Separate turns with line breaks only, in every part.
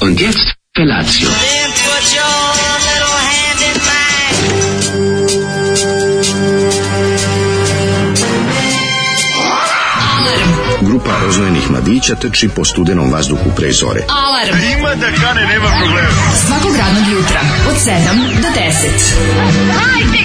Und jetzt Felatio.
Then put your little hand in mine.
Grupa roznojenih mladića trči po studenom vazduhu pre zore.
Alarm. Ima da kane, nema problema. Svakog radnog jutra, od 7 do 10.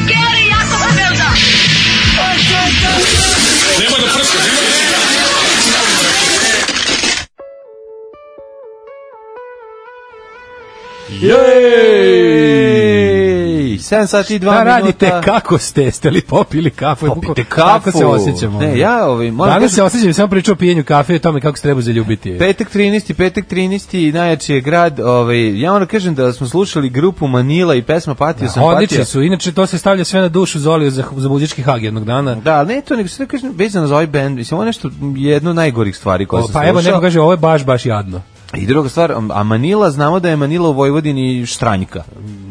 Jej!
7 sati i 2
Šta
minuta.
Da radite, kako ste, ste li popili kafu?
Popite
Kako- Kako
kafu.
se osjećamo?
Ne, ja, ovaj, moram
Danas
kažem-
se osjećam, samo pričao o pijenju kafe i o tome kako se treba zaljubiti.
Petak 13. Petak 13. najjači je grad. Ovaj, ja moram kažem da smo slušali grupu Manila i pesma Patio sam patio.
Da, Odlični su, inače to se stavlja sve na dušu Zoliju za, za muzički hag jednog dana.
Da, ne to, nego sve kažem, vezano za ovaj band, mislim, ovo je nešto, jedno od najgorih stvari koje
O,
sam
pa
da slušao.
evo, neko kaže, ovo je baš, baš jadno.
I druga stvar, a Manila, znamo da je Manila u Vojvodini štranjka.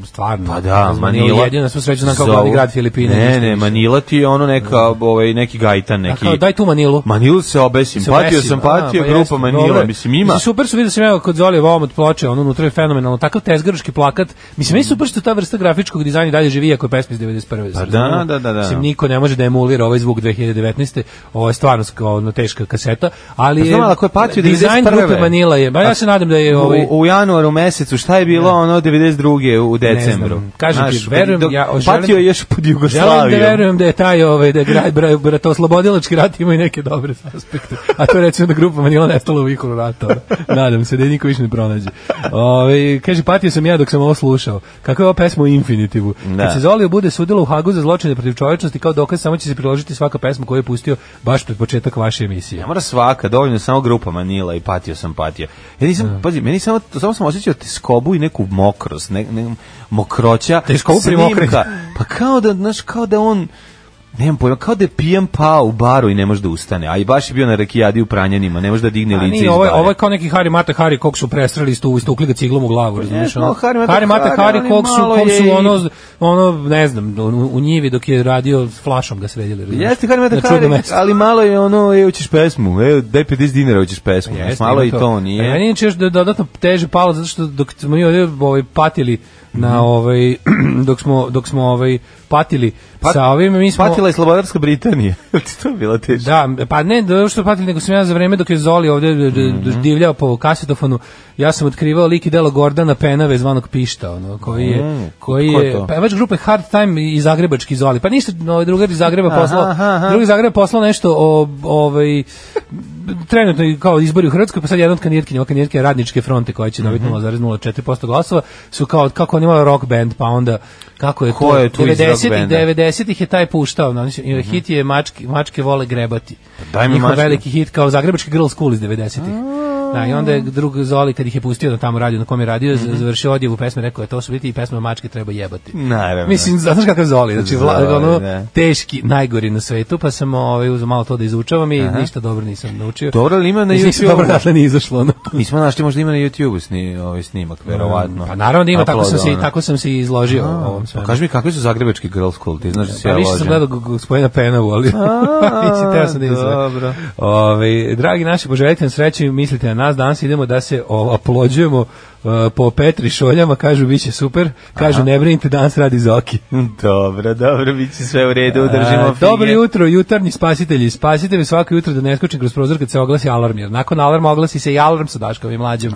Stvarno.
Pa da, Manila.
Jedina smo sreću znam kao
Zovu-
glavni grad Filipina.
Ne, ne, Manila ti je ono neka, ovaj, neki gajtan, neki...
Kao, daj tu Manilu.
Manilu se obesim,
Se
patio
uvesim.
sam,
A,
patio,
pa
grupa
jeste, dobro
Manila,
je.
mislim ima.
super su, vidio sam evo kod Zoli ovom od ploče, ono unutra je fenomenalno, takav tezgaroški plakat. Mislim, meni je super što ta vrsta grafičkog dizajna i dalje živi, iako je pesma iz 91.
Pa
znaš,
da,
ono,
da, da, da.
Mislim, niko ne može da emulira ovaj zvuk 2019. Ovo je stvarno kao ono, teška kaseta, ali
Pa
je,
znam, ali ako je patio
dizajn
91..
grupe Manila je, ba ja se nadam da je ovaj...
u, u januaru mesecu, šta je bilo ono 92. u decembru?
znam, kažem ti,
Znaš,
verujem,
dok-
ja o, želim-
Patio je još pod
Želim da
Jugoslavijom.
verujem da je taj ovaj da je grad bra, bratoslobodilački rat ima i neke dobre aspekte. A to je recimo da grupa Manila nestala u vihoru rata. ono. Nadam se da je niko više ne pronađe. Ovaj kaže patio sam ja dok sam ovo slušao. Kako je ova pesma u Infinitivu.
Da.
Kad se Zolio bude sudilo u Hagu za zločine protiv čovečnosti kao dokaz samo će se priložiti svaka pesma koju je pustio baš pred početak vaše emisije.
Ne mora svaka, dovoljno je samo grupa Manila i patio sam patio. Ja nisam,
Da.
pazi, meni samo, samo sam osjećao teskobu i neku mokrost, ne, ne, mokroća.
Teskobu pri
snimka.
mokrenju.
Pa kao da, znaš, kao da on, nemam pojma, kao da je pijen pao u baru i ne može da ustane. A i baš je bio na rakijadi u pranjanima, ne može da digne
A
lice iz
Pa nije, ovo, je,
bare.
ovo je kao neki Hari Mata Hari kog su presreli stu istukli ga ciglom u glavu, razumiješ?
Pa no,
Ono,
Hari Mata
Hari Mata
Hari,
Hari
ali
kog su,
malo
kog
je i-
su ono, ono, ne znam, u, u njivi dok je radio s flašom ga sredili, razumiješ?
Jeste Harry
Na
Mata
čudno
Hari,
mesto.
ali malo je ono, evo ćeš pesmu, evo daj 50 dinara, evo ćeš pesmu.
Jeste,
Jeste, malo
ima
i to nije.
A Meni je još da- dodatno teže palo zato što dok smo mi ovdje ovaj, patili
Mhm.
na ovaj dok smo dok smo ovaj patili
Pat-
sa ovim mi smo
Patila je Slobodarska Britanija. Jel ti to bila teško?
Da, pa ne, da što patili, nego sam ja za vreme dok je Zoli ovde d- d-
Mhm.
divljao po kasetofonu, ja sam otkrivao lik i delo Gordana Penave zvanog Pišta, ono, koji je, koji
Mm, ko je
je,
to?
pevač grupe Hard Time i zagrebački Zoli. Pa ništa, no, drugar iz Zagreba
Aha,
poslao,
aha, aha.
drugi iz Zagreba poslao nešto o, ovaj, trenutno je kao izbori u Hrvatskoj, pa sad jedan od kandidatkinja, ova kandidatkinja je radničke fronte koja će
Mhm.
dobiti 0,04% glasova, su kao, kako on imao rock band, pa onda kako je
Ko
to,
je tu iz rock
90-ih,
benda?
90-ih je taj puštao, no, mislim, hit je mačke, mačke vole grebati.
Mhm. daj mi
Njihov
mačke.
veliki hit kao Zagrebački girl school iz 90-ih. Da, i onda je drug Zoli kad ih je pustio na tamo radio, na kom je radio,
Mhm.
z- završio odjevu pesme, rekao je to su biti i pesma mačke treba jebati.
Naravno.
Da. Mislim, znaš kakav Zoli, znači vla,
Da. Zoli,
ono,
da.
teški, najgori na svetu, pa sam ovaj, uzeo malo to da izučavam i ništa dobro nisam naučio.
Dobro, ali ima na
Mislim, nisam
YouTube-u?
Dobro, dakle, nije izašlo. ono.
Nismo našli, možda ima na YouTube-u sni, ovaj snimak, verovatno.
Pa naravno da ima, tako sam, se, i-
Uploadovan.
tako sam se i izložio. ovom
Pa
svemu.
kaži mi, kakvi su zagrebački girl school, ti znaš da se
Pa
ja
više sam
ložem.
gledao g- gospodina Penavu, ali mislim, teo sam da izve.
dobro.
Ove, dragi naši, poželite nam sreće i mislite na nas. Danas idemo da se o, aplođujemo e, po Petri šoljama, kažu bit će super, kažu ne brinite, danas radi Zoki.
Dobro, dobro, bit će sve u redu, držimo
E,
fige.
dobro jutro, jutarnji spasitelji. Spasite me svako jutro da ne skočim kroz prozor kad se oglasi alarm, jer nakon alarma oglasi se i alarm sa Daškom i mlađom.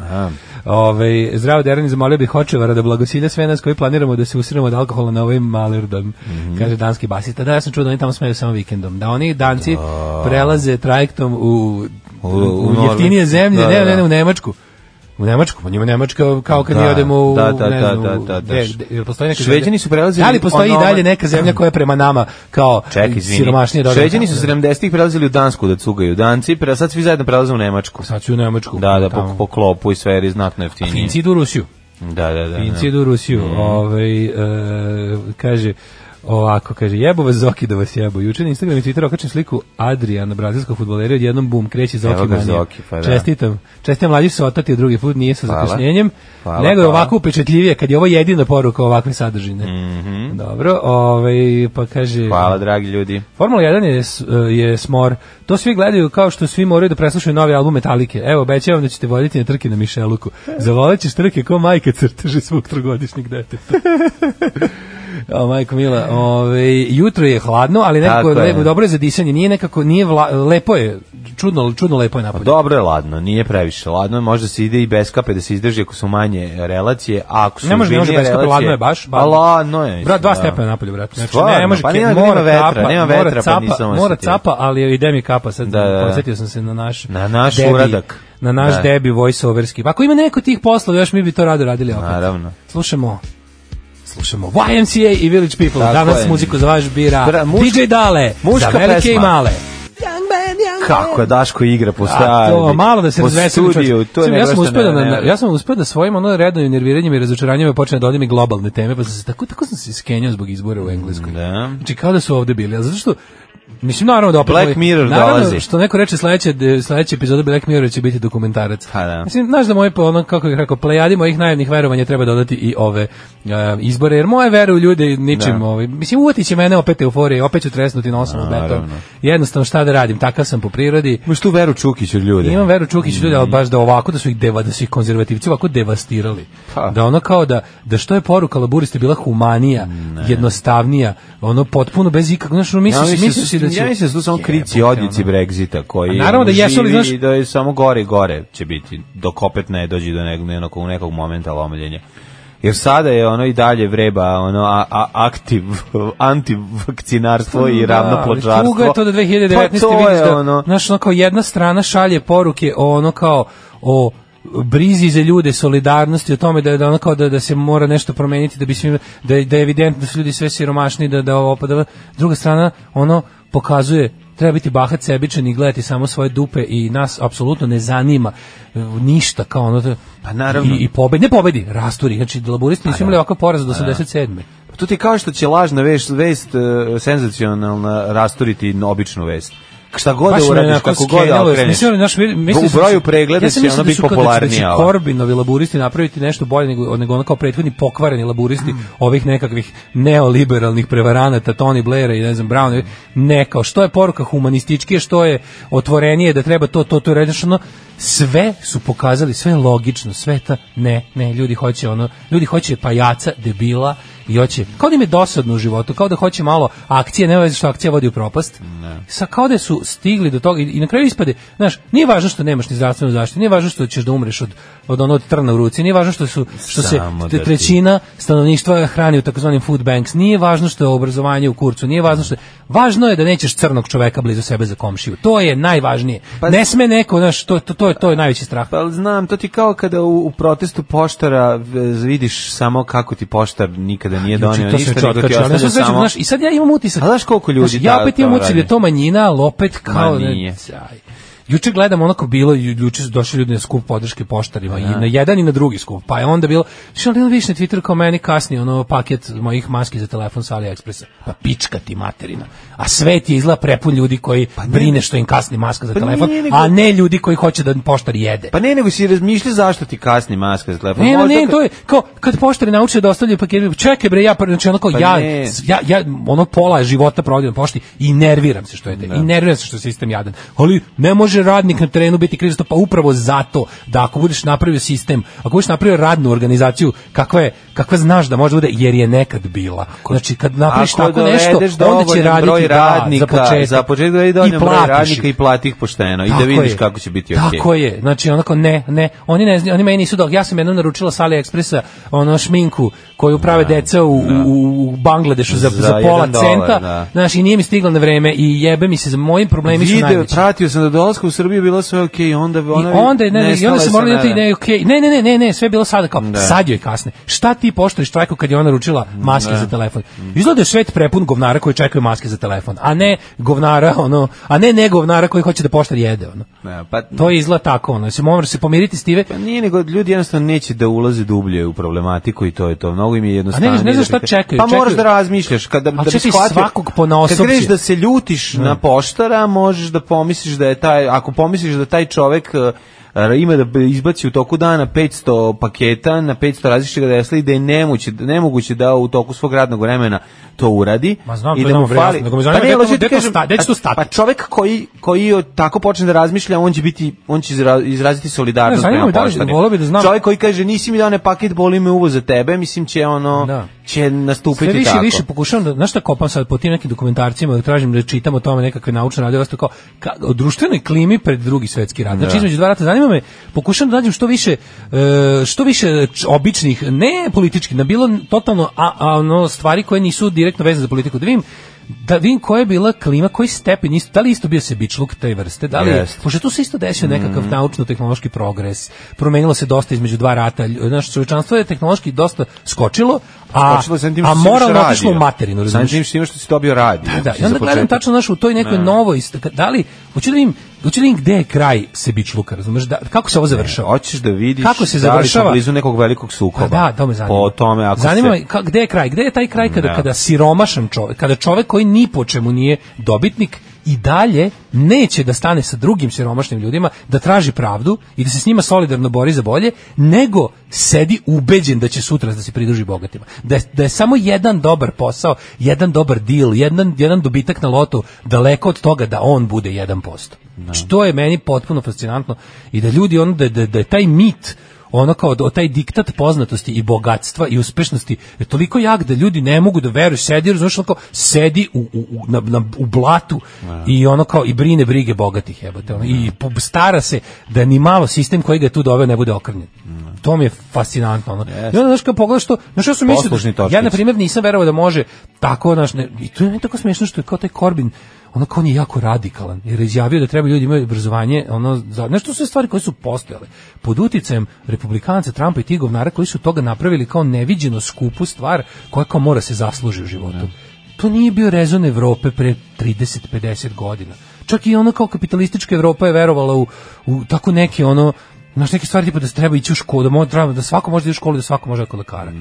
Ove, zdravo, Derani, zamolio bih Hočevara da blagosilja sve nas koji planiramo da se usiramo od alkohola na ovaj malerdan,
Mhm.
kaže danski basista. Da, ja sam čuo da oni tamo smeju samo vikendom. Da oni danci prelaze trajektom u, u,
Norvešku.
jeftinije zemlje,
Da, da,
ne, ne,
da.
ne, u Nemačku. U Nemačku, pa njima Nemačka kao kad
Da,
mi odemo u
da, da,
ne
da,
znam, u-
da, da, da.
gde- gde- jel postoji neka
Šveđani
zemlja?
su prelazili
Da li postoji i
ono-
dalje neka zemlja koja je prema nama kao
Ček, izvini.
siromašnije dobro.
Šveđani su 70-ih prelazili u Dansku da cugaju Danci, pre, sad svi zajedno prelaze u Nemačku.
Sad ću u Nemačku.
Da, da,
tamo.
po, po klopu i sve, jer je znatno jeftinije.
Finci idu u Rusiju.
Da, da, da.
Finci
da.
idu u Rusiju. Ovaj, e, kaže, Ovako, kaže, jebo vas Zoki da vas jebu. Juče na Instagram i Twitter okačem sliku Adriana, brazilskog futbolera, odjednom bum, kreće Zoki
Evo ga
manija.
Zoki, pa da.
Čestitam. Čestitam mlađi se otatio drugi put, nije sa
Hvala.
zakašnjenjem.
Hvala,
nego je
hvala. Mhm.
ovako upečatljivije, kad je ovo jedina poruka ovakve sadržine. Mm -hmm. Dobro, ovaj, pa kaže...
Hvala, dragi ljudi.
Formula 1 je, s- e, je smor. To svi gledaju kao što svi moraju da preslušaju novi album Metalike. Evo, obećavam da ćete voditi na trke na Mišeluku. Zavolećeš trke ko majka crteže svog trogodišnjeg deteta. O, majko Mila, ove, jutro je hladno, ali nekako
Tako je.
lepo, dobro je za disanje. Nije nekako, nije vla, lepo je, čudno, čudno lepo je napolje.
Dobro je ladno, nije previše ladno, možda se ide i bez kape da se izdrži ako su manje relacije, a ako su
Ne može, ne može
ozbiljnije
bez kape,
relacije-
ladno je baš,
Pa ladno je.
Brat, dva
da.
stepena napolje, brate. Znači,
Stvarno,
ne, može,
pa
ke-
nema- nema
mora
vetra,
capa,
nema
mora
vetra, pa
capa,
nisam
Mora
osetio.
capa, ali ide mi kapa, sad
Da, da, da.
posetio sam se na naš
Na naš
debi,
uradak.
Na naš
Da.
debi voiceoverski. Pa ako ima neko tih poslova, još mi bi to rado radili opet.
Naravno.
Slušamo Slušamo YMCA i Village People.
Tako
Danas
je.
muziku za vaš bira
Bra- muš-
DJ Dale,
muška
za velike
pesma.
i male.
Kako je Daško igra po
A
stari.
to, malo da se
po
razveseli
studiju,
čovječ.
to je
Čujem, ja sam
nešto
uspeo da
ne-
na,
ne-
ja sam uspeo da svojim ono redovnim nerviranjem i razočaranjima počne da odim i globalne teme, pa sam se tako tako sam se skenjao zbog izbora u engleskoj.
Da.
Znači kao da su ovde bili, ali zato što Mislim, naravno da opet...
Black
moji-
Mirror
naravno,
dolazi.
što neko reče sledeće, sledeće epizode Black Mirror će biti dokumentarac.
Pa da.
Mislim, znaš da moje, po ono, kako bih rekao, plejadi mojih naivnih verovanja treba dodati i ove e, izbore, jer moje vere u ljude ničim,
Da.
ovaj, mislim, uvati će mene opet euforije, opet ću tresnuti nosom u beton.
Naravno.
Jednostavno, šta da radim, takav sam po prirodi,
Imaš tu Veru Čukić od ljudi.
imam veru Čukić ljudi, ali baš da ovako da su ih deva, da su ih konzervativci ovako devastirali.
Pa.
Da ono kao da da što je poruka laburiste bila humanija, jednostavnija, ono potpuno bez ikakvog, znaš, ono, misliš,
mislim
misliš
su-
da će
ja mislim da su to samo krici
Jebote,
odjeci
ono.
Brexita koji
A naravno da
živi
jesu, ali znaš-
i da je samo gore i gore će biti dok opet ne dođe do nekog, nekog, nekog momenta lomljenja. Jer sada je ono i dalje vreba ono a, a, aktiv antivakcinarstvo i
Da, ali
ravnoplačarstvo.
Tuga je to da 2019.
Pa to
vidiš
je
da,
ono,
znaš, ono kao jedna strana šalje poruke o ono kao, o brizi za ljude, solidarnosti, o tome da da ono kao da da se mora nešto promeniti da bi svi da je- da je evidentno da su ljudi sve siromašni da da ovo pa da druga strana ono pokazuje treba biti bahat sebičan i gledati samo svoje dupe i nas apsolutno ne zanima e, ništa kao ono da-
Pa naravno. Pa da.
i, i pobedi ne pobedi rasturi znači laburisti nisu imali ovakav poraz do 87.
To ti kao što će lažna vest, vest e, senzacionalna rasturiti običnu vest. Šta god
Baš
da
me
uradiš,
onako
kako god da
skenulo,
okreneš.
smislio, znaš, vidi, mislio
u
sam
broju
se-
pregleda
ja sam
će
mislio
ono
da
biti
su kao da će-
popularnija.
Da će
ova.
Korbinovi laburisti napraviti nešto bolje nego, nego ono kao prethodni pokvareni laburisti
Mm.
ovih nekakvih neoliberalnih prevaranata Tony Blaira i ne znam Brown. Ne kao što je poruka humanističkije, što je otvorenije da treba to, to, to je rečeno. Sve su pokazali, sve je logično, sve ta ne, ne, ljudi hoće ono, ljudi hoće pajaca, debila, i hoće, kao da im je dosadno u životu, kao da hoće malo akcije, nema veze što akcija vodi u propast. Sa, kao da su stigli do toga i, i na kraju ispade, znaš, nije važno što nemaš ni zdravstvenu zaštitu, nije važno što ćeš da umreš od, od ono od trna u ruci, nije važno što su što se
Samo da
te-
ti-
trećina stanovništva hrani u takozvanim food banks, nije važno što je obrazovanje u kurcu, nije važno što je, važno je da nećeš crnog čoveka blizu sebe za komšiju. To je najvažnije.
Pa-
ne sme neko, znaš, to, to, to, je, to je najveći strah.
Pa znam, to ti kao kada u, u protestu poštara v- vidiš samo kako ti poštar nikada nije donio
Znači, to se
ništa, nego ti
čotkače, ali
ostane
sve srećem,
samo...
znaš, I sad ja imam utisak.
A znaš koliko ljudi
Znaš, ja
da-
opet
to
imam utisak
radi?
da je to manjina, ali opet kao...
Ma
da-
nije.
Aj. Juče gledam ono kao bilo, ju- juče su došli ljudi na skup podrške poštarima i na jedan i na drugi skup, pa je onda bilo, što li više na Twitteru kao meni kasnije ono paket mojih maski za telefon sa AliExpressa, pa pička ti materina, a svet je izgleda prepun ljudi koji brine što im kasni maska za
Pa
telefon,
nije, nego-
a ne ljudi koji hoće da poštar jede.
Pa ne, nego si razmišlja zašto ti kasni maska za telefon.
Ne, ne,
Možda
ne,
kad-
to je kao kad poštari nauče da ostavljaju pakete, čekaj bre, ja prvi, znači onako
Pa
ja,
ne.
ja, ja, ono pola života provodim na pošti i nerviram se što je te,
Da.
i nerviram se što je sistem jadan. Ali ne može radnik na terenu biti kriv za to, pa upravo zato da ako budeš napravio sistem, ako budeš napravio radnu organizaciju, kakva je, kakva znaš da može da bude, jer je nekad bila. Znači kad napraviš
Ako
tako nešto,
dovedeš
onda će
dovoljan broj
raditi
radnika,
da, za početak.
za početak dovedi dovoljan broj
platiš
radnika
ih.
i plati ih pošteno i da
Tako
vidiš
je.
kako će biti okej.
Tako je. Znači onako ne, ne. Oni ne znaju, oni meni nisu dok ja sam jednom naručila sa AliExpressa ono šminku koju prave deca u, u, u Bangladešu za,
Da, Za
za, pola
jedan dolar,
centa.
da.
Znaš, i nije mi stigla na vreme i jebe mi se za mojim problemi su
Video,
najveći.
pratio sam do dolaska ulaska u Srbiju bilo sve okej, onda ona
I onda je, ne, ne, i
nestala
onda se
je
morali
sa Da.
na to
nada.
ide, okej, ne, ne, ne, ne, ne, sve je bilo sada kao, sad joj kasne. Šta ti poštoješ trajku kad je ona ručila maske za telefon? Izgleda da je svet prepun govnara koji čekaju maske za telefon, a ne govnara, ono, a ne ne govnara koji hoće da poštar jede, ono.
Ne, pa,
To je izgleda tako, ono, se moraš se pomiriti s time,
pa nije nego ljudi jednostavno neće da ulaze dublje u problematiku i to je to. Mnogo im je jednostavno.
ne znaš šta čekaju,
Pa moraš
čekaju.
da razmišljaš kada da
Ali
bi
čekaj,
shvatio-
svakog ponaosob
Kad greš
si.
da se ljutiš na poštara, možeš da pomisliš da je taj ako pomisliš da taj čovek e, e, ima da izbaci u toku dana 500 paketa na 500 različitih adresa i da je nemoguće, nemoguće da u toku svog radnog vremena to uradi.
Ma znam,
i
to
da
je
mu
nama bre
fali.
jasno, nego me zanima
Pa ne,
gde to-
hoću ti
gde to
kažem,
sta- gde će to
pa-
stati?
Pa čovek koji koji o- tako počne da razmišlja, on će biti on će izra- izraziti solidarnost
Ne, zanima
prema
me da li-
poštari.
voleo bih da znam-
Čovek koji kaže nisi mi dao ne paket, boli me uvo za tebe, mislim će ono
Da.
će nastupiti
Sve više i
tako.
više pokušavam da, znaš šta kopam sad po tim nekim dokumentarcima, da tražim da čitam o tome nekakve naučne radove, ostao kao ka, o društvenoj klimi pred drugi svetski rat. Znači između dva rata zanima me, pokušavam da nađem što više e, što više č- običnih, ne političkih, na bilo totalno a, a, ono, stvari koje nisu direktno vezane za politiku. Da vidim da vidim koja je bila klima, koji stepen isto, da li isto bio sebičluk te vrste, da li je,
Jeste.
pošto tu se isto desio nekakav naučno-tehnološki progres, promenilo se dosta između dva rata, lj- znaš, čovječanstvo je tehnološki dosta skočilo, a,
Počelo sam tim
a
što si imaš
moralno
radio.
otišlo u materinu,
Samim
razumiješ?
tim što imaš što si dobio radio.
Da, i
za
onda gledam
početak.
tačno naš u toj nekoj novoj, st- da li, hoću da vidim, hoću da vidim gde je kraj Sebičluka, razumeš, da, kako se ovo završava?
Hoćeš da vidiš
Kako se
da li smo
završava?
blizu nekog velikog
Pa
sukoba.
da, to me zanima.
Po tome ako
zanima
se...
me ka, gde je kraj? Gde je taj kraj kada
Da.
kada siromašan čovjek, kada čovjek koji ni po čemu nije dobitnik i dalje neće da stane sa drugim siromašnim ljudima da traži pravdu i da se s njima solidarno bori za bolje, nego sedi ubeđen da će sutra da se pridruži bogatima. Da je, da je samo jedan dobar posao, jedan dobar deal, jedan, jedan dobitak na lotu daleko od toga da on bude 1%.
Da.
Znači, to je meni potpuno fascinantno i da ljudi ono da, da, da je taj mit ono kao da taj diktat poznatosti i bogatstva i uspešnosti je toliko jak da ljudi ne mogu da veruju sedi razumeš ono kao sedi u, u, u, na, na, u blatu i ono kao i brine brige bogatih jebote ono, i po- stara se da ni malo sistem koji ga je tu doveo ne bude okrnjen to mi je fascinantno ono. i onda znaš kao pogledaš to znaš ja sam
Poslušni
mislio da-
točkić.
ja na primjer nisam verovao da može tako naš ne, i to je meni tako smiješno što je kao taj Korbin ono kao on je jako radikalan jer je izjavio da treba ljudi imaju obrazovanje ono za nešto su stvari koje su postojale pod uticajem republikanca Trumpa i tih govnara koji su toga napravili kao neviđeno skupu stvar koja kao mora se zasluži u životu to nije bio rezon Evrope pre 30-50 godina čak i ono kao kapitalistička Evropa je verovala u, u tako neke ono Znaš, neke stvari tipa da se treba ići u školu, da, mo, treba, da svako može da ide u školu, da svako može kod lekara.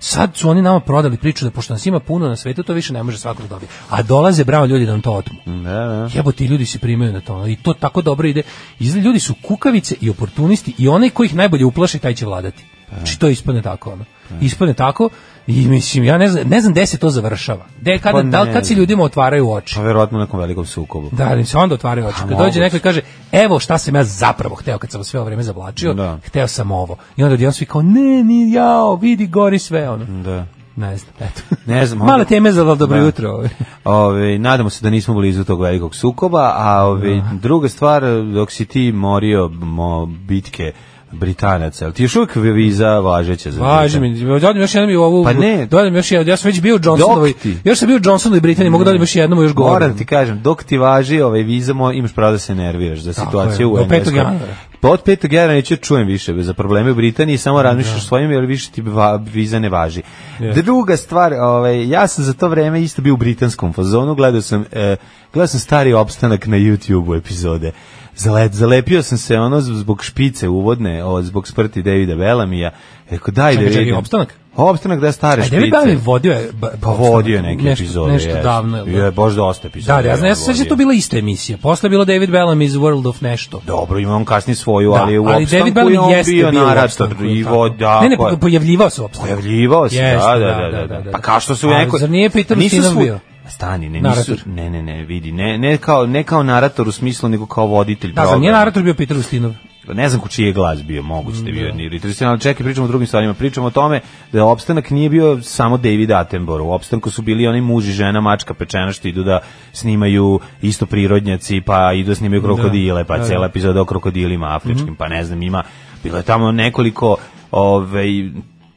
Sad su oni nama prodali priču da pošto nas ima puno na svetu, to više ne može svako da dobije. A dolaze bravo ljudi da nam to otmu.
Da, da.
Jebo ti ljudi se primaju na to. ono, I to tako dobro ide. Izgleda, ljudi su kukavice i oportunisti i onaj koji ih najbolje uplaši, taj će vladati.
Pa.
Znači to ispadne tako. Ono. Ispadne tako i mislim, ja ne znam, ne znam gde se to završava. Gde, kada,
Pa
da li
ne
kad se
znam.
ljudima otvaraju oči?
Pa verovatno u nekom velikom sukobu.
Da, ali se onda otvaraju oči. Kad
moguće.
dođe neko i kaže, evo šta sam ja zapravo hteo kad sam vas sve ovo vreme zavlačio,
Da.
hteo sam ovo. I onda odjednom svi kao, ne, ni jao, vidi, gori sve, ono.
Da.
Ne znam, eto.
Ne znam,
Male
onda-
teme za dobro
Da.
jutro. ovaj.
Ove, nadamo se da nismo blizu tog velikog sukoba, a ove,
Da.
druga stvar, dok si ti morio mo, bitke Britanaca, ali ti još uvijek viza važeća za
Važi
Britan-
mi, dodam još jednom i ovu.
da. Pa ne.
Dodam još jednom, ja sam već bio u Johnsonovoj.
Dok ti?
Još sam bio u Johnsonovoj Britaniji, mogu dodam još jednom još govorim.
Moram ti kažem, dok ti važi ovaj viza, mo- imaš pravo da se nerviraš za
Tako
situaciju
je,
u
do
Engleskoj.
5. januara.
Pa od 5. januara neću da čujem više za probleme u Britaniji,
Da.
samo razmišljaš svojim, jer više ti va- viza ne važi. Da Druga stvar, ovaj, ja sam za to vreme isto bio u britanskom fazonu, gledao sam, e, gledao sam stari opstanak na YouTube-u epizode. Zale- zalepio sam se ono z- zbog špice uvodne, o, zbog sprti Davida Bellamija. Rekao, daj da
Čekaj, čekaj,
vidim.
opstanak?
Opstanak da stare
A
špice.
David Bowie vodio je... ba-
Pa vodio je neke
nešto,
epizode.
Nešto
jeste.
davno. jel da?
Je, baš dosta epizoda.
Da, da, ja znam, ja
je
sam sve da je
vodio.
to bila ista emisija. Posle je bilo David Bellamy iz World of nešto.
Dobro, ima on kasnije svoju,
Da,
ali u
ali David
opstanku je
Bellamy
on
jeste
bio
bio u
narator
opstanku,
i da,
tako.
voda.
Ne, ne, po- pojavljivao se u opstanku.
Pojavljivao se,
Jeste,
da, da, da, da, da. Pa kao što su u
Ali
nekoj...
zar nije Peter
nisu
Ustinov
svu-
bio?
Stani, ne, nisu,
Narator.
ne, ne, ne, vidi, ne, ne, kao, ne kao narator u smislu, nego kao voditelj
Da, za
programa.
nije narator bio Peter Ustinov. uh,
Pa Ne znam ko čiji je glas bio, moguće da je bio ni Ritrisen, ali čekaj, pričamo o drugim stvarima. Pričamo o tome da opstanak nije bio samo David Attenborough. U opstanku su bili oni muži, žena, mačka, pečena što idu da snimaju isto prirodnjaci, pa idu da Mhm. snimaju krokodile, pa cijela epizoda o krokodilima afričkim, pa ne znam, ima, bilo je tamo nekoliko ovaj,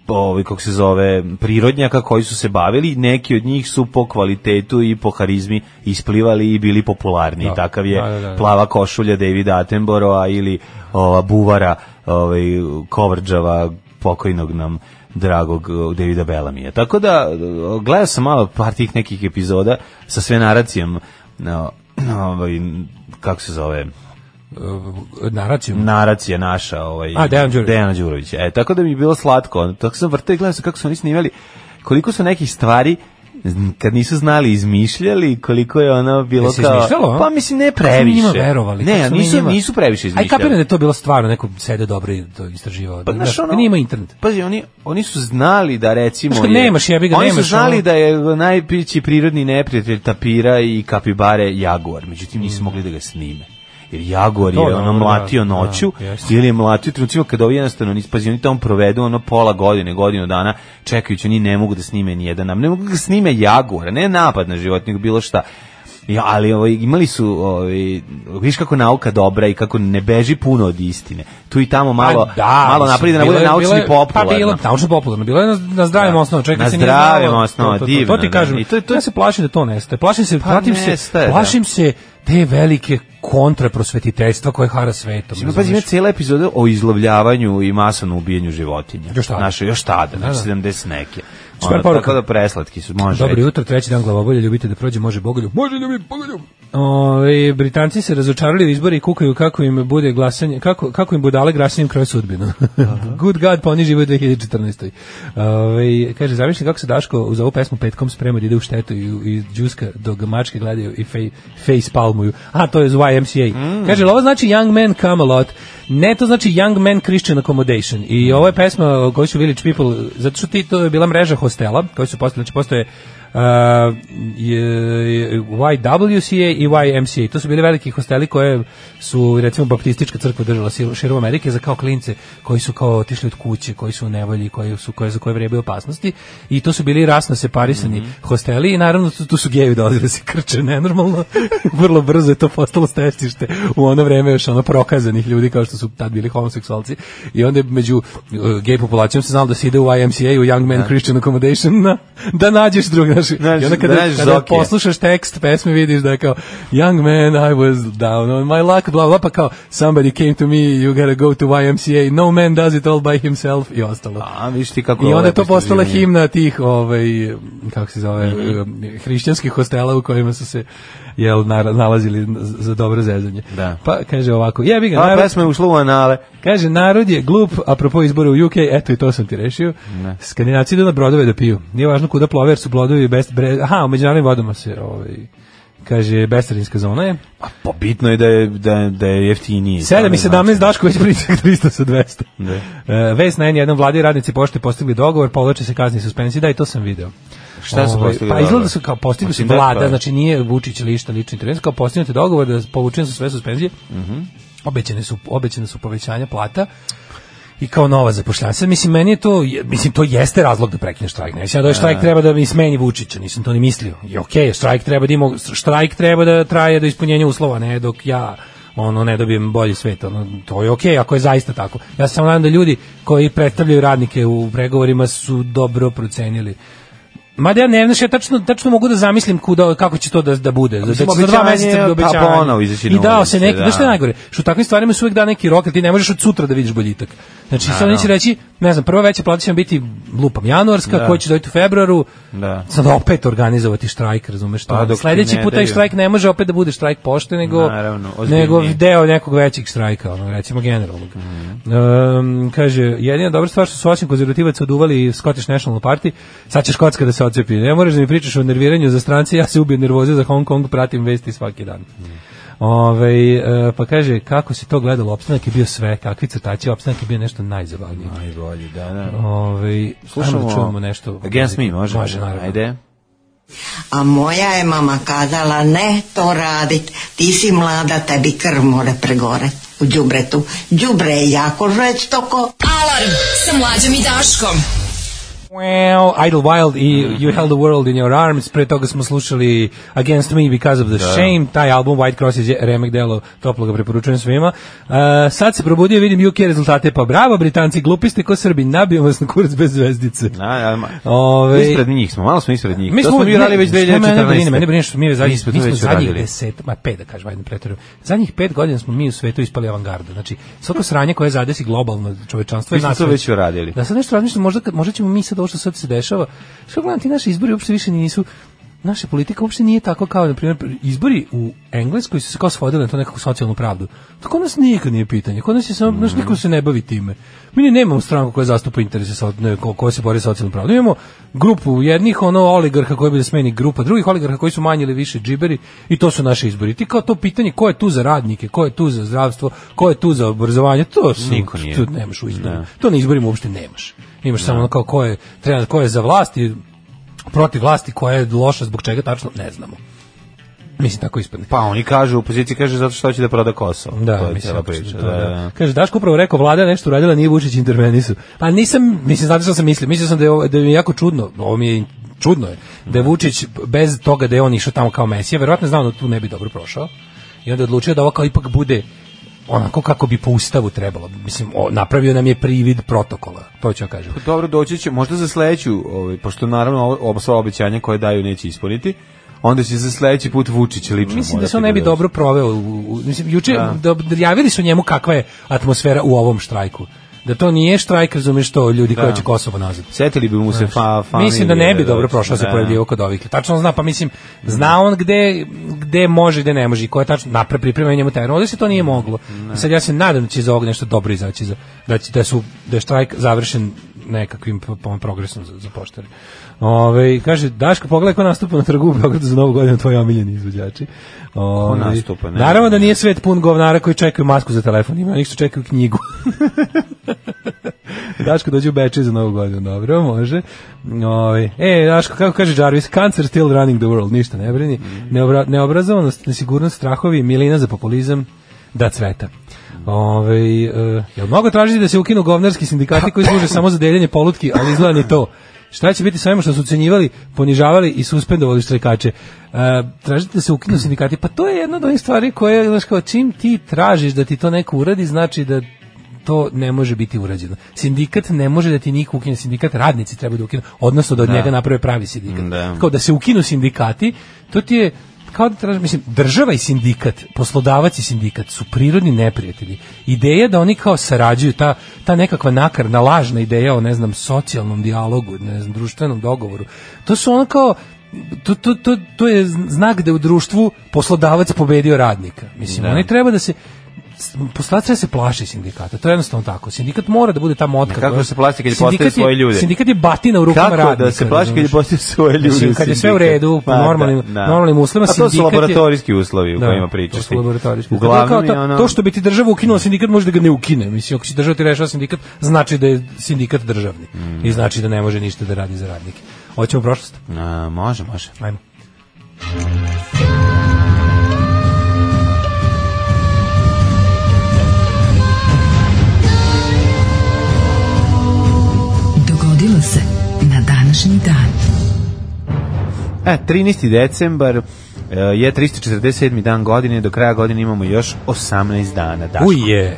ovaj kako se zove prirodnjaka koji su se bavili neki od njih su po kvalitetu i po harizmi isplivali i bili popularni
Da.
takav je
Da, da, da.
plava košulja Davida Attenborougha ili ova buvara ovaj kovrđava pokojnog nam dragog eh, Davida Bellamija. Tako da eh, gledao sam malo par tih nekih epizoda sa sve naracijom na ovaj kako se zove
naraciju.
naracija naša ovaj
A, Dejan Đurović.
Dejana Đurovića. E tako da mi je bilo slatko. Tako sam vrteo i gledao sam kako su oni snimali koliko su nekih stvari kad nisu znali izmišljali koliko je ono bilo
Jel se
kao
izmišljalo, a?
pa mislim ne
Kako smo
previše
njima verovali?
ne
Kako smo mi
nisu
njima-
nisu previše
Aj kapiram da
izmišljali
je to bilo stvarno, neko sede dobro i to istraživao.
Pa,
Da,
znaš,
da,
ono-
nije imao internet.
Pazi, oni, oni su znali da recimo...
Znaš kad
je-
nemaš, jebi ga,
Oni su
nemaš,
znali
ono-
da je najpići prirodni neprijatelj tapira i kapibare jaguar, međutim nisu mogli da ga snime. Jer jaguar je
To je
ono
dobro, da.
mlatio noću,
Da, jeste.
ili je mlatio trenucima kada ovi jednostavno nisu, pazi, oni tamo provedu ono pola godine, godinu dana, čekajući, oni ne mogu da snime ni jedan nam, ne mogu da snime jaguara, ne napad na životinju, bilo šta. Ja, ali ovaj, imali su, ovaj, viš kako nauka dobra i kako ne beži puno od istine. Tu i tamo malo,
Pa da,
malo
mislim,
napravi da ne
bilo
bude
je-
naučni
bilo je-
popularno.
Pa bilo, naučno popularno, bilo je na, na zdravim
Da.
osnovama, čekaj
Na
se nije
zdravim
znalo.
osnovama,
to, to, to,
divno,
to ti
da.
kažem,
I to je- to je-
ja se plašim da to nestaje, plašim se,
Pa
platim se,
nestaje, da.
plašim se te velike kontraprosvetiteljstva koje hara svetom.
Ima
razumeš?
Pa pazi, ima cijela epizoda o izlovljavanju i masovnom ubijanju životinja.
Još tada.
Naše, još tada, znači
Da,
70 neke.
Super
Ono,
poruka.
Tako da preslatki su, može.
Dobro
reći.
jutro, treći dan glavobolje, ljubite da prođe, može bogoljub. Može ljubit bogoljub. Ove, Britanci se razočarali u izbore i kukaju kako im bude glasanje, kako, kako im budale grasanjem kroje sudbinu. Good God, pa oni žive u 2014. Ove, kaže, zamišljam kako se Daško uz ovu pesmu petkom sprema da ide u štetu i, i džuska dok ga mačke gledaju i fej, face palmuju. A, to je uz YMCA. Kaže, jel ovo znači Young Man Camelot. Ne, to znači Young Man Christian Accommodation. I ovo je pesma koju su Village People, zato što ti, to je bila mreža hostela, koji su postali, znači postoje Uh, je- YWCA i YMCA. To su bili veliki hosteli koje su recimo baptistička crkva držala sil- širom Amerike za kao klince koji su kao otišli od kuće, koji su u nevolji, koji su koje za koje vrebaju opasnosti i to su bili rasno separisani hosteli i naravno tu, tu su gejevi dolazili da se krče nenormalno. Vrlo brzo je to postalo stecište u ono vreme još ono prokazanih ljudi kao što su tad bili homoseksualci i onda je među uh, gej populacijom se znalo da se ide u YMCA, u Young Men Christian Accommodation na, da nađeš drug
Da.
naš,
Znaš,
i onda kada,
da nađeš
kada
Zokije.
poslušaš tekst pesme vidiš da je kao Young man, I was down on my luck, bla bla, pa kao Somebody came to me, you gotta go to YMCA, no man does it all by himself i ostalo.
A, vidiš ti kako...
I
ovo
onda je to
lepo
postala
istraživanje.
himna tih, ovaj, kako se zove,
Mhm.
eh, hrišćanskih hostela u kojima su se jel, nara- nalazili za dobro zezanje.
Da.
Pa kaže ovako, jebi ga,
Ova
narod-
pesma je ušla u anale.
Kaže, narod je glup, apropo izbora u UK, eto i to sam ti rešio. Skandinavci idu na brodove da piju. Nije važno kuda plove, jer su brodovi best... Bre, aha, u međunarodnim vodama se, ovaj, kaže, bestarinska zona je.
A pa bitno je da je, da, je- da je jeftiniji.
7 i
To ne
17
znači.
Daško već pričak 300 sa 200.
Da.
E, vest na N1 vlade i radnici pošte postigli dogovor, povlače se kazni i suspenzije, da i to sam video.
Šta su
Ovaj,
postigli
Pa
dogovor?
izgleda da su kao postigli su
Mislim da je
vlada,
pa-
znači nije Vučić lišta lični intervencija, kao postignute dogovor da povučene su sve suspenzije.
Mhm.
Obećane su obećane su povećanja plata i kao nova zapošljavanja. Sad, mislim, meni je to, je- mislim, to jeste razlog da prekine štrajk. Ne, mislim, ja da ovaj štrajk treba da mi smeni Vučića, nisam to ni mislio. I okej, štrajk treba da ima, štrajk treba da traje do ispunjenja uslova, ne dok ja ono ne dobijem bolji svet, ono, to je okej ako je zaista tako. Ja se samo nadam da ljudi koji predstavljaju radnike u pregovorima su dobro procenili Mada ja ne znaš, ja tačno, tačno mogu da zamislim kuda, kako će to da, da bude. Da,
Mislim,
da će za dva
obećanje,
meseca
pa
bi obećanje.
ponovo izaći na
I dao
ulice,
se neki,
da.
da. što je najgore? Što u takvim stvarima se uvek da neki rok, jer ti ne možeš od sutra da vidiš boljitak. Znači, sad oni će reći, ne znam, prva veća plata će vam biti lupam januarska,
Da.
koja će doći u februaru,
Da.
sad opet organizovati štrajk, razumeš to.
Pa, dok ti
Sledeći
ne
put taj
daju.
štrajk ne može opet da bude štrajk pošte, nego,
Naravno,
nego
ozbiljnije.
deo nekog većeg štrajka, ono, recimo generalnog.
Mhm.
Em, kaže, jedina dobra stvar što su osim konzervativaca oduvali Scottish National Party, sad će Škotska da se ocepi. Ne moraš da mi pričaš o nerviranju za strance, ja se ubijem nervoze za Hong Kong, pratim vesti svaki dan.
Mhm.
Ovaj, e, pa kaže, kako si to gledalo, opstanak je bio sve, kakvi crtači, opstanak je bio nešto najzabavnije.
Najbolji, da, da.
Ovaj,
Slušamo
ajmo da čujemo nešto.
Against me, može?
Može, naravno.
Ajde.
A moja je mama kazala ne to radit, ti si mlada, tebi krv more pregore u đubretu. Đubre je jako žveć toko.
Alarm sa mlađom i Daškom.
Wow, Idle Wild i You Held the World in Your Arms, pre toga smo slušali Against Me Because of the Shame, taj album White Cross je remek delo, toplo ga preporučujem svima. Uh, sad se probudio, vidim UK rezultate, pa bravo Britanci, glupi ste ko Srbi, nabio vas na kurac bez zvezdice.
Na, na,
Ove-
Da, ispred njih smo, malo smo ispred njih.
Ovaj- Mi
to
smo
smo mi radili već
ne, što mene brine,
2014.
Mene brine što mi već zadnjih,
Mi smo to
mi smo
već
zadnjih
radili.
deset, ma pet da kažem, ajde ne preterujem. Zadnjih pet godina smo mi u svetu ispali avangarda. Znači, svako sranje koje zadesi globalno čovečanstvo
Mi
je
smo
nas
to
već-
već uradili.
Da sad nešto razmišljam, možda, kad- možda ćemo mi sad ovo što sad se dešava. Što gledam, ti naši izbori uopšte više nisu naša politika uopšte nije tako kao, na primjer, izbori u Engleskoj su se kao svodili na to nekakvu socijalnu pravdu. To kod nas nikad nije pitanje. Kod nas je samo, znaš, niko se ne bavi time. Mi ni nemamo stranku koja zastupa interese, so- ne, ko, koja se bori za socijalnu pravdu. Imamo grupu jednih, ono, oligarha koji bi da smeni grupa, drugih oligarha koji su manje ili više džiberi i to su naši izbori. Ti kao to pitanje ko je tu za radnike, ko je tu za zdravstvo, ko je tu za obrazovanje, to su,
Niko nije.
to nemaš u izborima.
Da.
To na izborima uopšte nemaš. Imaš samo ono kao ko je, trenutno, ko je za vlast i protiv vlasti, koja je loša, zbog čega tačno, ne znamo. Mislim, tako ispadne.
Pa oni kažu, opozicija kaže zato što hoće da proda Kosovo.
Da,
to je
mislim,
cijela
ako što
priča.
to,
Da, da, da.
Kaže, Daško upravo rekao, vlada je nešto uradila, nije Vučić intervenisu. Pa nisam, mislim, znate što sam mislio, mislio sam da je, ovo- da mi je jako čudno, ovo mi je čudno je, da je Vučić bez toga da je on išao tamo kao mesija, verovatno je znao da tu ne bi dobro prošao, i onda je odlučio da ovo kao ipak bude onako kako bi po ustavu trebalo. Mislim, o, napravio nam je privid protokola, to ću ja kažem.
Dobro, doći će, možda za sledeću, ovaj, pošto naravno ovo- ovo sva obećanja koje daju neće ispuniti, onda će za sledeći put Vučić lično
Mislim da
morati
se on ne bi
bude-
dobro proveo. u- u- Mislim, juče da. javili su njemu kakva je atmosfera u ovom štrajku. Da to nije štrajk, razumiješ to, ljudi koji će Kosovo nazad.
Setili bi mu se fa, familije.
mislim da ne bi dobro
doći,
prošao se
da.
pojavljivo kod ovih. Tačno zna, pa mislim, zna on gde, gde može i gde ne može i ko je tačno napre pripremio njemu teren. Ovde se to nije moglo. Sad ja se nadam da će iz ovog nešto dobro izaći, za, da, će, da, su, da je štrajk završen nekakvim pro- pro- progresom za, za poštare. Ove, kaže, Daško, pogledaj ko nastupa na trgu u Beogradu za novu godinu, tvoji omiljeni izvođači. Ove,
nastupa, ne?
Naravno da nije svet pun govnara koji čekaju masku za telefon, ima onih što čekaju knjigu. Daško dođe u Beče za novu godinu, dobro, može. Ove, e, Daško, kako kaže Jarvis, cancer still running the world, ništa ne brini. Neobra, neobrazovanost, nesigurnost, strahovi, milina za populizam, da cveta. Ove, e, jel mogu tražiti da se ukinu govnarski sindikati koji služe samo za deljenje polutki, ali izgleda ni to. Šta će biti sa ovima što su ucenjivali, ponižavali i suspendovali štrajkače? E, tražite da se ukinu sindikati, pa to je jedna od onih stvari koje, znaš kao, čim ti tražiš da ti to neko uradi, znači da to ne može biti urađeno. Sindikat ne može da ti niko ukine sindikat, radnici treba da ukinu, odnosno da od njega naprave pravi sindikat.
Da.
Kao da se ukinu sindikati, to ti je kao da traži, mislim, država i sindikat, poslodavac i sindikat su prirodni neprijatelji. Ideja da oni kao sarađuju, ta, ta nekakva nakarna, lažna ideja o, ne znam, socijalnom dijalogu, ne znam, društvenom dogovoru, to su ono kao, to, to, to, to je znak da je u društvu poslodavac pobedio radnika. Mislim, oni treba da se, poslodavac treba da se plaši sindikata. To je jednostavno tako. Sindikat mora da bude ta motka.
Kako
koja-
se plaši kad je postavio
Sindikat je-
svoje ljude?
Sindikat je batina u rukama
Kako
radnika.
da se plaši kad je
razumeš?
postao svoje ljudi?
Mislim, kad je sve u redu, po
Pa, da,
normalnim- normalnim uslovima,
A to su
sindikat je- Da,
laboratorijski uslovi u kojima pričaš.
to su
ti.
laboratorijski. Kao
Uglavnom
to,
je ono...
to što bi ti država ukinula sindikat može da ga ne ukine. Mislim, ako će država ti rešava sindikat, znači da je sindikat državni. I znači da ne može ništa da radi za radnike. Hoćemo u prošlost?
A, može, može.
Ajmo.
Dogodilo se na današnji dan.
E, 13. decembar e, je 347. dan godine, do kraja godine imamo još 18 dana. Daško,
Uje,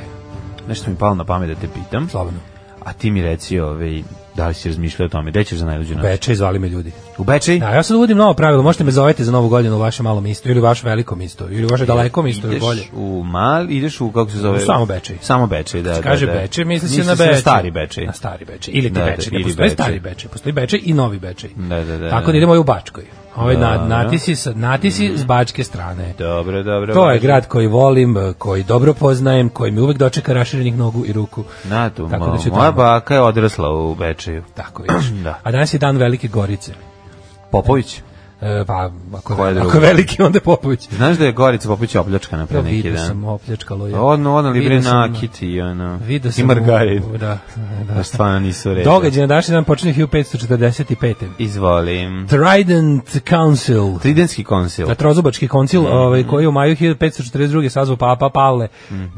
nešto mi palo na pamet da te pitam,
slobodno.
a ti mi reci ove, da li si razmišljao o tome, gde ćeš za najluđu noć?
Beče, izvali me ljudi.
U Bečej?
Da, ja sad uvodim novo pravilo, možete me zovete za novu godinu u vaše malom isto, ili u vaše velikom isto, ili u vaše dalekom isto, ili
ideš Da,
bolje.
u mal, ideš u, kako se zove?
U samo Bečej.
Samo Bečej, da, da,
Kaže
da.
Bečej, misli se
Misli
na Bečej.
stari Bečej.
Na stari Bečej. Ili ti
Da, da,
Bečej, ne
ili
postoji
Bečej.
stari Bečej, postoji Bečej i novi Bečej.
Da, da, da, Mhm.
Tako
da.
da idemo i u Bačkoj. Ovaj na, natisi, sa- natisi s bačke strane.
Dobro, dobro.
To je
važno.
grad koji volim, koji dobro poznajem, koji mi uvek dočeka raširenih nogu i ruku.
Na tu,
Tako da ću
moja
tamo.
baka je odrasla u Bečeju.
Tako vidiš.
Da.
A danas je dan Velike Gorice.
Popović.
E, pa, ako,
Ko je
je,
drugi?
ako je veliki, onda je Popović.
Znaš da je Gorica Popović opljačkana
Ja
pre neki
vidio
dan?
sam, opljačkalo je.
Odno, ono libre
Vidio sam-
nakiti i ono.
Vidio sam
I margarin.
u- Da, da.
Da stvarno nisu reda.
Događaj na današnji dan počinje 1545.
Izvolim.
Trident Council.
Tridentski konsil.
Na trozubački koncil, ovaj, koji je u maju 1542. sazvao Papa Pavle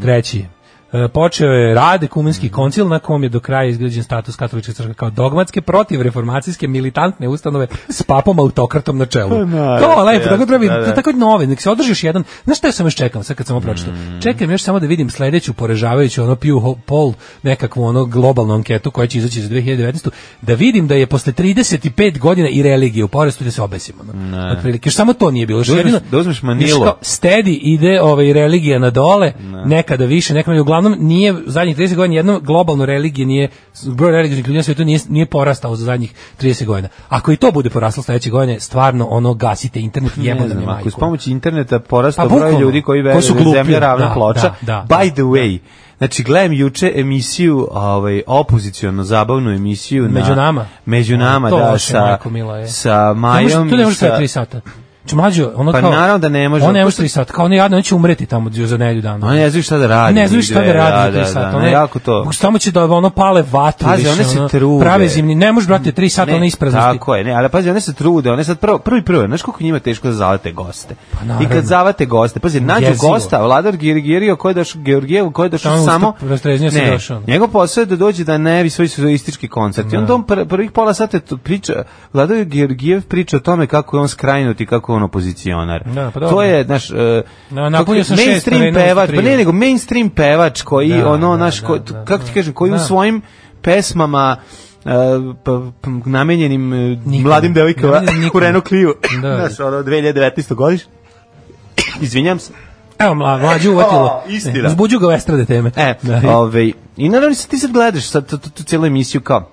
III. E, počeo je rad kumenski koncil na kom je do kraja izgrađen status katoličke crkve kao dogmatske protiv reformacijske militantne ustanove s papom autokratom na čelu.
naravno,
to lepo, tako treba,
da, da.
tako nove, nek se održi još jedan. Znaš šta ja sam još čekam, sad kad sam ovo pročitao? Čekam još samo da vidim sledeću poražavajuću ono Pew Ho- Poll, nekakvu ono globalnu anketu koja će izaći za 2019. Da vidim da je posle 35 godina i religije u porastu da se obesimo. No. Otprilike, još samo to nije bilo. Još
Da uzmeš-
jedino-
da uzmeš Manilo.
Još kao Steady ide ovaj, religija na dole, nekada više, nekada manje. Uglavnom, nije u zadnjih 30 godina jedno globalno religije nije, broj religijnih ljudi na svetu nije, nije porastao za zadnjih 30 godina. Ako i to bude poraslo sledeće godine, stvarno ono gasite internet,
Ne
jebote da mi
znam, ako
majku.
s pomoći interneta porasta
Pa
broj
bukvalno,
ljudi koji
ko su
veruju da je
glupi.
zemlja ravna
Da,
ploča.
da, da,
By the way, znači gledam juče emisiju, ovaj opoziciono zabavnu emisiju na
Među nama?
Među nama,
To
da,
loše,
sa
majko mila, je.
sa
Ne da može-
Majom.
Tu
i
ne može sve
sa-
3 sata. Znači, mlađo, ono
Pa
kao...
naravno da ne može.
On ne
To
može
što-
3 sata. Kao on je jadno, on će umreti tamo za nedelju dana.
Oni ne znaju šta da radi.
Ne znaju šta da radi
da,
za
da,
3 sata.
da,
ono je-
jako to.
Samo će da ono pale vatru.
Pazi,
više,
one se
ono,
trude.
Prave zimni. Ne može, brate, 3 sata, ono ispraznosti.
Tako je, ne, ali pazi, one se trude, one sad prvo, prvi prvo, znaš koliko njima je teško da zavate goste. I
Pa naravno.
kad zavate goste, pazi, nađu
Jezivo.
gosta, Vladar Georgijev koji je došao, Georgijev koji je došao
Samo
samo...
ustav- rastreznio se došao. Da.
njegov posao je da dođe da ne bi svoj sudoristički koncert. I onda on pr prvih pola sata tu priča, Vladar Georgijev priča o tome kako je on skrajnut i kako je on opozicionar.
Da, pa dobro.
to je, znaš, uh,
Na- napunio sam šest
mainstream
arena,
pevač, pa
tri.
ne, nego mainstream pevač koji,
Da,
ono,
da,
naš,
da,
ko-
da,
kako ti
da.
kažem, koji u
Da.
svojim pesmama e, pa- pa- namenjenim e,
Nikome.
mladim devojkama
Namenjenim
u
nikome.
Renault Clio.
Da.
Znaš, ono, 2019. godiš. Izvinjam se.
Evo, mla, mlađu uvatilo.
O, istina.
Zbuđu ga u estrade teme. Da.
E, ovaj, I naravno sad ti sad gledaš sad tu, tu, tu cijelu emisiju kao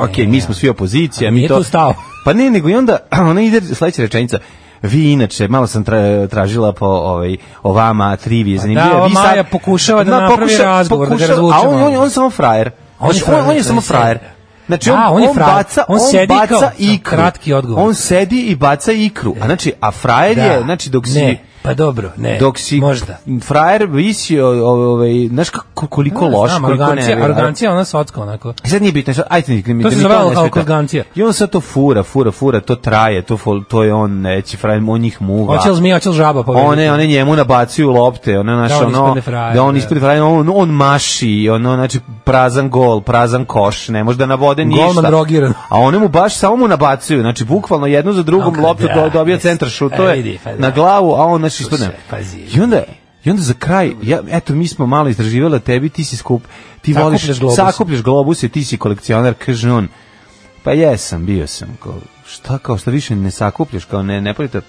Ok, mi smo svi opozicija,
A
mi
nije
to...
tu stao.
Pa ne, nego i onda, ona ide sledeća rečenica. Vi inače, malo sam tra, tražila po ovaj, o vama, trivije, zanimljivo.
ova
vi sad-
Pa da, Maja pokušava da napravi razgovor, da ga
a
razvuče
on, on,
malo.
on je samo frajer.
On je
Znači,
frajer,
on, on je
to
samo
je sve.
frajer. Znači,
Da,
on,
on je frajer.
baca, on,
On sedi
baca
kao-
ikru.
Kratki odgovor. Da.
On sedi i baca ikru. A znači, a frajer je, znači, dok si...
Ne, pa dobro, ne.
Dok si
Možda.
frajer visio, o- ovaj, znaš kako, koliko loš,
Znam,
koliko
arogancija,
nervira.
arogancija, ona socka onako.
I sad nije bitno, sad, ajde mi, mi,
To
da
se
mi
zvalo
ne
kao
smeta.
arogancija.
I on sad to fura, fura, fura, to traje, to, fol- to je on, neće, frajer, on njih muva.
Hoće li zmija, hoće li žaba pobediti?
One, one njemu nabacuju lopte, ono, znaš,
Da on
ono,
ispadne frajer,
da on
da.
ispred frajer, on, on maši, ono, znači, prazan gol, prazan koš, ne može da nabode ništa.
Golman drogiran.
A one mu baš samo mu nabacuju, znači, bukvalno jednu za drugom
Ok,
loptu
da,
do, dobija
jes.
centar
E,
šutove
vidi, pa da.
na glavu, a on, znači, ispadne.
Slušaj, pazi.
I onda, I onda za kraj, ja, eto, mi smo malo istraživali o tebi, ti si skup, ti
Sakupljaš
voliš,
globuse.
sakupljaš globuse, ti si kolekcionar, kaže on, pa jesam, bio sam. Kao, šta kao, šta više ne sakupljaš, kao ne, ne polite.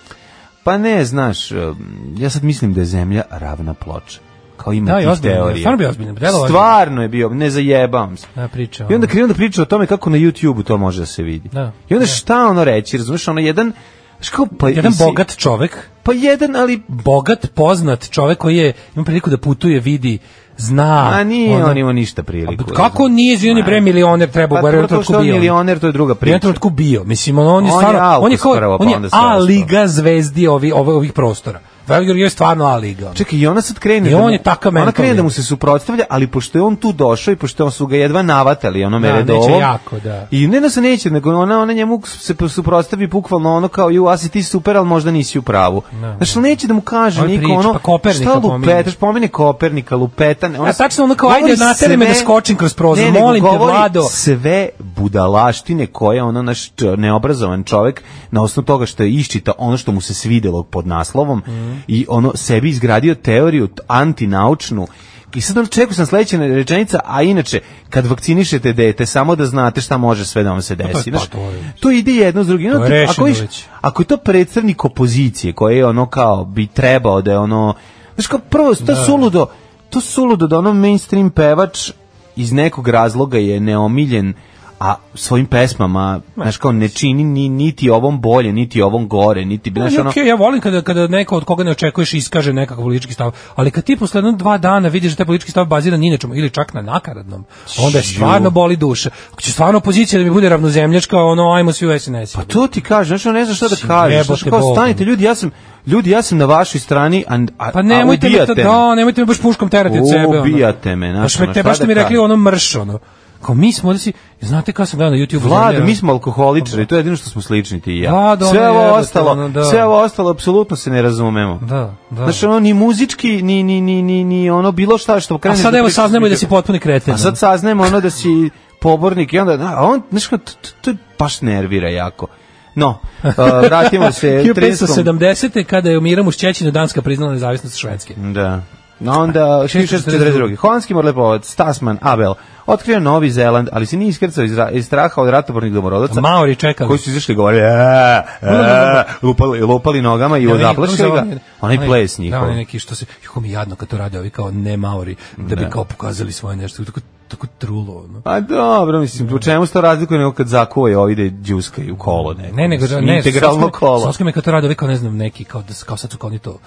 Pa ne, znaš, em, ja sad mislim da je zemlja ravna ploča. Kao ima
Da, i
tih
ozbiljno,
teorija.
stvarno bio ozbiljan, delo ozbiljno.
Stvarno je bio, ne zajebam se.
Da, priča.
I onda
ono.
krenu da priča o tome kako na YouTube-u to može da se vidi.
Da.
I onda
Da.
šta ono reći, razumeš, ono jedan, znaš kao, pa,
Jedan
jesi-
bogat čovek,
Pa jedan, ali
bogat, poznat čovek koji je, ima priliku da putuje, vidi, zna.
A nije
ono-
on imao ništa
A
priliku.
Kako nije, izvini bre, milioner treba u
Pa
bar
to to
trenutku
što je on
bio.
milioner, to je druga
U jednom
priča.
trenutku bio. Mislim, on, on je
On je
stvarno, on je,
Alkos
kao,
prvo, pa
on je
onda sve
A
ostalo.
liga zvezdi ovi, ovi, ovih prostora. Velior je stvarno A liga. ono.
Čekaj, i ona sad krene.
I
da
on
mu-
je takav
Ona
mentalni.
krene da mu se suprotstavlja, ali pošto je on tu došao i pošto on su ga jedva navatali, ono
Da,
mere
neće jako, da.
I ne da se neće, nego ona, ona njemu se suprotstavi bukvalno ono kao, ju, a si ti super, ali možda nisi u pravu. Znaš, ali neće da mu kaže
On je
niko
priča,
ono,
pa Kopernika
šta
pominje.
lupetaš, pomene Kopernika, lupetan. Ona,
A tačno ono kao,
govori
ajde, nateri me da
sve-
skočim kroz prozor,
Ne, nego
molim te,
govori
Vlado.
sve budalaštine koje ono naš č- neobrazovan čovek na osnovu toga što je iščita ono što mu se svidelo pod naslovom
Mhm.
i ono sebi izgradio teoriju t- antinaučnu I sad ono čekao sam sledeća rečenica, a inače, kad vakcinišete dete, samo da znate šta može sve da vam se
je-
desi.
pa
znaš.
to je-
to ide jedno s drugim.
To je
Ono, ti-
rešeno
ako, viš,
već.
ako je to predstavnik opozicije koji je ono kao bi trebao da je ono znaš kao prvo to
Da.
je suludo to je suludo da ono mainstream pevač iz nekog razloga je neomiljen a svojim pesmama znaš kao ne čini ni, niti ovom bolje niti ovom gore niti bi znaš
Ali
ono
okej, ja volim kada, kada neko od koga ne očekuješ iskaže nekakav politički stav, ali kad ti posle jedno dva dana vidiš da taj politički stav bazira ni na čemu ili čak na nakaradnom, onda je stvarno boli duša. Ako će stvarno opozicija da mi bude ravnozemljačka, ono, ajmo svi u SNS.
Pa to ti kažem, znači on ne zna šta da kažeš. Znaš,
jebote
kao
Bog.
stanite ljudi, ja sam ljudi, ja sam na vašoj strani, a a,
Pa
a
nemojte me,
ubijate me.
to, da, nemojte me baš puškom terati od sebe. ono.
Ubijate me, znaš,
Baš me
ono,
te,
šta
baš ste
da
mi rekli
kažem?
ono mrš, ono. Kao mi smo da si, znate kako sam gledao na YouTube.
Vlada, mi smo alkoholičari, to je jedino što smo slični ti i ja.
Da, da, ono
sve ovo
jebote,
ostalo,
ono, da.
sve ovo ostalo apsolutno se ne razumemo.
Da, da.
Znači ono ni muzički, ni ni ni ni ni ono bilo šta što
A
krene.
sad evo saznamo i da si potpuni kreten.
A sad saznajemo ono da si pobornik i onda, da, a on, znaš kao, to, to, to baš nervira jako. No, uh, vratimo se 30.
1570. kada je u Miramu Šćećinu Danska priznala nezavisnost Švedske.
Da. No onda 1642. Holandski morlepovac Tasman Abel otkrio Novi Zeland, ali se nije iskrcao iz, ra- iz straha od ratobornih domorodaca.
Maori čekali.
koji su izašli i govorili "E, e", lupali, lupali nogama i
Ja,
odaplašili
vidim,
ga.
ono za-
Onaj ples njihov.
Da, onaj neki što se, juho mi je jadno kad to rade ovi kao ne Maori, da bi kao pokazali svoje nešto, tako, tako trulo, ono.
A Pa dobro, mislim, u čemu se to razlikuje nego kad zakuvaju ovi da džuskaju kolo neko.
Ne, nego, da,
mislim,
ne,
Integralno kolo.
Soskom je kad to rade ovi kao, ne znam, neki, kao, da, s- kao sad su kao oni to,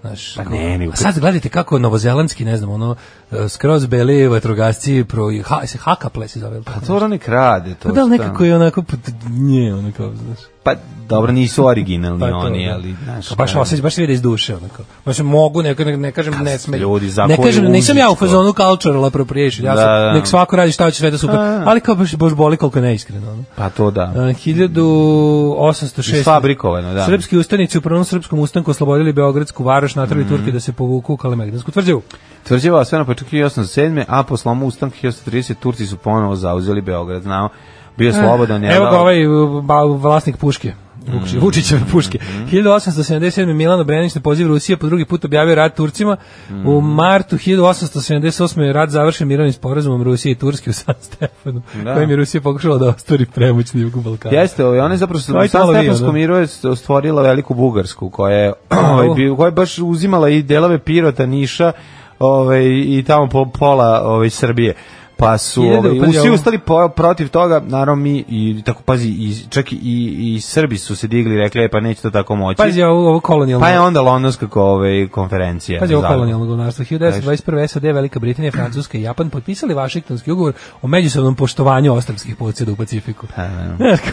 znaš, kao-
Pa ne, nego
a sad gledajte kako novozelandski, ne znam, ono, eh, skroz beli vatrogasci, pro, ha, se haka plesi zove, pa
To oni krade, to
Pa da li
šta?
nekako je onako, pa, nje, ono kao, znaš.
Pa dobro, nisu originalni
Pa to,
oni,
da.
ali... Znaš,
Kao baš
šta je.
osjećaj, baš ide iz duše onako. Baš mogu, ne, ne, ne kažem ne sme.
ljudi,
ne
zakoju
kažem, nisam ja u
uzičko.
fazonu cultural appropriation. Ja sam,
Da, da.
nek svako radi šta hoće, sve da super.
A.
Ali kao baš baš boli koliko je neiskreno ono.
Pa to
Uh,
da.
1806.
Isfabrikovano, da.
Srpski ustanici u prvom srpskom ustanku oslobodili Beogradsku varoš,
Mm.
natrali Turke da se povuku u Kalemegdansku tvrđavu.
Tvrđava osvena početka 1807. A po slomu ustanka 1930 Turci su ponovo zauzeli Beograd, znao. Bio je slobodan, je
Eh, Evo ga
dao-
ovaj uh, ba- vlasnik puške.
Mm.
Vučić- Vučićeve puške. 1877. Milano Brenić na poziv Rusije po drugi put objavio rat Turcima. U
Mm.
martu 1878. je rat završen mirovnim sporazumom Rusije i Turske u San Stefanu,
Da.
kojim je Rusija pokušala da ostvari premoć na jugu Balkana.
Jeste, ovaj, ona je zapravo
To
sa
je malo bio, da.
Stefanskom miru je st- stvorila veliku Bugarsku koja je, ovaj, bi- koja je baš uzimala i delove Pirota, Niša ovaj, i tamo po, pola ovaj, Srbije. Pa su
Hiljadu,
ovaj,
pazi,
svi
ovo.
ustali po, protiv toga, naravno mi i tako pazi, i, čak i, i Srbi su se digli i rekli, e, pa neće to tako moći.
Pazi ovo, ovo kolonijalno.
pa je onda Londonska ko- ovaj, konferencija.
Pazi, ovo
Zagreb.
kolonijalno govnarstvo. 1921. SAD, Velika Britanija, Francuska i Japan potpisali Vašingtonski ugovor o međusobnom poštovanju ostrvskih posjeda u Pacifiku.
Pa, ne,
Znaš, kao-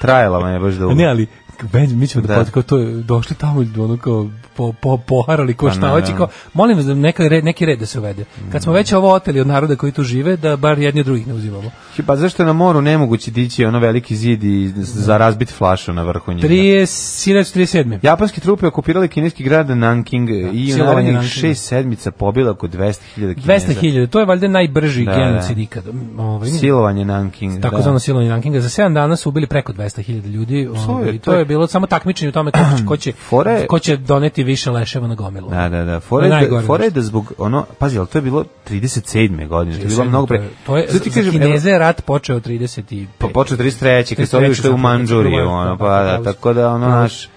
Trajala me je baš dugo.
Ne, ali Benj, mi ćemo da,
Da.
da. kao to je- došli tamo ono kao po, po, poharali ko
Pa
šta
ne,
hoće
ne.
kao molim vas da neka red, neki red da se uvede. Kad
Mm.
smo već ovo oteli od naroda koji tu žive da bar jedni od drugih ne uzimamo.
Pa zašto je na moru nemoguće dići ono veliki zid i z- za razbit flašu na vrhu njega?
1937.
Japanske trupe okupirali kineski grad Nanking i u
Da, silovanje
narednih
Nankinga.
šest sedmica pobila oko 200.000 kineza.
200.000, to je valjda najbrži
Da,
genocid
da.
ikada. Ovaj,
Silovanje Nankinga.
tako
da.
zvano silovanje rankinga. Za 7 dana su ubili preko 200.000 ljudi. Ovaj,
je-
to,
to je-
je bilo samo takmičenje u tome ko će, ko će,
Fora je-
ko će doneti više leševa na gomilu.
Da, da, da.
To je
Fora je, da,
najgore znači.
fora je da zbog, ono, pazi, ali to je bilo 37. godine, to je bilo mnogo pre...
To je,
Zato ti
za
kažem, evo,
Kineze je rat počeo 35.
Pa počeo 33. kad su ovi
33.
ušli u Manđuriju,
zapravo,
ono,
da,
pa da,
pravu si.
tako da, ono,
Pravu
naš...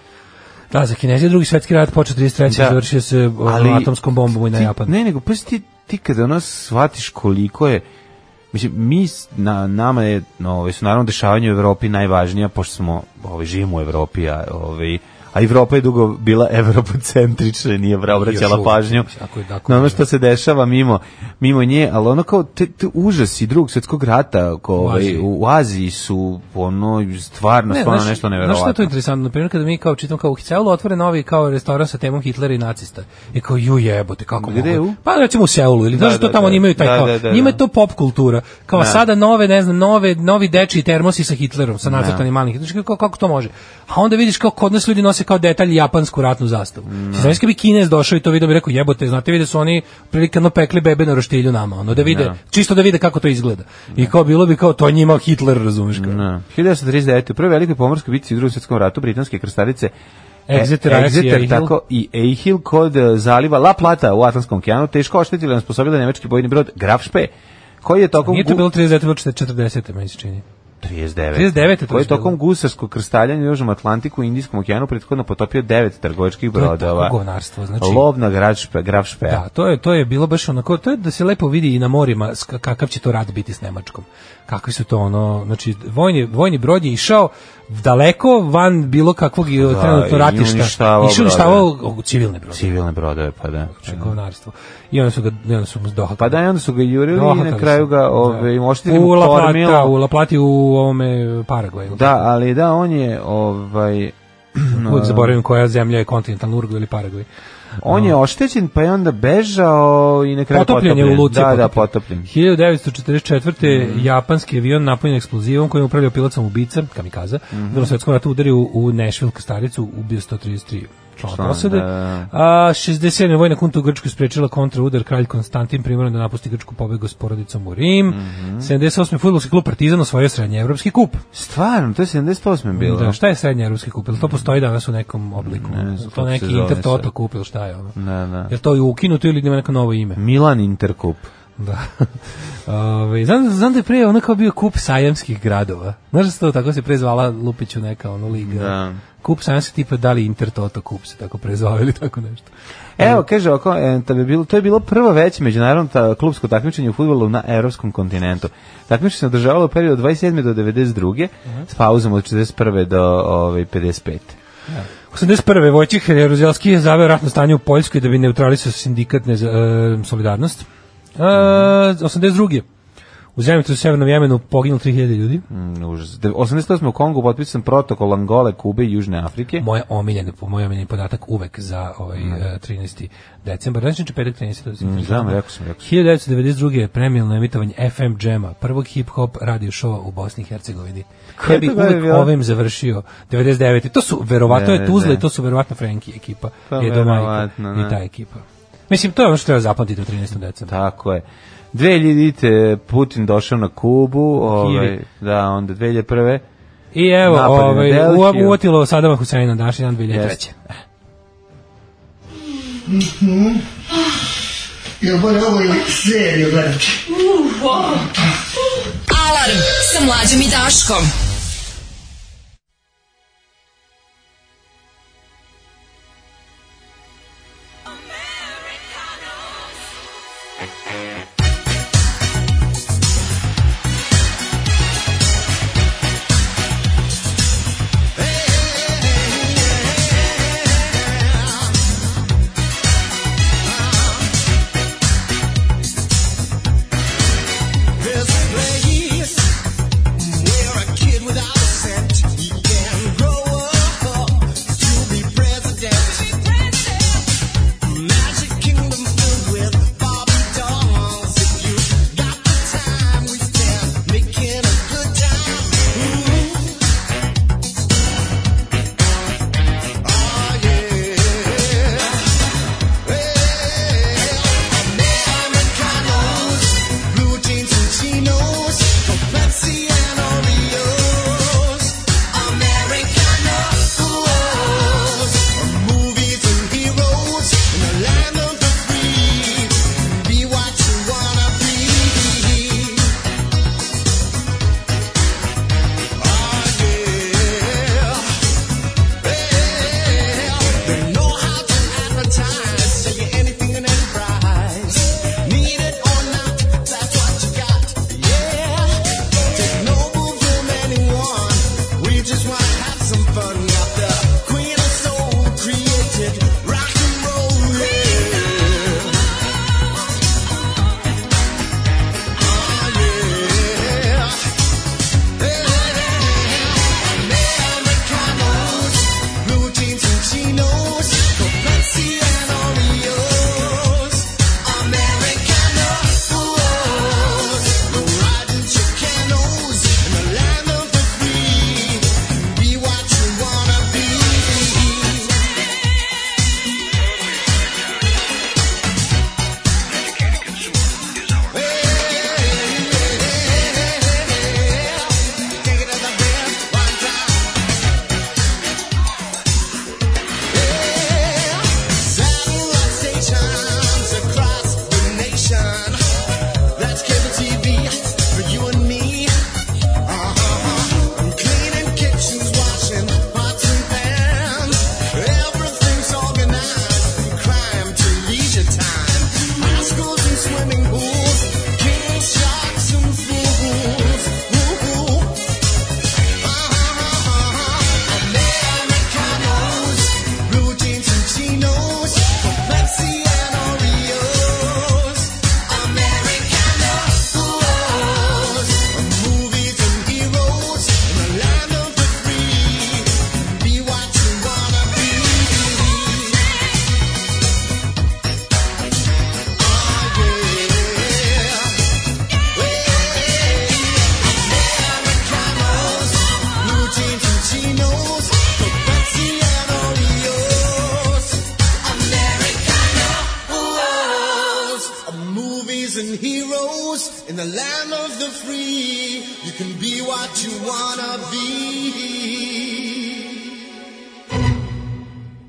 Da, za Kinezije drugi svetski rat počeo 33.
Da.
Da. završio se ono, atomskom bombom i na
ti-
Japan.
Ne, nego, pazi, ti, ti kada ono shvatiš koliko je, Mislim, mi, s- na, nama je, no, ovaj, su naravno dešavanje u Evropi najvažnija, pošto smo, ovaj, živimo u Evropi, a, ovaj, a Evropa je dugo bila evropocentrična, nije vra- obraćala
uvijek,
pažnju
tako je, tako
na ono
je.
što se dešava mimo, mimo nje, ali ono kao te, te užasi drugog svetskog rata ko, ovaj,
Aziji.
u, Aziji su ono, stvarno, stvarno nešto
znaš- Znaš što je to
nevjerovatno.
interesantno? Na primjer, kada mi kao čitam kao u Seulu otvore novi kao restoran sa temom Hitlera i nacista. I kao, ju jebote, kako
Gde
mogu?
u?
Pa recimo u Seulu, ili znaš
Da,
da, to
da,
tamo
da.
oni imaju taj
Da,
kao,
da, da,
njima
da.
je to pop kultura. Kao sada nove, ne znam, nove, novi dečiji termosi sa Hitlerom,
Da.
sa nacrtanim malim Hitlerom. Znaš Kako, kako to može? A onda vidiš kako kod nas ljudi nose kao detalj japansku ratnu zastavu.
Da.
Mm. Znaš kad bi Kinez došao i to vidio bi rekao, jebote, znate vi da su oni prilikano pekli bebe na roštilju nama, ono da vide, čisto da vide kako to izgleda. I kao bilo bi kao, to je njima Hitler, razumeš kao.
Da. 1939. u prvoj velikoj pomorskoj bitci u drugom svjetskom ratu britanske krstarice
Exeter,
E,
Ajax i Ahill.
tako i Ahill kod e, zaliva La Plata u Atlantskom okeanu teško oštetila nas posobila nemački bojni brod Graf Spee koji je tokom
Nije to
gu-
bilo 39, bilo 40, meni se čini.
39.
39 je to
koji je
bilo.
tokom gusarskog krstaljanja u Južnom Atlantiku i Indijskom okeanu prethodno potopio devet trgovačkih
To je
brodova.
tako govnarstvo, znači-
Lovna Graf Spee, Graf Spee.
Da, to je to je bilo baš onako, to je da se lepo vidi i na morima s- kakav će to rat biti s Nemačkom. Kakvi su to ono, znači vojni vojni brod je išao daleko van bilo kakvog i e, trenutno
Da, i
ratišta.
uništavao
Išao uništavao o, civilne brodove.
Civilne brodove, pa da.
Znači, Govnarstvo. I onda su ga i onda su mu dohakali.
Pa da, i onda su ga jurili i na
Dohakali
kraju
su. Da.
ga ove, oštetili
u
mu
La
kormilo.
Plata, u La Plati u ovome Paragvaju.
Da, ali da, on je ovaj,
Uvijek zaboravim koja zemlja je kontinentalna Urugvaj ili Paragvaj.
On je oštećen, pa je onda bežao i na kraju potopljen.
Potopljen je u luci.
Da, Mhm. da, potopljen.
1944. japanski avion napunjen eksplozivom kojim je upravljao pilot sam ubica, kamikaza.
Mhm.
Mm -hmm. Drugom svetskom ratu udario u, u Nashville kastaricu, ubio 133 člana
Član,
posade.
da, da.
A 67. vojna kunta u Grčkoj sprečila kontraudar kralj Konstantin primoran da napusti Grčku pobego s porodicom u Rim.
Mhm.
78. futbolski klub Partizan osvojio srednjeevropski kup.
Stvarno, to je 78. bilo.
Da, šta je srednjeevropski kup? Jel to postoji danas u nekom obliku?
Ne znam
to
kako se
neki
zove
intertoto
sad.
kup ili šta je ono?
Da, da.
Jel to je ukinuto ili ima neko novo ime?
Milan Interkup.
Da. Ove, znam, znam da je prije ono kao bio kup sajamskih gradova. Znaš da se to tako se prezvala Lupiću neka ono liga.
Da.
Kup sajamskih tipa da li Intertoto kup se tako prezvao ili tako nešto.
Evo, kaže ovako, e, da bi bilo, to je bilo prvo veće međunarodno ta, klubsko takmičenje u futbolu na evropskom kontinentu. Takmičenje se održavalo u periodu od 27. do 92.
Mhm.
s pauzom od 41. do ovaj, 55.
81. Vojčih Jeruzelski je zaveo ratno stanje u Poljskoj da bi neutralisao sindikat nez, e, solidarnost. E, 82. U zemljicu u Severnom Jemenu poginulo 3000 ljudi.
Mm, užas. De- 88. u Kongu potpisan protokol Angole, Kube i Južne Afrike.
Moje omiljene, moj omiljeni podatak uvek za ovaj, e, 13. decembar. Znači, petak 13.
Da. Mm, Znam, rekao sam, rekao sam.
1992. je premijalno emitovanje FM Jama, prvog hip-hop radio šova u Bosni i Hercegovini.
Ko
Ja
je
bih
to godine
uvek
bila?
ovim završio. 99. To su, verovatno je
99.
Tuzla i to su verovatno Frenki ekipa.
Pa,
Edo Majka
verovatno,
i
da.
ta ekipa. Mislim, to je ono što treba zapamtiti u 13. decembru.
Tako je. 2000. Putin došao na Kubu, ovaj,
Kijev.
da, onda 2001.
I evo,
Napad na
ovaj,
Delhiju.
u- uvotilo Sadama Huseina današnji dan 2003.
Jeste.
Jel bolje ovo ili seriju gledati?
Alarm sa mlađom i Daškom.
This place where a kid
Uh-huh. In the land of the free, you can be what you wanna be.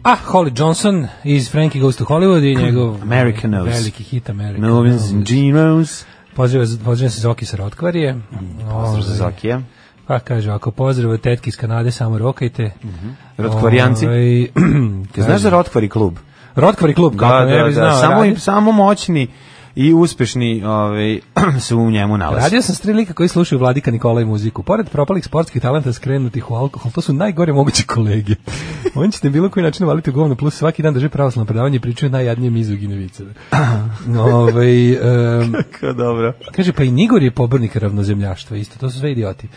Ah, Holly Johnson iz Frankie Goes to Hollywood i njegov
American Nose.
veliki hit American
Millions and
Nose.
Zeros.
Pozdrav, pozdrav se Zoki sa Rotkvarije.
Mm, Pozdrav za
Ovaj,
Zokija.
Pa kaže, ako pozdrav od tetki iz Kanade, samo rokajte.
Rotkvarijanci.
Ovaj,
Mhm. Ti znaš za Rotkvari klub?
Rotkvari klub, kako ne bi znao.
Da, Samo,
radi-
samo moćni i uspešni ovaj, se u njemu nalazi.
Radio sam s tri lika koji slušaju Vladika Nikola i muziku. Pored propalih sportskih talenta skrenutih u alkohol, to su najgore moguće kolege. Oni će te bilo koji način valiti u govno, plus svaki dan drže pravoslavno predavanje i pričaju najjadnije mizugine viceve. Ovaj, em,
Kako dobro.
Kaže, pa i Nigor je pobornik ravnozemljaštva, isto, to su sve idioti.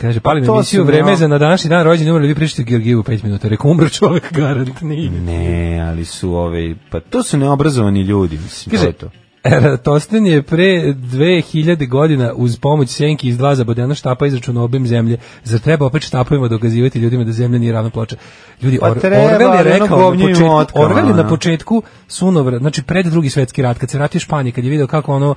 Kaže, palim
to
emisiju,
sam
vreme
ja.
je za na današnji dan rođenja umrli, vi pričate o Georgijevu 5 minuta. Rekao, umr čovek, garant, nije.
Ne, ali su ove, pa to su neobrazovani ljudi, mislim, to
Kaže,
je to.
Eratostin je pre 2000 godina uz pomoć senki iz dva zabodena štapa izračunao obim zemlje. Zar treba opet štapovima dokazivati ljudima da zemlja nije ravna ploča? Ljudi,
Pa
Or
treba,
Orwell je
ali ono
rekao na
govnje i
početku,
motkama,
Orwell je na
ono.
početku sunovrat, znači pred drugi svetski rat, kad se vratio iz Španije, kad je video kako ono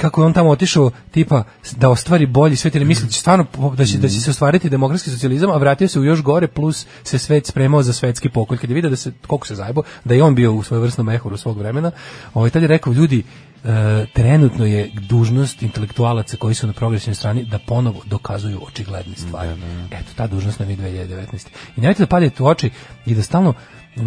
kako je on tamo otišao tipa da ostvari bolji svet, jer misli da će stvarno po- da će da će se ostvariti demokratski socijalizam, a vratio se u još gore plus se svet spremao za svetski pokolj. Kad je video da se koliko se zajebo, da je on bio u svojevrsnom ehoru svog vremena, ovaj tad je rekao ljudi e, trenutno je dužnost intelektualaca koji su na progresivnoj strani da ponovo dokazuju očigledne stvari. Eto, ta dužnost nam je 2019. I nemojte da padete u oči i da stalno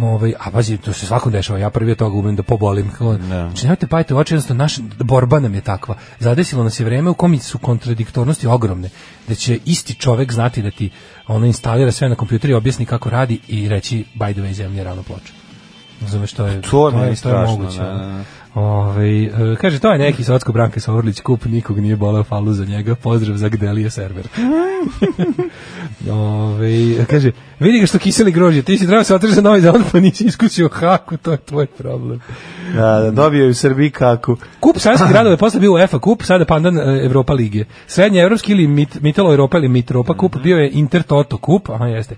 ovaj, a pazi, to se svakom dešava, ja prvi od toga umem da pobolim. Kako- Znači, nemojte pajte u oči, jednostavno, naša borba nam je takva. Zadesilo nas je vreme u kom su kontradiktornosti ogromne, da će isti čovek znati da ti ono instalira sve na kompjuter i objasni kako radi i reći, by the way, zemlja je ravno ploča. Razumeš, to je,
To meni strašno, da, da, da.
Ovaj, e, kaže, to je neki socko Branka Sovrlić kup, nikog nije bolao falu za njega, pozdrav za Gdelije server. Ove, kaže, vidi ga što kiseli grožđe, ti si trebao se otreza novi zavod, pa nisi iskućio haku, to je tvoj problem.
Da, da, dobio je u Srbiji kaku.
Kup savjetskih gradova je posle bio UEFA kup, sada pandan e, Evropa lige. Srednja evropski ili mit, Mitalo Europa ili Mitropa kup, bio je Inter Toto kup, aha jeste.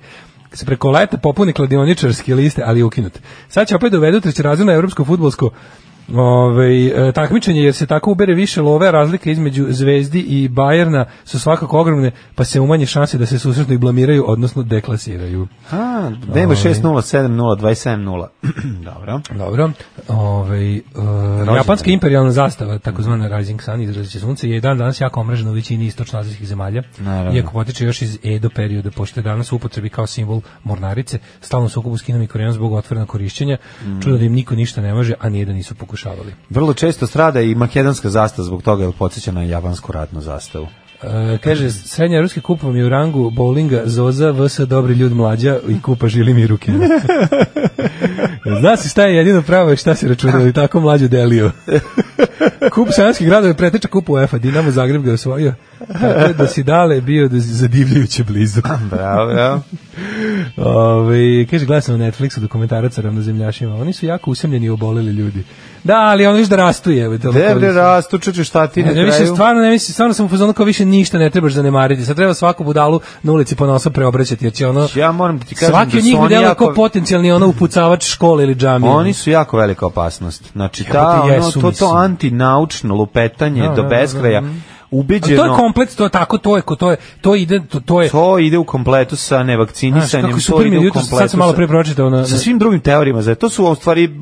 Se preko leta popuni kladioničarske liste, ali je ukinut. Sad će opet dovedu trećerazredno evropsko futbolsko Ove, e, takmičenje jer se tako ubere više love a razlike između Zvezdi i Bajerna su svakako ogromne pa se umanje šanse da se susretno i blamiraju odnosno deklasiraju
A, da ima 6-0, 7-0, 27-0. Dobro.
Dobro. Ovaj e, japanska imperijalna zastava, takozvana Rising Sun, izraziće sunce, je i dan danas jako omražena u većini istočnoazijskih zemalja.
Naravno.
Iako potiče još iz Edo perioda, pošto je danas u upotrebi kao simbol mornarice, stalno sukobu s Kinom i Korejom zbog otvorenog korišćenja, čudo da im niko ništa ne može, a nije da nisu pokušavali.
Vrlo često strada i makedonska zastava zbog toga, jer podsjeća na japansku ratnu zastavu.
E, kaže, srednja ruski kup vam je u rangu bowlinga Zoza, VS Dobri ljud mlađa i kupa Žilim i Rukina. Zna si šta je jedino pravo i šta si računao i tako mlađu delio. kup sanjskih gradova je preteča kupu UEFA, Dinamo Zagreb ga je osvojio. Tako je da si dale bio da si zadivljujuće blizu.
Bravo, bravo.
Ove, kaže, gledam sam na Netflixu dokumentarac o ravnozemljašima. Oni su jako usamljeni i oboleli ljudi. Da, ali oni još da rastu je.
Debre rastu, čuče šta ti na
Ne, ne više
kraju?
stvarno ne mislim, stvarno sam u fazonu kao više ništa ne trebaš zanemariti. Sad treba svaku budalu na ulici po nosu preobraćati jer će ono
Ja moram da ti kažem
svaki
da
od
su
njih
oni
dela
jako...
kao potencijalni ono upucavač škole ili džamije.
Oni su jako velika opasnost. Znači, ta,
Jebote,
ono,
jesu,
to, to
mislim.
antinaučno lupetanje
Da, da,
do
da,
beskraja,
da, da. A to
ubeđeno...
je komplet, to je tako, to je, ko- to je, to ide, to, to je,
To ide u kompletu sa
Znaš,
nevakcinisanjem,
kako
to
super mi
ide
je
u
jutros, sad
kompletu
sam malo
sa-
pre pročitao na-
sa
na-
svim drugim teorijama, za to su u stvari b-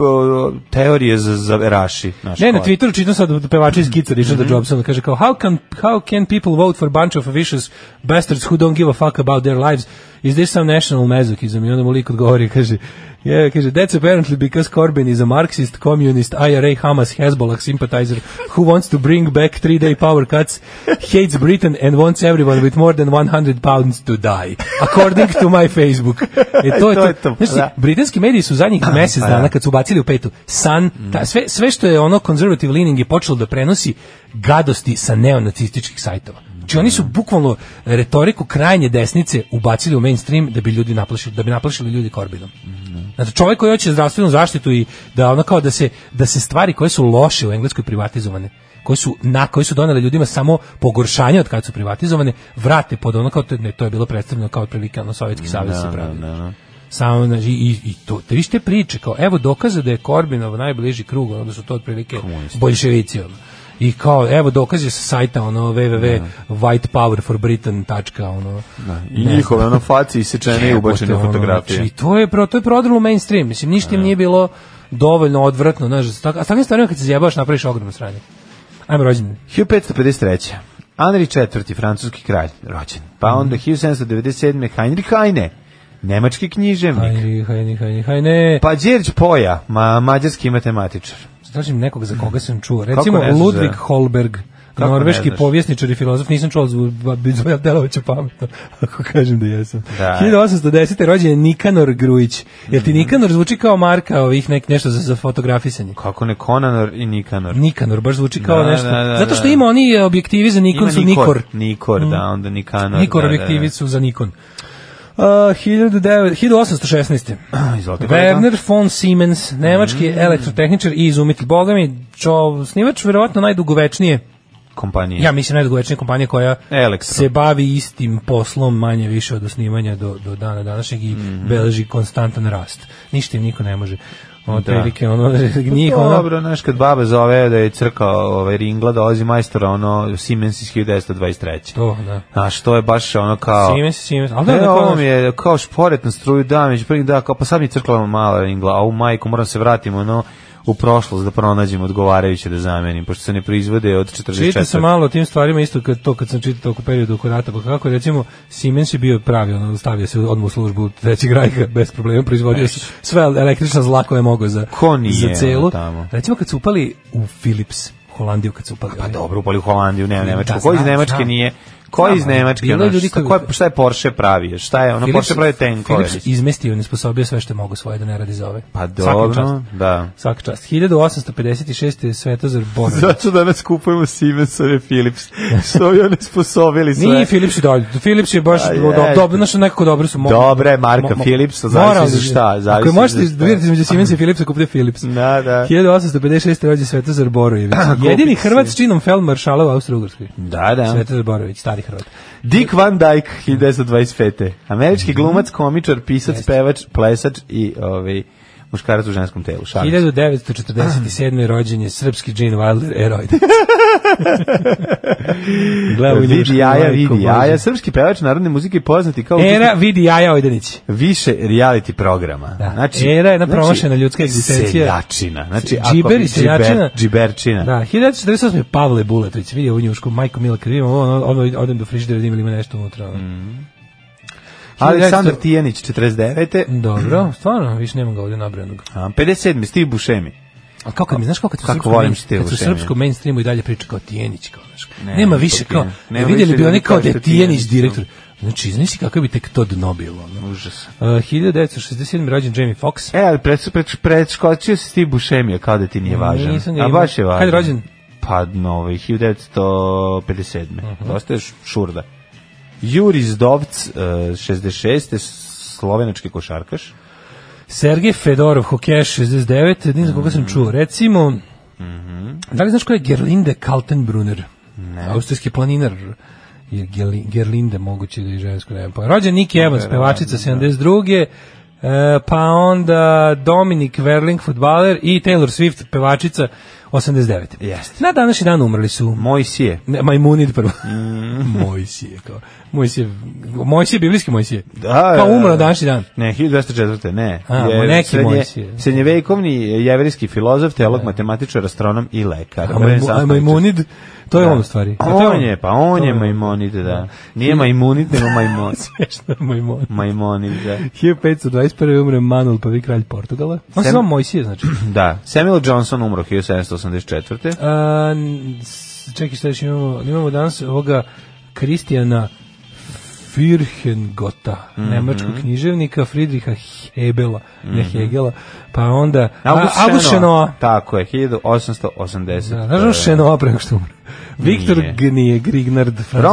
teorije za, za raši. Naš
Ne, na Twitteru čitam sad od pevača iz Kica Richarda
Mhm.
Jobsona, da kaže kao how can, how can people vote for a bunch of vicious bastards who don't give a fuck about their lives? Is this some national masochism? I onda mu lik odgovori, kaže, yeah, kaže, that's apparently because Corbyn is a Marxist, communist, IRA, Hamas, Hezbollah sympathizer who wants to bring back three-day power cuts, hates Britain and wants everyone with more than 100 pounds to die, according to my Facebook. E, to, je
To
to,
je to,
Znaš ti,
da. pa
britanski mediji su zadnjih mesec dana kad su ubacili u petu Sun, ta, sve, sve što je ono conservative leaning je počelo da prenosi gadosti sa neonacističkih sajtova. Znači oni su bukvalno retoriku krajnje desnice ubacili u mainstream da bi ljudi naplašili, da bi naplašili ljudi Corbynom. Znači čovjek koji hoće zdravstvenu zaštitu i da ono kao da se da se stvari koje su loše u engleskoj privatizovane koje su na koji su donele ljudima samo pogoršanje od kad su privatizovane vrate pod ono kao to, ne, to je bilo predstavljeno kao otprilike ono sovjetski savez se pravi samo znači, i, i to te vište da priče kao evo dokaza da je Korbinov najbliži krug onda su to otprilike boljševici ono. I kao, evo, dokaz je sa sajta, ono, www.whitepowerforbritain.com, ono.
Da. I njihove ono faci isečene i ubačene
Jebote, ono,
fotografije. Da.
Znači, to je pro to je prodalo u mainstream. Mislim ništa im nije bilo dovoljno odvratno, znaš, za tak, a takvim stvarima kad se zjebaš napraviš ogromno sranje. Ajmo rođendan.
1553. Henri IV, francuski kralj, rođen. Pa onda
Mhm.
1797. Heinrich Heine, nemački književnik.
Hajni, hajni, hajni, hajne.
Pa Đerđ Poja, ma, mađarski matematičar.
Tražim nekog za koga sam čuo.
Kako
Recimo
ne znaš,
Ludwig
da?
Holberg.
Kako ne
Norveški
znaš?
povjesničar i filozof, nisam čuo zbog Delovića pametno, ako kažem da jesam.
Da. Mhm.
1810. rođen je Nikanor Grujić. Jel ti Nikanor zvuči kao marka ovih nek, nešto za, za fotografisanje?
Kako ne, Konanor i Nikanor.
Nikanor, baš zvuči kao
Da,
nešto.
da, da,
Zato što
da.
ima oni objektivi za Nikon
Ima
su Nikor. Mhm.
Nikor, da, onda Nikanor.
Nikor
da, da, da.
objektivi su za Nikon. Uh, 1900 1816.
Izvolite, kolega.
Werner von Siemens,
Mm.
nemački elektrotehničar i izumitelj. Boga mi, čo, snivač verovatno najdugovečnije,
Kompanije.
ja mislim najdugovečnije kompanije koja
Elektro.
se bavi istim poslom manje više od osnivanja do, do dana današnjeg i
Mhm.
beleži konstantan rast. Ništa im niko ne može. Otprilike ono, njih ono,
Da. Pa Dobro, znaš, kad baba zove da je crka ovaj, ringla, dolazi majstora, ono, Siemens iz 1923.
to, da.
Znaš, to je baš ono kao...
Siemens, Siemens. Ali da,
Ne,
da,
ovo
kao-
mi je kao šporet na struju, da, među prvih da, kao, pa sad mi je crkla mala ringla, a u majku moram se vratimo, ono, u prošlost da pronađem odgovarajuće da zamenim, pošto se ne proizvode od 44.
Čitao sam malo o tim stvarima isto kad to kad sam čitao oko periodu oko rata, pa kako recimo Siemens je bio pravi, ono stavio se odmah u službu trećeg rajka bez problema, proizvodio se sve električna zla koje je mogao za
Ko nije,
za celu.
ono, tamo?
Recimo kad su upali u Philips, Holandiju kad su upali.
Pa dobro, upali u Holandiju, ne u Nemačku.
Da,
Ko iz
znam,
Nemačke
znam.
nije? Ko
Znam,
iz
ali
Nemačke?
bilo je
Ono,
ljudi
šta,
koji-
ko je, šta je Porsche pravio? Šta je? Ono, da Porsche pravio tenkove.
Philips izmestio, nesposobio sve što je mogao svoje da ne radi za ove.
Pa
Svaka čast.
dobro, da.
Svaka čast. 1856. je Svetozar Bonović.
Zato danas kupujemo Siemensove Philips. Što bi one sposobili sve?
Nije Philips i dalje. Philips je baš
A je.
dobro, dobro, znaš, nekako dobro su. Mo, da
Dobra je marka Philips, a zavisi za šta, zavisi
Ako je možete da
za šta.
izbirati između Siemensa i Philipsa, kupite Philips.
Da, da.
1856. rođe Svetozar Borojević. Jedini
Kupi si.
Hrvat s činom feldmaršala u Austro-Ugrskoj.
Da, da.
Svetozar Borojević, stari Hrvat.
Dick Van Dyke, 1925. Američki
Mhm.
glumac, komičar, pisac, pevač, plesač i ovaj, muškarac u ženskom telu. Šalim se.
1947. rođen je srpski Gene Wilder, eroj. Gledaj,
Vidi jaja, vidi jaja. Srpski pevač narodne muzike poznati kao
Era vidi jaja Ojdenić.
više reality programa. Znači,
Da. Era je jedna promašena ljudska egzistencija.
Seljačina. Znači, ako,
Džiber i
džiber-
seljačina.
Džiberčina.
Da, 1948. je Pavle Bulatović, vidio u njušku, majko Mila, kad vidim ovo, ono, ono, odem do frižidera, da ima, ima nešto unutra. Ono.
Mm. Aleksandar
1900
Tijanić, 49.
Mm. Dobro, stvarno, više nemam ga ovdje nabranog.
A, 57. Steve Buscemi.
A kako mi, znaš kako kad su
Kako
srpskom
volim
main-
stil
kad su
Šemija.
srpskom mainstreamu i dalje priča kao Tijenić, kao, znaš,
Ne,
nema
to
više kao,
Tijanić.
ne,
Nema
vidjeli
više
bi oni
ljudi
kao
kao
da je
što je Tijanić,
Tijenić direktor. Znači, znaš ti kako bi tek to dno bilo, ono.
Užas.
Uh, 1967. rođen Jamie Foxx.
E, ali pred, pred, predskočio si ti Bušemija kao da ti nije važan.
Nisam ga
A
imao.
baš je važan.
Kad je rođen?
Pa, novi, 1957.
Mhm.
Dosta je š- Da šurda. Juri Zdovc, uh, 66. slovenački košarkaš.
Sergej Fedorov, hokeš 69, ne znam
Mm.
koga sam čuo. Recimo,
Mhm.
da li znaš ko je Gerlinde Kaltenbrunner? Austrijski planinar je Gerli- Gerlinde, moguće da je žensko ne pa. Rođen Nick
Da,
Evans, pevačica 72. E, pa onda Dominik Verling, futbaler i Taylor Swift, pevačica 89.
Jeste.
Na današnji dan umrli su
Moj sije.
ne, Majmunid prvo.
Mhm.
Mojsije, kao. Mojsije, Mojsije, biblijski Mojsije.
Da,
kao
da,
umro
da.
na današnji dan.
Ne, 1204. ne.
A, neki Mojsije.
Srednjevekovni jevrijski filozof, teolog, matematičar, astronom i lekar.
A majmu- a Majmunid, to je on u stvari.
A
A to
On je, Da. pa on
To
je majmonid, da. Nije majmunid, nego majmon.
Smešno, Majmunid.
majmonid, da.
1521. umre Manuel, prvi kralj Portugala. On se
Sem-
zvao Mojsije, znači.
Da, Samuel Johnson umro 1784.
A, n- s- čekaj, šta još imamo? Imamo danas ovoga Kristijana Firhengota,
Mhm.
nemačkog književnika Friedricha Hebela, ne Hegela, pa onda
Mhm. August
a, August Šenoa.
Tako je, 1880.
Da, znaš on Šenoa preko što umre. Viktor
Nije.
Gnije, Grignard, francuski književnik.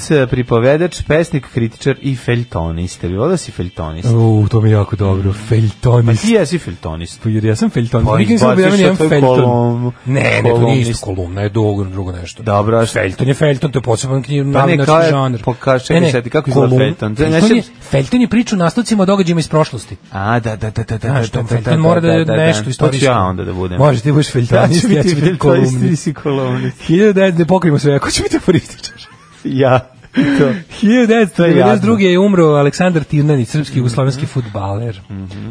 Romanopisac, pripovedač, pesnik, kritičar i feljtonista. Bilo da si feljtonista?
U, to mi je jako dobro. Feltonist.
Ti jesi feljtonista.
Pa jer ja sam Felton.
Pa
Pa, Nikad nisam
izbaciš
objavljen jedan
sad tvoju
Felton.
kolumnu.
Ne, ne, to nije
Kolumnist.
isto kolumna, je drugo, drugo nešto.
Dobro, a šta-
Felton je Felton, to je poseban knjiv,
Pa ne,
novinarski
kao je-
žanr.
pa kao- čekaj, sad setiti kako izgleda
Kolum-
Felton. To je
Felton,
nešto-
je, Felton je priča o nastocima o događajima iz prošlosti.
A, da, da, da, da, da.
Znaš,
da,
Tom
da, da,
Felton mora da je
da, da.
nešto
To ću
istorijsko.
ja onda da budem.
Može, ti budeš feltonist, ja ću biti
feltonist, ti
kolumnist.
si kolumnist.
1900, ne pokrimo sve, ako će biti aforističar.
Ja. To.
1992. je umro Aleksandar Tirnanić, srpski jugoslovenski futbaler,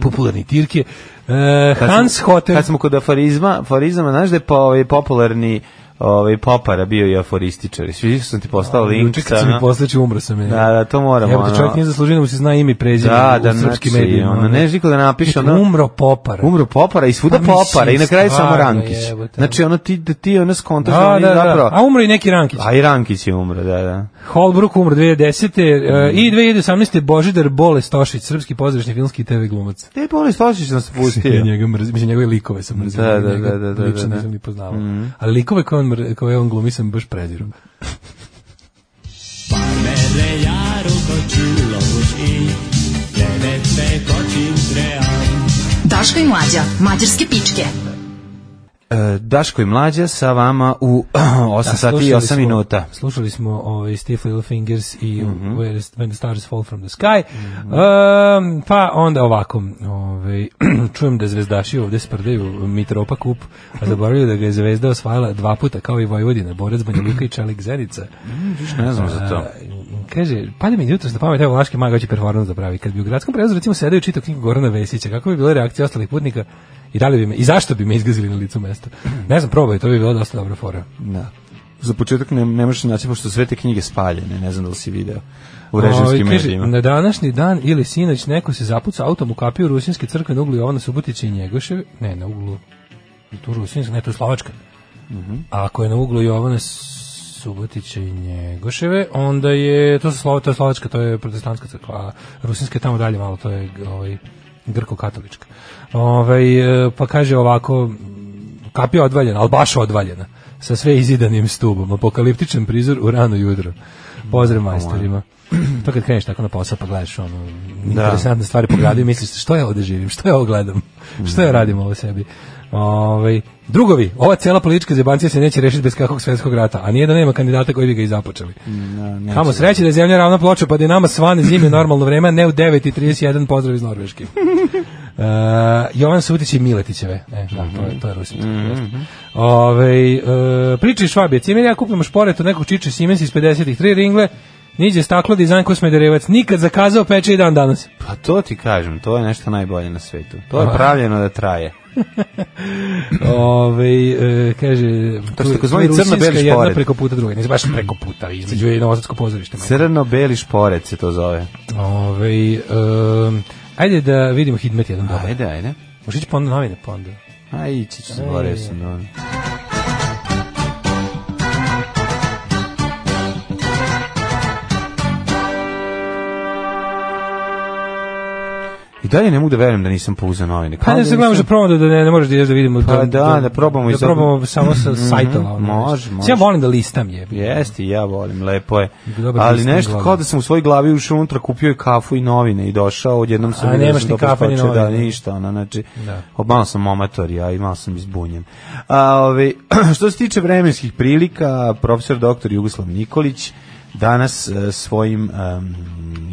popularni Tirke. E,
Kad
Hans
smo-
Hotel,
Kad smo kod aforizma, aforizama, znaš da je po, ovaj, popularni ovaj, popara bio i aforističar. Svi sam ti postao link.
juče kad sam mi
ono.
poslaću, umro sam je.
Da, da, to moramo.
Evo da čovjek
ono.
nije zaslužio da mu se zna ime i prezime
Da,
u
da,
srpskim
znači,
medijima.
ono,
ono.
ne žiko da napiše, ono-
Umro popara.
Umro popara i svuda
Pa mislim,
popara i na kraju samo
stvarno,
Rankić.
jebote.
Znači ono ti da ti ono skontaš da,
Da,
oni
da,
zapravo.
da. A umro i neki Rankić.
A i Rankić je umro, da, da.
Holbrook umro
Mm.
2010. e, I 2018. Božidar Boles Tošić, srpski pozdrašni filmski i TV glumac.
Te Boris Tošić nas
Ja
pustio.
njega mrzim, mislim, njegove likove sam mrzio.
Da, da,
njega
da, da, da,
Lično
da.
nisam ni poznavao. Ali likove koje on, mr- koje on glumi sam baš preziru.
Daško i mlađa, mađarske pičke.
E, Daško i mlađa sa vama u 8 sati i
Da, Slušali
8
smo-
minuta.
Slušali smo ovaj, Stiff Little Fingers i Where is, When the Stars Fall from the Sky. Ehm, pa onda ovako, ovaj, čujem da zvezdaši ovde sprdaju Mitropa kup, a zaboravljaju da ga je zvezda osvajala dva puta, kao i Vojvodina, Borac, Banja Luka i Čelik Zenica.
Znači, Ne znam za
E,
to.
Kaže, pada mi jutros na pamet, evo Vlaški mag hoće performans da pravi. Kad bi u gradskom prevozu recimo sedeo i čitao knjigu Gorana Vesića, kako bi bila reakcija ostalih putnika i da li bi me, i zašto bi me izgazili na licu mesta? Ne znam, probaj, to bi bilo dosta dobra fora.
Da. Za početak ne, ne možeš naći, pošto su sve te knjige spaljene, ne znam da li si video u
Ovaj,
režimskim
kaže,
medijima.
Na današnji dan ili sinoć neko se zapuca autom u kapiju Rusinske crkve na uglu Jovana Subotića i Njegoševe. Ne, na uglu. je Tu Rusinska, ne, tu je Slovačka. A ako je na uglu Jovana Subotića i Njegoševe, onda je, to, su Slova, to je Slovačka, to je protestantska crkva, a Rusinska je tamo dalje malo, to je ovaj, grko-katolička. Ovaj, e, pa kaže ovako, kapija odvaljena, ali baš odvaljena, sa sve izidanim stubom, apokaliptičan prizor u rano jutro. Pozdrav majstorima. To kad kreneš tako na posao pa gledaš ono, interesantne stvari po gradu i misliš što ja ovde živim, što ja ovo gledam, što ja radim ovo sebi. Ovaj, drugovi, ova cela politička zebancija se neće rešiti bez kakvog svetskog rata, a nije da nema kandidata koji bi ga i započeli. Kamo sreće da je zemlja ravna ploča, pa da je nama svane zime u normalno vreme, a ne u 9.31, pozdrav iz Norveške. Uh, Jovan Sutić i Miletićeve. E, da, to je, to je Rusić. Ove, uh, priče iz Švabije. Cimer ja kupimo šporet od nekog čiče Siemens iz 50-ih. Tri ringle, niđe staklo, dizajn ko smederevac. Nikad zakazao peče i dan danas.
Pa to ti kažem, to je nešto najbolje na svetu. To je pravljeno da traje.
Ove, e, kaže,
To su
tu-
takozvani
tu je rusinska
crno-beli
Jedna
šporet.
preko puta druga. Ne, baš preko puta, između je i Novosadsko pozorište.
Crno-beli šporet se to zove.
Ove, em, ajde da vidimo Hidmet jedan dobar.
Ajde, ajde.
Možeš ići pa onda novine, pa onda.
Aj, ići ću, zaboravio sam. da dobro. I dalje ne mogu da verujem da nisam pouzao novine.
Pa ne se gledamo da probamo da ne, ne možeš da ideš da vidimo
Pa da, da probamo
da
iz- Mhm,
probamo samo sa sajtova. ono,
može,
znaš.
može.
Ja volim da listam je.
Jeste, ja volim, lepo je.
Dobar
Ali
listing
nešto
glave.
kao da sam u svojoj glavi ušao unutra, kupio je kafu i novine i došao, odjednom sam
A,
vidio da
nemaš
sam
ni
dobro
kafe, ni
skočio, Da,
novine.
ništa, ono, znači,
Da.
da. malo sam omator, ja i malo sam izbunjen. A, ove, što se tiče vremenskih prilika, profesor doktor Jugoslav Nikolić danas e, svojim em,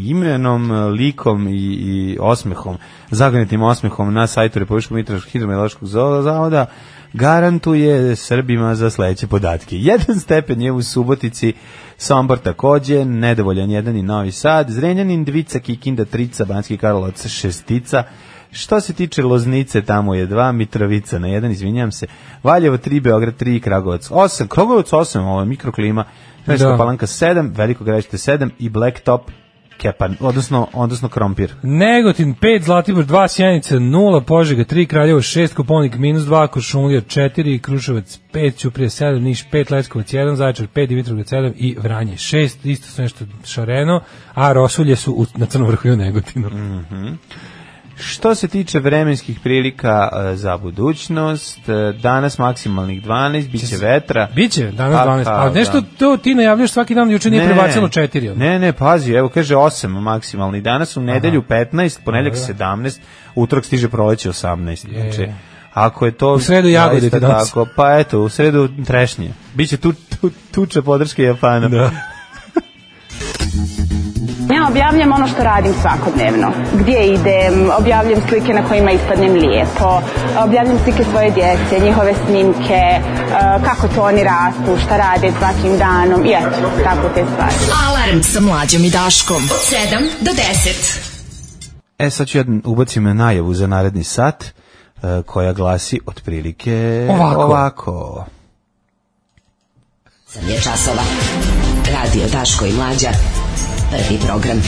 imenom, e, likom i, i osmehom, zagonitim osmehom na sajtu Republičkog mitraškog hidrometeorološkog zo- zavoda garantuje Srbima za sledeće podatke. Jedan stepen je u Subotici, Sombor takođe, nedovoljan jedan i Novi Sad, Zrenjanin, Dvica, Kikinda, Trica, Banski Karlovac, Šestica, što se tiče Loznice, tamo je 2, Mitrovica na 1, izvinjam se, Valjevo 3, Beograd 3, Kragovac 8, Kragovac 8, ovo je mikroklima, Sremska
Da.
Palanka 7, Veliko Gradište 7 i Blacktop Kepan, odnosno, odnosno Krompir.
Negotin 5, Zlatibor 2, Sjenica 0, Požega 3, Kraljevo 6, Koponik minus 2, Košumlija 4, Kruševac 5, Ćuprija 7, Niš 5, Leskovac 1, Zaječar 5, Dimitrovgrad 7 i Vranje 6. Isto su nešto šareno, a Rosulje su u, na Crnom vrhu i u Negotinu.
Mm. Što se tiče vremenskih prilika e, za budućnost, e, danas maksimalnih 12, bit će vetra.
Biće, danas
Pa,
12.
pa,
A nešto
da.
to ti najavljaš svaki dan, juče nije
Ne,
prebacilo 4. ono.
Ne, ne, pazi, evo kaže 8 maksimalni danas, u nedelju 15, ponedjeljak 17, utorak stiže proleće 18. Znači, ako je to
U sredu jagode
zaista
ti donosi.
tako, pa eto, u sredu trešnje. Biće tu, tu, tuče podrške Japana.
Da.
Instagrama objavljam ono što radim svakodnevno. Gdje idem, objavljam slike na kojima ispadnem lijepo, objavljam slike svoje djece, njihove snimke, e, kako to oni rastu, šta rade svakim danom i eto, tako te stvari.
Alarm sa mlađom i Daškom. Od 7 do 10.
E, sad ću ja ubacim najavu za naredni sat, e, koja glasi otprilike
Ovako.
ovako.
Osam je časova. Radio Daško i Mlađa. Prvi program.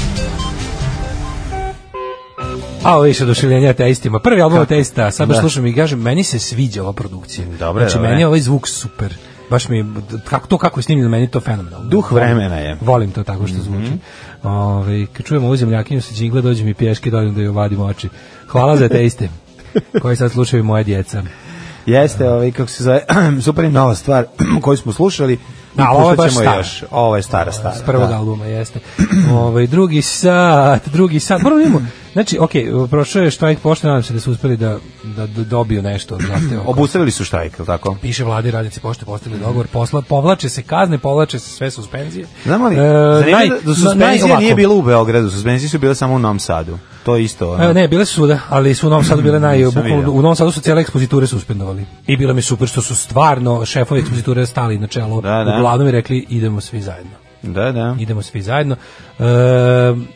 A ovo je oduševljenje ateistima. Prvi album ateista, sad baš
Da.
slušam i kažem, meni se sviđa ova produkcija.
Dobro je,
znači,
dobro je.
meni je ovaj zvuk super. Baš mi je, kako, to kako je snimljeno, meni je to fenomenalno.
Duh vremena je.
Volim to tako
Mhm.
što zvuči. Ovaj, kad čujem ovu zemljakinju sa džingla, dođe mi pješke, dođem da joj vadim oči. Hvala za ateiste, koji sad slušaju moje djeca. Da.
Jeste, ovaj, kako se zove, super je nova stvar koju smo slušali.
Da, ali ovo je
Puštat
baš
ćemo
stara.
još. Ovo je stara, stara.
S prvog
da.
albuma, jeste. Ovaj, drugi sat, drugi sat. Moramo da vidimo. Znači, ok, prošao je štrajk pošte, nadam se da su uspeli da, da, da dobiju nešto. od zahteva.
Obustavili su štajk, je li tako?
piše vladi radnici pošte postavili dogovor posla povlače se kazne povlače se sve suspenzije
Znamo li,
E,
zanimljivo
naj-
da- da
na- naj-
suspenzija
ovako.
nije bila u Beogradu, suspenzije su bile samo u Novom Sadu. To je isto. ono.
E, ne, bile su svuda, ali su u Novom Sadu bile naj...
Mm, Nisam
bukvalno-
vidio.
U Novom Sadu su cijele ekspoziture suspendovali. I bilo mi je super što su stvarno šefovi ekspoziture stali na čelo.
Da, da.
Uglavnom i rekli idemo svi zajedno.
Da, da.
Idemo svi zajedno. E,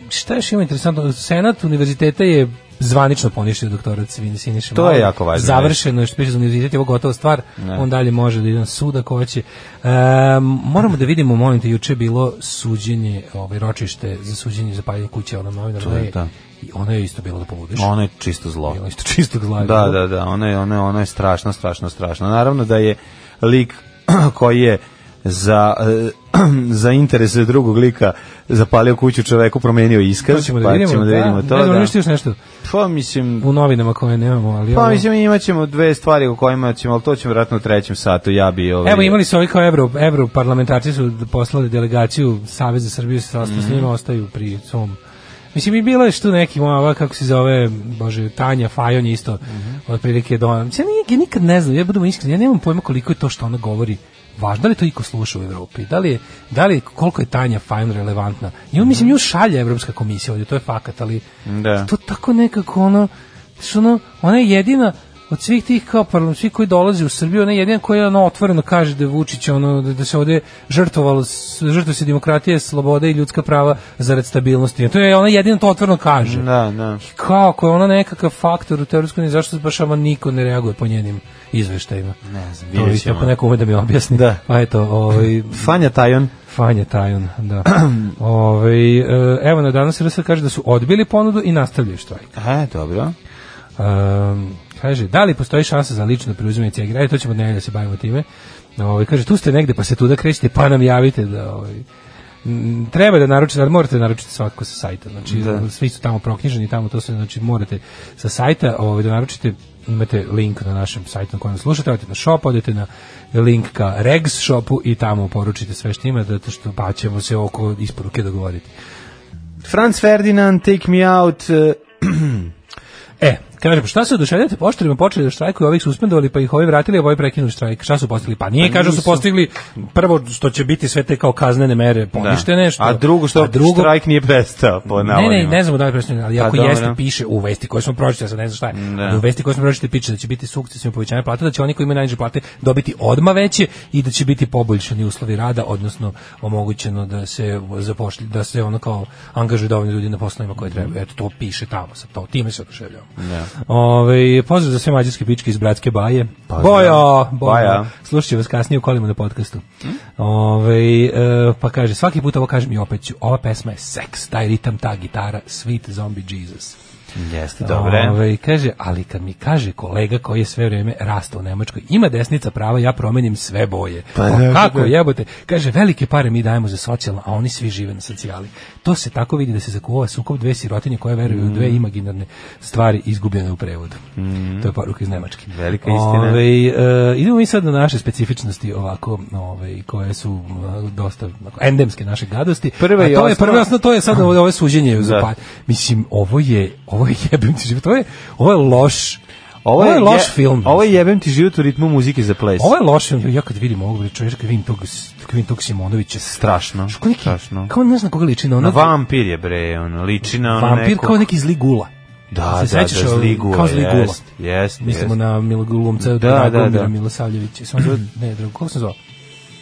šta još ima interesantno? Senat univerziteta je zvanično poništio doktorat Svini Siniša.
To je
Malog.
jako važno,
Završeno je što piše za univerzitet, je ovo gotova stvar. On dalje može da ide na sud ako hoće. E, moramo da vidimo, molim te, juče je bilo suđenje, ovaj, ročište za suđenje za paljenje kuće onom novinaru.
To je,
Ona je-
da.
I ono je isto bilo da pobudiš.
Ono je čisto zlo.
Bilo isto čistog zla.
Da, da, da, ona je, ona je, ona je strašno, strašno, strašno. Naravno da je lik koji je za, eh, za interese drugog lika zapalio kuću čoveku, promenio iskaz,
To ćemo da
pa
vidimo,
ćemo da
da.
vidimo to.
Ne znam,
da.
nešto još nešto.
Pa mislim,
U novinama koje nemamo, ali...
pa
ovo-
mislim imat ćemo dve stvari o kojima ćemo, ali to ćemo vratno u trećem satu, ja bi ovaj...
Evo imali su ovi kao evro, evro parlamentarci su d- poslali delegaciju Saveza Srbije sa sastavu s
Mhm.
njima, ostaju pri svom Mislim, i bilo je što neki, ova, kako se zove, bože, Tanja Fajon je isto,
Mhm.
otprilike do... Mislim, ja nik- nikad ne znam, ja budemo iskreni, ja nemam pojma koliko je to što ona govori važno. Da li to iko sluša u Evropi? Da li je, da li je- koliko je Tanja Fajon relevantna? Nju, mislim, nju šalje Evropska komisija ovdje, to je fakat, ali
Mhm. Da.
to Pa tako nekako ono, znaš, ono, ona je jedina od svih tih kao parlam, svi koji dolaze u Srbiju, ona je jedina koja ono otvoreno kaže da je Vučić ono da, da se ovdje žrtvovalo, s- žrtvuje se demokratija, sloboda i ljudska prava zarad stabilnosti. To je ona jedina to otvoreno kaže.
Da, da.
I Kao ako je ona nekakav faktor u teorijskoj uniji, zašto baš ama niko ne reaguje po njenim izveštajima? Ne
znam,
to
vidjet
je isto,
ćemo.
ako neko ume da mi objasni.
Da.
Pa eto, ovaj,
Fanja Tajon.
Fanje Tajun, da. Ove, evo na danas RS kaže da su odbili ponudu i nastavljaju štrajk.
E, dobro.
Um, kaže, da li postoji šansa za lično preuzimanje cijeg grada? To ćemo dnevno da se bavimo time. Ovaj, kaže, tu ste negde pa se tuda krećete, pa nam javite da... ovaj, m, treba da naručite, ali morate naručiti svakako sa sajta. Znači, svi su tamo proknjiženi, tamo to sve, znači morate sa sajta ovaj, da naručite imate link na našem sajtu na kojem slušate, odete na shop, odete na link ka Regs shopu i tamo poručite sve što imate, zato što pa ćemo se oko isporuke dogovoriti.
Franz Ferdinand, Take Me Out, eh,
E, kažem, šta se oduševljate poštarima počeli da štrajkuju, ovih suspendovali, pa ih ovi vratili, a ovi prekinuli štrajk. Šta su postigli? Pa nije, kažu su postigli prvo što će biti sve te kao kaznene mere poništene. Što,
Da. a drugo što
a drugo-
štrajk nije prestao po
Ne, ne,
navodima.
ne znamo da li je presuđen, ali
Pa
ako
dobro.
jeste piše u vesti koje smo pročitali, ja sad ne znam šta je. ali U vesti koje smo pročitali piše da će biti sukcesivno povećanje plata, da će oni koji imaju najniže plate dobiti odma veće i da će biti poboljšani uslovi rada, odnosno omogućeno da se zapošlji, da se ono kao angažuju dovoljno ljudi na poslovima koje treba. Eto to piše tamo, sa to time se oduševljavamo. Ovaj pozdrav za sve mađarske pičke iz bratske baje. Bojo,
Baja.
boja. Slušat ću vas kasnije u kolima na podcastu. Ovaj, e, pa kaže, svaki put ovo kažem i opet ću, ova pesma je seks, taj ritam, ta gitara, Sweet Zombie Jesus.
Jeste, dobre.
Ovaj, kaže, ali kad mi kaže kolega koji je sve vrijeme rastao u Nemačkoj, ima desnica prava, ja promenim sve boje.
Pa
O,
da,
kako
da.
jebote? Kaže, velike pare mi dajemo za socijalno, a oni svi žive na socijali. To se tako vidi da se zakuva sukob dve sirotinje koje veruju u dve
Mm.
imaginarne stvari izgubljene u prevodu. To je poruka iz Nemačke.
Velika istina.
Ovaj, e, idemo mi sad na naše specifičnosti ovako, ovaj, koje su e, dosta onako, endemske naše gadosti.
Prva i
A to je
osnovna-
prva i osnovna, to je sad ovo, ovo suđenje za
Da.
pa- Mislim, ovo je, ovo je jebim ti život, ovo je, ovo je loš
Ovo je,
Ovo je loš
je-
film.
Ovo je jebem ti život u ritmu muzike za ples.
Ovo je loš film, ja kad vidim ovog čovjeka, kad vidim tog, kad vidim tog Simonovića,
strašno.
Kako neki,
strašno.
Kao ne znam koga liči na
Na
onog...
vampir je bre, on liči na ono
vampir
nekog-
kao neki zli gula.
Da,
Se
da, da,
sećaš ovog-
Zligula,
Kao zli gula.
jest, jest,
Mislimo
jest.
na Milogulomca,
Da,
da,
da,
da,
da.
da. Milosavljevića. Samo ne, drugo, kako se zvao?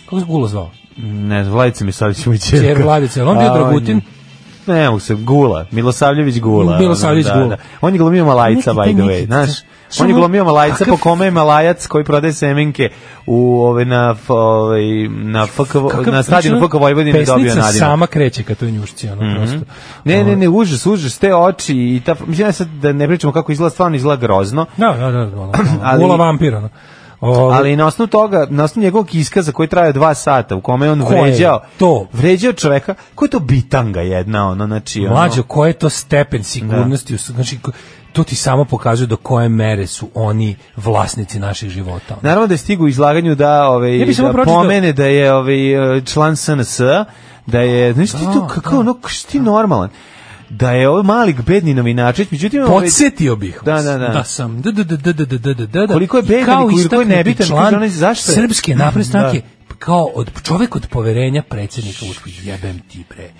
Kako se gula zvao?
Ne, znam, Vladica Milosavljević mu je ćerka.
Čer Vladica, ali on
A,
bio
on
Dragutin.
je- Ne, mogu se, Gula, Milosavljević Gula.
Milosavljević
ono, da,
Gula.
Da. On je glumio Malajca,
Neki
by
taj
the way,
neki-
znaš.
Šta
On je
on-
glumio Malajca po
kakav-
kome je Malajac koji prodaje semenke u ove na f- ovaj na FK na stadionu FK Vojvodine dobio
Pesnica
nadimak.
sama kreće kad to je njušci, ono prosto.
Ne, ne, ne, užas, užas, te oči i ta, mislim da sad da ne pričamo kako izgleda, stvarno izgleda grozno,
Da, da, da, ono,
Ali-
ono, gula vampir, ono. Ovo-
ali na osnovu toga, na osnovu njegovog iskaza koji traje dva sata, u kome je on
Ko je
vređao,
to?
vređao čoveka, ko je to bitanga jedna, ono, znači, ono, Da.
Mlađo, koji je to stepen sigurnosti? u s- Znači, ko- to ti samo pokazuje do koje mere su oni vlasnici naših života. ono.
Naravno da je stigu u izlaganju da, ovaj,
Ja bih samo
da
pročitao-
pomene da je ovaj, eh, član SNS, da je, znaš ti tu,
da.
kako ono, što ti normalan, da je ovaj mali bedni novinačić, međutim, ovaj,
Podsjetio bih vas
Da, da, da.
sam da, da, da, da, da, da, da, da,
Koliko je bedan i
kao
koliko je
istaknuti
nebitan, kaže onaj,
član
zašto je-
Srpske napredne
Da.
stranke kao od, čovek od poverenja predsjednika Vučića. Jebem ti bre.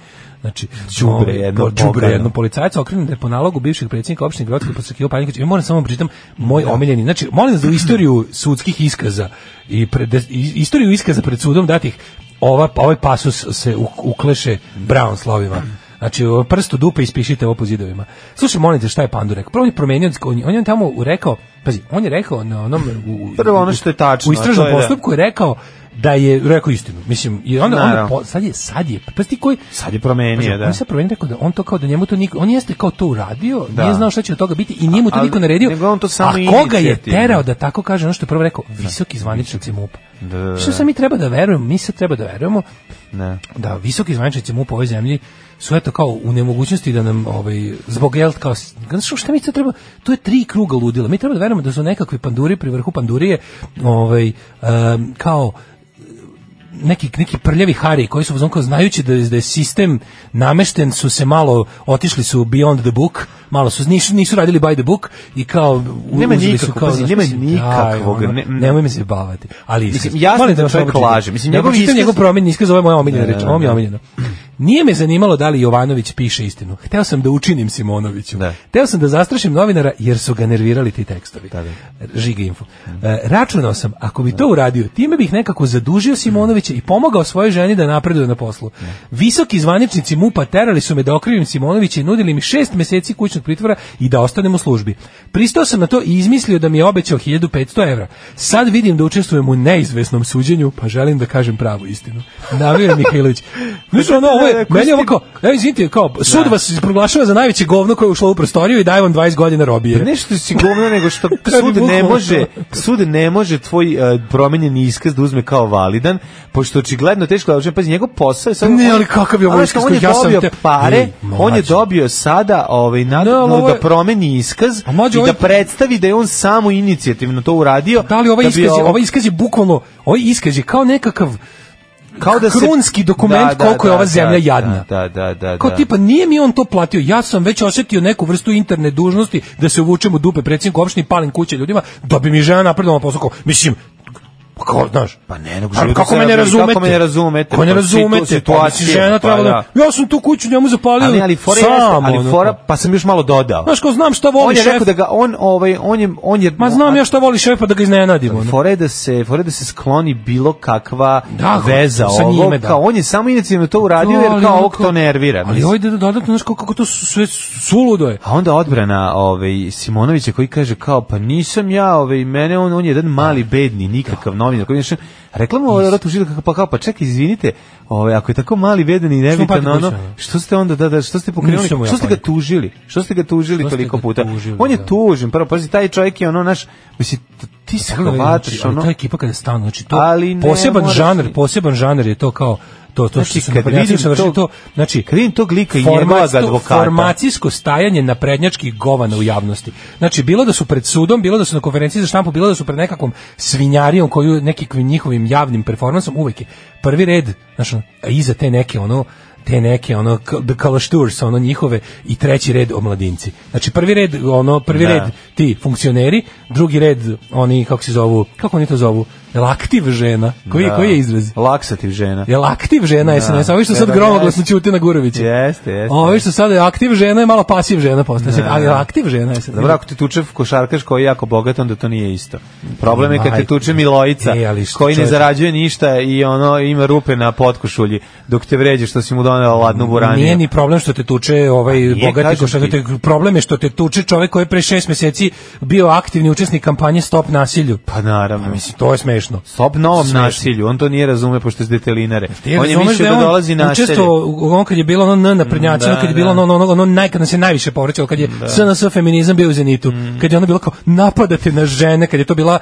Znači,
Đubre
ovaj,
jedno
kao đubre
pogano.
jedno policajac okrenu da je po nalogu bivšeg predsjednika opštine Gradske podstrkio Panjković. Ja moram samo pričitam moj omiljeni. Znači, molim vas da u istoriju sudskih iskaza i pred, i- istoriju iskaza pred sudom datih ova, ovaj pasus se u- ukleše brown slovima. Znači, o, prst u dupe ispišite ovo po zidovima. Slušaj, molim te, šta je Pandu rekao? Prvo on je promenio, on je, on je tamo rekao, pazi, on je rekao na onom... U, u-
Prvo ono što je tačno,
U
a to
istražnom
je da-
postupku je rekao da je rekao istinu. Mislim, i onda, onda
Naravno.
po- sad je, sad je, pa ti koji,
sad je promenio,
Pazi, On
da.
je sad promenio rekao da on to kao da njemu to niko, on jeste kao to uradio,
Da.
nije znao šta će od toga biti i njemu to
Ali-
niko naredio.
nego on to samo
a koga je
inicijativno.
terao da tako kaže ono što je prvo rekao, visoki zvaničnici MUP.
Da, da, da.
Što sam mi treba da verujemo, mi sad treba da verujemo
Ne.
da visoki zvaničnici MUP u ovoj zemlji su eto kao u nemogućnosti da nam ovaj zbog jel kao znači šta mi sad treba to je tri kruga ludila mi treba da verujemo da su nekakvi panduri pri vrhu pandurije ovaj em, kao neki neki prljavi hari koji su znači znajući da je, da je sistem namešten su se malo otišli su beyond the book malo su nisu, nisu radili by the book i kao u-
Nema
uzeli su
nikakvog, pazi,
znaš,
nema
mislim,
nikakvog,
daj, ono,
ne-
nemoj me se bavati ali iskaz.
Mislim, jasno
Molim te
da
vas,
čovjek
ovo čitam.
laže. Mislim,
Ja
njegov
pročitam
iskaz-
njegov promenjen iskaz ovo je moja omiljena
Ne,
reč
ne,
ovo mi je
ne.
omiljeno Nije me zanimalo da li Jovanović piše istinu. Hteo sam da učinim Simonoviću.
Da.
Hteo sam da zastrašim novinara jer su ga nervirali ti tekstovi. Žiga info. E, računao sam, ako bi to uradio, time bih nekako zadužio Simonovića i pomogao svojoj ženi da napreduje na poslu. Visoki zvaničnici MUPA terali su me da okrivim Simonovića i nudili mi šest meseci kućnog pritvora i da ostanem u službi. Pristao sam na to i izmislio da mi je obećao 1500 evra. Sad vidim da učestvujem u neizvesnom suđenju, pa želim da kažem pravu istinu. Navio je Mihajlović. Znači, ono, ovo
Da, da,
je,
koji
meni je ovo
ste-
kao, evo izvinite, kao, sud vas proglašava za najveće govno koje je ušlo u prostoriju i daje vam 20 godina robije.
Nešto si govno nego što
Kad je
sud ne
bukvalno
može,
to.
sud ne može tvoj uh, promenjeni iskaz da uzme kao validan, pošto očigledno teško da uzme, pazi, njegov posao je samo...
Ne, ali kakav je ovo
Ali
iskaz
on je
koji ja sam
dobio
te-
pare,
Ej,
on je
mlađe.
dobio sada ovaj, na,
Ne, ali ovo
da
je-
promeni iskaz
A
i
mlađe, ovo
da
je-
predstavi da je on samo inicijativno to uradio.
Da li ovaj
bi
iskaz, je,
ovo-
ovaj iskaz je bukvalno, ovaj iskaz je kao nekakav
kao da se-
krunski dokument koliko je ova zemlja jadna.
Da, da, da.
Kao
da.
tipa, nije mi on to platio, ja sam već osjetio neku vrstu interne dužnosti da se uvučem u dupe predsjedniku opštine i palim kuće ljudima, da bi mi žena napredovala posao, kao, mislim, pa kao, znaš,
Pa ne, nego
Ali
živi
kako
u
me ne
Srbiji,
razumete?
Kako me ne razumete?
Kako ne
Pa, situ-
razumete? Pa mislim,
situacije, pa
žena treba da... Ja sam tu kuću njemu zapalio
Ali, ali fora
sam.
jeste, ali
ono.
fora, pa sam još malo dodao.
Znaš, kao znam šta
on
voli
je
šef.
rekao da ga, on, ovaj, on je, on je...
Ma znam ja šta voli šef pa da ga iznenadim. ono.
Fore da se fore da se skloni bilo kakva
Da,
veza
sa
ovog,
njime, da.
kao on je samo inicijativno to uradio jer
ali
kao
ono
ovog to nervira.
Ali
mislim.
ovdje da dodatno, znaš kako, kako to su- sve suludo je.
A onda odbrana ovaj Simonovića koji kaže kao pa nisam ja, ovaj mene on on je jedan mali bedni nikakav novinar koji je rekla mu ovaj ratu kako pa kao pa čekaj izvinite, ovaj ako je tako mali bedni i nebitan
platite
ono
kuću, ono?
što ste onda da da što ste pokrenuli,
Nisam mu ja
što ste ga
platio.
tužili? Što ste ga tužili
Što ste
toliko
ga
puta?
tužili,
On je
da.
tužen, prvo pazi taj čovjek je ono naš mislim t- ti se
Kako da vidim,
hvataš
znači, ali
ono.
ta ekipa kada stanu, znači to
Ali ne,
poseban
moraš i-
žanr, poseban žanr je to kao to to
Znači,
što su
kad vidim
naprednjaci
tog-
savršili to, znači
kad vidim tog lika i njegovog advokata.
formacijsko stajanje naprednjačkih govana u javnosti. Znači bilo da su pred sudom, bilo da su na konferenciji za štampu, bilo da su pred nekakvom svinjarijom koju nekim njihovim javnim performansom uvek je prvi red, znači a iza te neke ono te neke ono k- the color tours ono njihove i treći red omladinci. Znači prvi red ono prvi
Da.
red ti funkcioneri, drugi red oni kako se zovu, kako oni to zovu, jel aktiv žena, koji
Da.
koji je izraz?
Laksativ žena.
Jel aktiv žena je SNS, a ovi što
E,
sad
da,
gromoglasno
jeste.
ćute na Gurovića.
Jeste, jeste.
Ovi što sad je aktiv žena je malo pasiv žena postane, sad, ali aktiv žena je SNS.
Da, Dobro, ako te tuče košarkaš koji je jako bogat, onda to nije isto. Problem je kad te tuče Milojica,
E, ali što
koji ne
čovječe.
zarađuje ništa i ono ima rupe na potkošulji, dok te vređe što si mu donela ladnu buraniju.
Nije ni problem što te tuče ovaj bogati
Pa kažem
košarkaš,
ti.
te- problem je što te tuče čovjek koji je pre šest mjeseci bio aktivni učesnik kampanje Stop nasilju.
Pa naravno.
Mislim, to je smešno.
Sob novom
Smešno.
nasilju, on to nije razume pošto je s detelinare.
Ti
on je
razumeš
mislio
je
da,
on
dolazi na
učestvovao u- on kad je bilo ono N na prednjacima,
da,
kad je bilo
da.
ono, ono, ono, ono naj, kad nas je najviše povraćalo, kad je SNS feminizam bio u zenitu,
Mm.
kad je ono bilo kao napadate na žene, kad je to bila,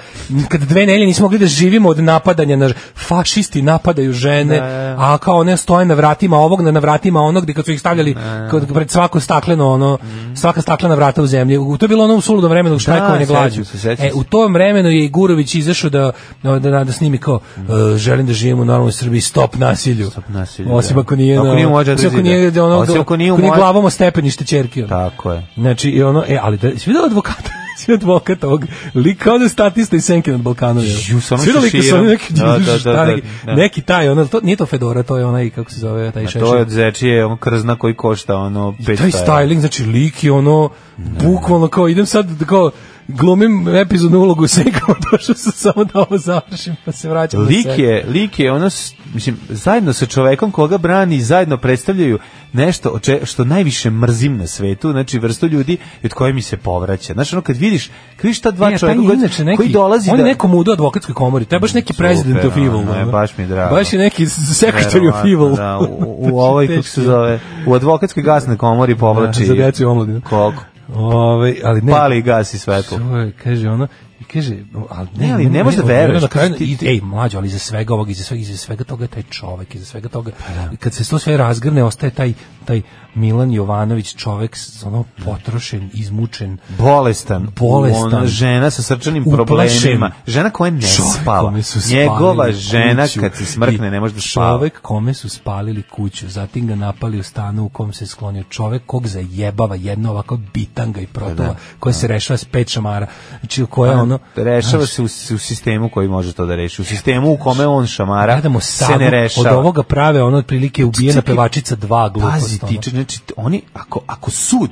kad dve nelje nismo mogli da živimo od napadanja na ž- fašisti napadaju žene,
Da,
a kao one stoje na vratima ovog, na, na vratima onog, gdje kad su ih stavljali
Da.
kod, pred svako stakleno, ono,
Mm.
svaka staklena vrata u zemlji. U, to je bilo ono u suludom vremenu, štrajkovanje
Da, sećam
glađu.
se, sećam
E,
se.
u tom vremenu je i Gurović izašao da, da, da, da snimi kao e, želim da živim u normalnoj Srbiji, stop nasilju.
Stop nasilju,
Osim
da.
ako nije,
Ako
na-
nije u moja
osim ako
četiri
nije, da
zida.
ono,
Osim ako nije Da. u moja-
glavom o stepenište ćerke. ono.
Tako je.
Znači, i ono, e, ali da, si vidjela advokata? si advokat ovog lika, ono je statista i senke nad Balkanom. jel?
Ju, sa onim
Si vidjela lika sa onim neki,
šeširom? Da, da, da,
šta, neki,
da, da.
neki taj, ono, to, nije to Fedora, to je onaj, kako se zove, taj
A
šešir.
to je od zečije, on krzna koji košta ono 500
Taj styling, znači lik je ono, bukvalno kao, idem sad da kao, glumim epizodnu ulogu Senka, došao sam samo da ovo završim, pa se vraćam. na
Lik
sebe.
je, lik je ono, s- mislim, zajedno sa čovekom koga brani, zajedno predstavljaju nešto o če- što najviše mrzim na svetu, znači vrstu ljudi od koje mi se povraća. Znači ono kad vidiš, kad vidiš ta dva
Ne, a taj
čoveka
je
koji-
inače neki-
koji dolazi
on je
da...
nekom udo advokatskoj komori, to je baš neki president of
Super,
evil.
ono je,
ono.
baš mi je drago.
Baš je Znači, neki secretary of
Verovatno,
evil.
Da, u, u ovoj,
Teško. Da,
kako se zove, u advokatskoj gasnoj komori povlači...
Za djecu i omladinu.
Koliko?
Ove, ali ne,
Pali i gasi svetlo.
To je, kaže ono, i kaže, ali ne,
Ne, ali ne možeš da
ono,
veruješ,
ono Na kraju,
ti-
i,
ti-
ej, mlađo, ali iza svega ovog, iza svega, iza svega toga je taj čovek, iza svega toga,
Pa da.
kad se to sve razgrne, ostaje taj, taj Milan Jovanović čovek, s- ono,
Da.
potrošen, izmučen,
bolestan,
Bolestan.
Ona žena sa srčanim
Uplašen.
problemima, žena koja ne
Čovek
spava.
kome su spalili
Njegova žena
kuću.
kad se smrkne
I
ne može da spava.
Čovek kome su spalili kuću, zatim ga napali u stanu u kom se sklonio. Čovek kog zajebava jedna ovako bitanga i
Da,
protova, koja se rešava s pet šamara. Znači,
Pa
koja ono...
Rešava se u, u sistemu koji može to da reši. U sistemu u kome on šamara
Gledamo
se
savu,
ne rešava.
od ovoga prave ono otprilike ubijena
Čekaj,
pevačica dva glupost.
Pazi,
ono.
ti, znači, t- oni, ako, ako sud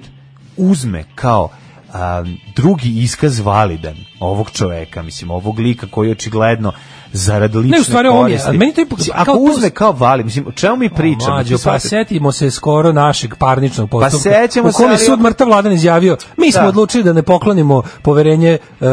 uzme kao a, drugi iskaz validan ovog čoveka, mislim, ovog lika koji je očigledno zarad lične
Ne, u stvari on je,
koristi.
ali meni to je-
Mislim,
kao
Ako
to-
uzme kao vali, mislim, o čemu mi pričamo?
Mlađo,
Mislim,
pa
shvatite-
setimo se skoro našeg parničnog postupka.
sećamo
u kom je
se, ali-
sud mrtav vladan izjavio, mi smo
Da.
odlučili da ne poklonimo poverenje uh,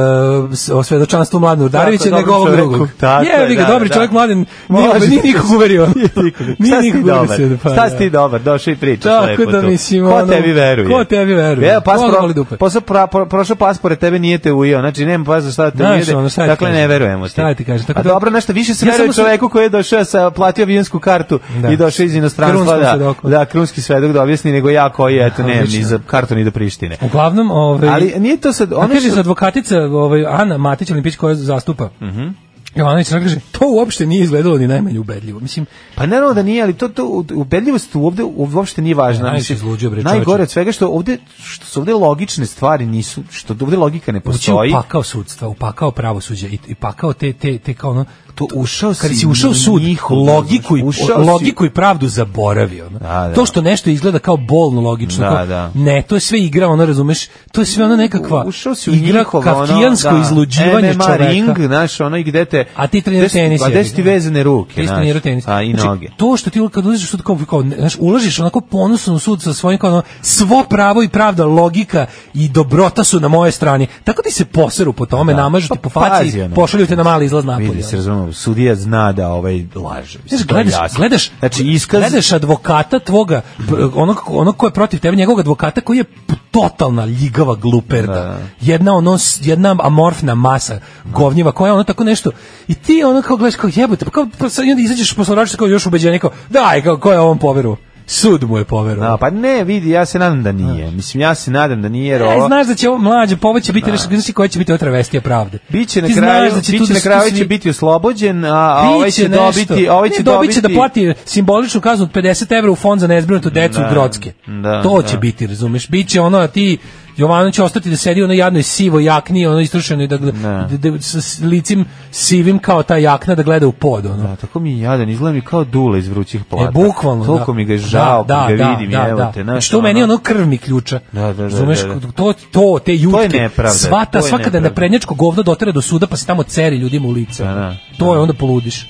s- o svedočanstvu Mladenu Darevića,
Tako,
nego
dobrom
ovog
čoveku.
drugog.
Tako je,
Jebi ga,
da,
dobri
da.
čovjek Mladen, nije, pa
Može.
nije nikog uverio.
Šta si ti
nikog
dobar?
uverio, pa
Šta
da.
si ti dobar? Došao i pričaš lepo
Tako da
tu.
mislim,
Ko
ono,
tebi veruje?
ko tebi veruje?
Evo, pas
Koga
pro-
boli dupe?
posao pra- pro- prošao pas pored tebe nije te ujeo. Znači, nema pas za šta te
Znaš,
ujede.
ono, šta ti
dakle, ne
kažem?
verujemo ti.
Šta ti kažem? Tako
A
da-
dobro, nešto više se
Ja
veruje
samo sam-
čoveku koji je došao, sa, platio avionsku kartu
Da.
i došao iz inostranstva.
Krunskom
Da,
svedoku.
da, krunski svedok da objasni, nego ja koji, eto, ne, ni
Odlično.
za kartu ni do Prištine.
Uglavnom, ovaj,
Ali nije to sad...
Ona
Ono
kaže
što-
za advokatica, ovaj Ana Matić Olimpić koja zastupa. Mhm. Jovanović sad kaže, to uopšte nije izgledalo ni najmanje ubedljivo. Mislim,
Pa naravno da nije, ali to, to ubedljivost ovde uopšte nije važna.
Ne, najviše
Mislim,
izluđuje, bre, čoveče.
Najgore od svega što ovde što su ovde logične stvari nisu, što ovde logika ne
ući
postoji.
upakao sudstva, upakao pravosuđa i, i pakao te, te, te kao ono,
To ušao
kad
si
si ušao u sud,
njihovo,
logiku, i,
znaš, ušao si-
logiku i pravdu zaboravio. ono.
Da, da.
To što nešto izgleda kao bolno logično,
Da,
kao,
da.
ne, to je sve igra, ono, razumeš, to je sve ono nekakva
ušao si u
igra
njihovo,
kafkijansko
ono, da,
izluđivanje
MMA
čoveka.
ring, znaš, ono i gde te...
A ti treniraš
gde su-
tenis,
A
jebi
gde su ti
ga.
vezane ruke,
Ti
znaš,
trenirao tenis.
A i
Znači,
noge.
To što ti kad uđeš u kao, kao, znaš, ulažiš onako ponosno u sud sa svojim kao ono, svo pravo i pravda, logika i dobrota su na moje strani. Tako ti se poseru po tome, namažu ti po faci,
Da. Pa pazi, ono.
pošalju te na mali izlaz napolje.
Vidi se,
ono.
razumemo, sudija zna da ovaj laže. mislim,
Znaš,
to je
gledaš,
jasno.
gledaš,
znači, iskaz,
gledaš advokata tvoga, p- onog, onog ko je protiv tebe, njegovog advokata koji je p- totalna ljigava gluperda.
Da.
Jedna, ono, s- jedna amorfna masa govnjiva koja je ono tako nešto. I ti ono kao gledaš kao jebote, pa kao, pa sad, i onda izađeš posle računa kao još ubeđenje kao daj, kao, ko je ovom poveru? Sud mu je poverovao.
Da, pa ne, vidi, ja se nadam da nije. Mislim, ja se nadam da nije, jer
E,
ovo... Da.
znaš da će ovo mlađe, pa ovo će biti nešto, znaš ti koja će biti otra vestija pravde.
Biće na
Ti znaš
kraju,
da će tu
biće
da
na
su
kraju će
svi-
biti oslobođen, a, a ovaj
Biće
će
nešto.
dobiti, ovaj će
ne, dobit
dobiti
će da plati simboličnu kaznu od 50 evra u fond za nezbrinutu decu
Da,
u Grodske.
da,
to
da.
će biti, razumeš? Biće ono, a ti Jovano će ostati da sedi u onoj jadnoj sivoj jakni, ono istrušenoj, da, da, da- sa s- licim sivim kao ta jakna da gleda u pod, ono.
Da, tako mi je jadan, izgleda mi kao dule iz vrućih plata.
E, bukvalno.
Toliko
da.
mi ga je žao, da, da, ga vidim, da, evo te.
Znači,
Znaš,
to meni je ono krv mi ključa.
Da, da, da,
Razumeš,
da, da.
to, to, te jutke.
nepravda,
Sva ta,
to je
svaka da
nepravda.
naprednjačko govno dotera do suda, pa se tamo ceri ljudima u lice.
Da, da,
to je onda poludiš.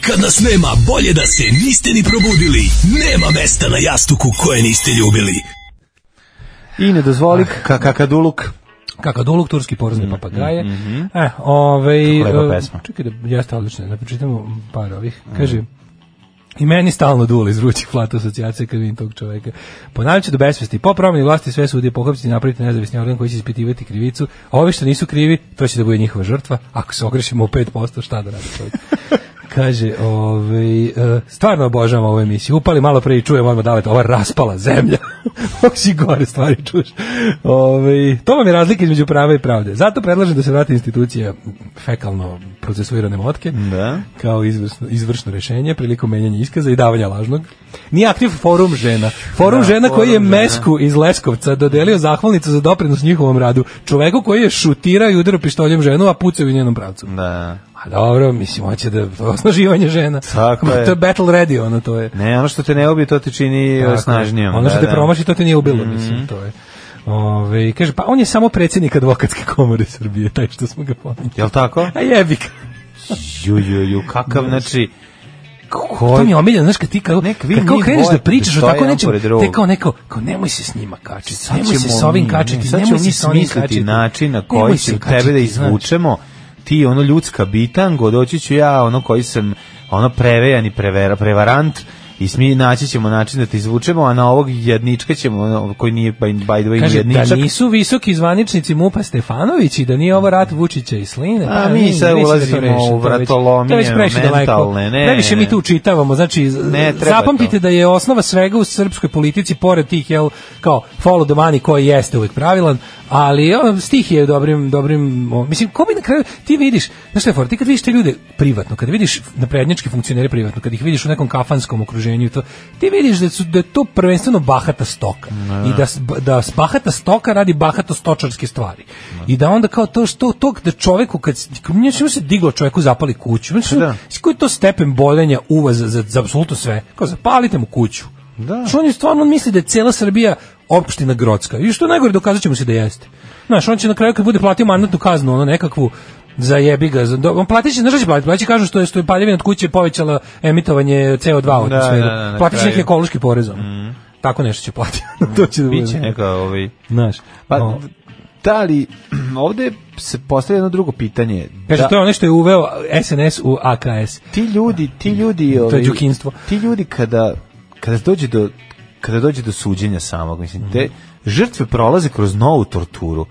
Kad nas nema, bolje da se niste ni probudili. Nema mesta na jastuku koje niste ljubili.
I ne
Ah.
dozvoli ka- kakaduluk.
Kakav doluk, turski porazni papagaje. E, ovaj,
Kako Mm-hmm. lepa
e,
pesma. Mm-hmm.
Čekaj da jeste odlično, da pročitamo par ovih. Kaže, I meni stalno dule iz vrućih plata asocijacije kad vidim tog čoveka. Ponavljat ću do besvesti. Po promjeni vlasti sve sudije pohapsiti i napraviti nezavisni organ koji će ispitivati krivicu. A ovi što nisu krivi, to će da bude njihova žrtva. Ako se ogrešimo u 5%, šta da radi čovjek? Kaže, ovaj, e, stvarno obožavam ovu emisiju. Upali malo pre i čujem odmah da davete, ova raspala zemlja. Ovo si gore stvari čuješ. Ovaj, to vam je razlika između prava i pravde. Zato predlažem da se vrati institucija fekalno procesuirane motke
Da.
kao izvrsno, izvršno rešenje prilikom menjanja iskaza i davanja lažnog. Nije aktiv forum žena. Forum
Da,
žena koji je
Forum žena.
Mesku iz Leskovca dodelio zahvalnicu za doprinos njihovom radu. Čoveku koji je šutirao i udarao pištoljem ženu, a pucao je u njenom pravcu.
Da.
A dobro, mislim, hoće da to je osnaživanje žena.
Tako je.
To je battle ready, ono to je.
Ne, ono što te ne ubije, to te čini
Tako
Tako,
je.
snažnijom.
Ono što
da,
te
da.
promaši, to te nije ubilo, mislim, to je. Ove, i kaže, pa on je samo predsjednik advokatske komore Srbije, taj što smo ga pominjali.
Jel tako?
A jebi ga.
Ju, ju, ju, kakav, znači...
To
Koji
mi je omiljeno, znaš, kad ti kao,
Nek vi
kad kao
njih
kreneš da
dvoje
pričaš o
stoje
tako
jedan
nečem,
pored
te
drugog.
kao neko, kao nemoj se s njima kačiti,
Sad
nemoj se
ćemo
s ovim
mi, ne,
kačiti,
sad
nemoj
ćemo mi
se s ovim
smisliti
kačiti.
način na koji
Nemoj se
će
kačiti,
tebe da
znaš.
izvučemo. Ti ono ljudska bitango, doći ću ja ono koji sam ono prevejan i prevera, prevarant i smi, naći ćemo način da te izvučemo, a na ovog jednička ćemo, ono, koji nije by, by the way
Kaže,
jedničak.
da nisu visoki zvaničnici Mupa Stefanović i da nije ovo rat Vučića i Sline.
A mi sad
mislim da to
ulazimo
rešimo, to je
u
već-
vratolomije
to je već previše daleko.
mentalne, ne,
Previše
ne,
mi
ne.
tu učitavamo, znači,
Ne, treba
zapamtite
to.
da je osnova svega u srpskoj politici, pored tih, jel, kao follow the money koji jeste uvijek pravilan, ali o, stih je dobrim, dobrim, o, mislim, ko bi na kraju, ti vidiš, znaš šta je fora, ti kad vidiš te ljude privatno, kad vidiš naprednjačke funkcionere privatno, kad ih vidiš u nekom kafanskom okruženju, i to, ti vidiš da, su, da je to prvenstveno bahata stoka i da, s- da s- bahata stoka radi bahato stočarske stvari. I da onda kao to što tog da čoveku kad s- kad mu se diglo čoveku zapali kuću. Znači,
da.
s koji je to stepen bolenja uva za, za, za apsolutno sve? Kao zapalite mu kuću.
Da.
Što on je stvarno on misli da je cijela Srbija opština Grocka. I što je najgore dokazat ćemo se da jeste. Znaš, on će na kraju kad bude platio mandatnu kaznu, ono nekakvu za jebi ga. Za, do- on platit će, znaš šta će platiti? Platit će, kažu što je, što je paljevina od kuće povećala emitovanje CO2 u
Da,
atmosferu.
da, da, na
platit će neki
kraju. Mhm.
ekološki porezom. Tako nešto će platiti. to će da bude.
Biće neka ovaj...
Znaš,
Pa,
o.
da li, ovde se postavlja jedno drugo pitanje.
Kaže,
da,
to je ono što je uveo SNS u AKS.
ti ljudi, ti ljudi,
To je
ovaj,
đukinstvo.
Ti ljudi kada kada dođe do kada dođe do suđenja samog, mislim, te
Mhm.
žrtve prolaze kroz novu torturu.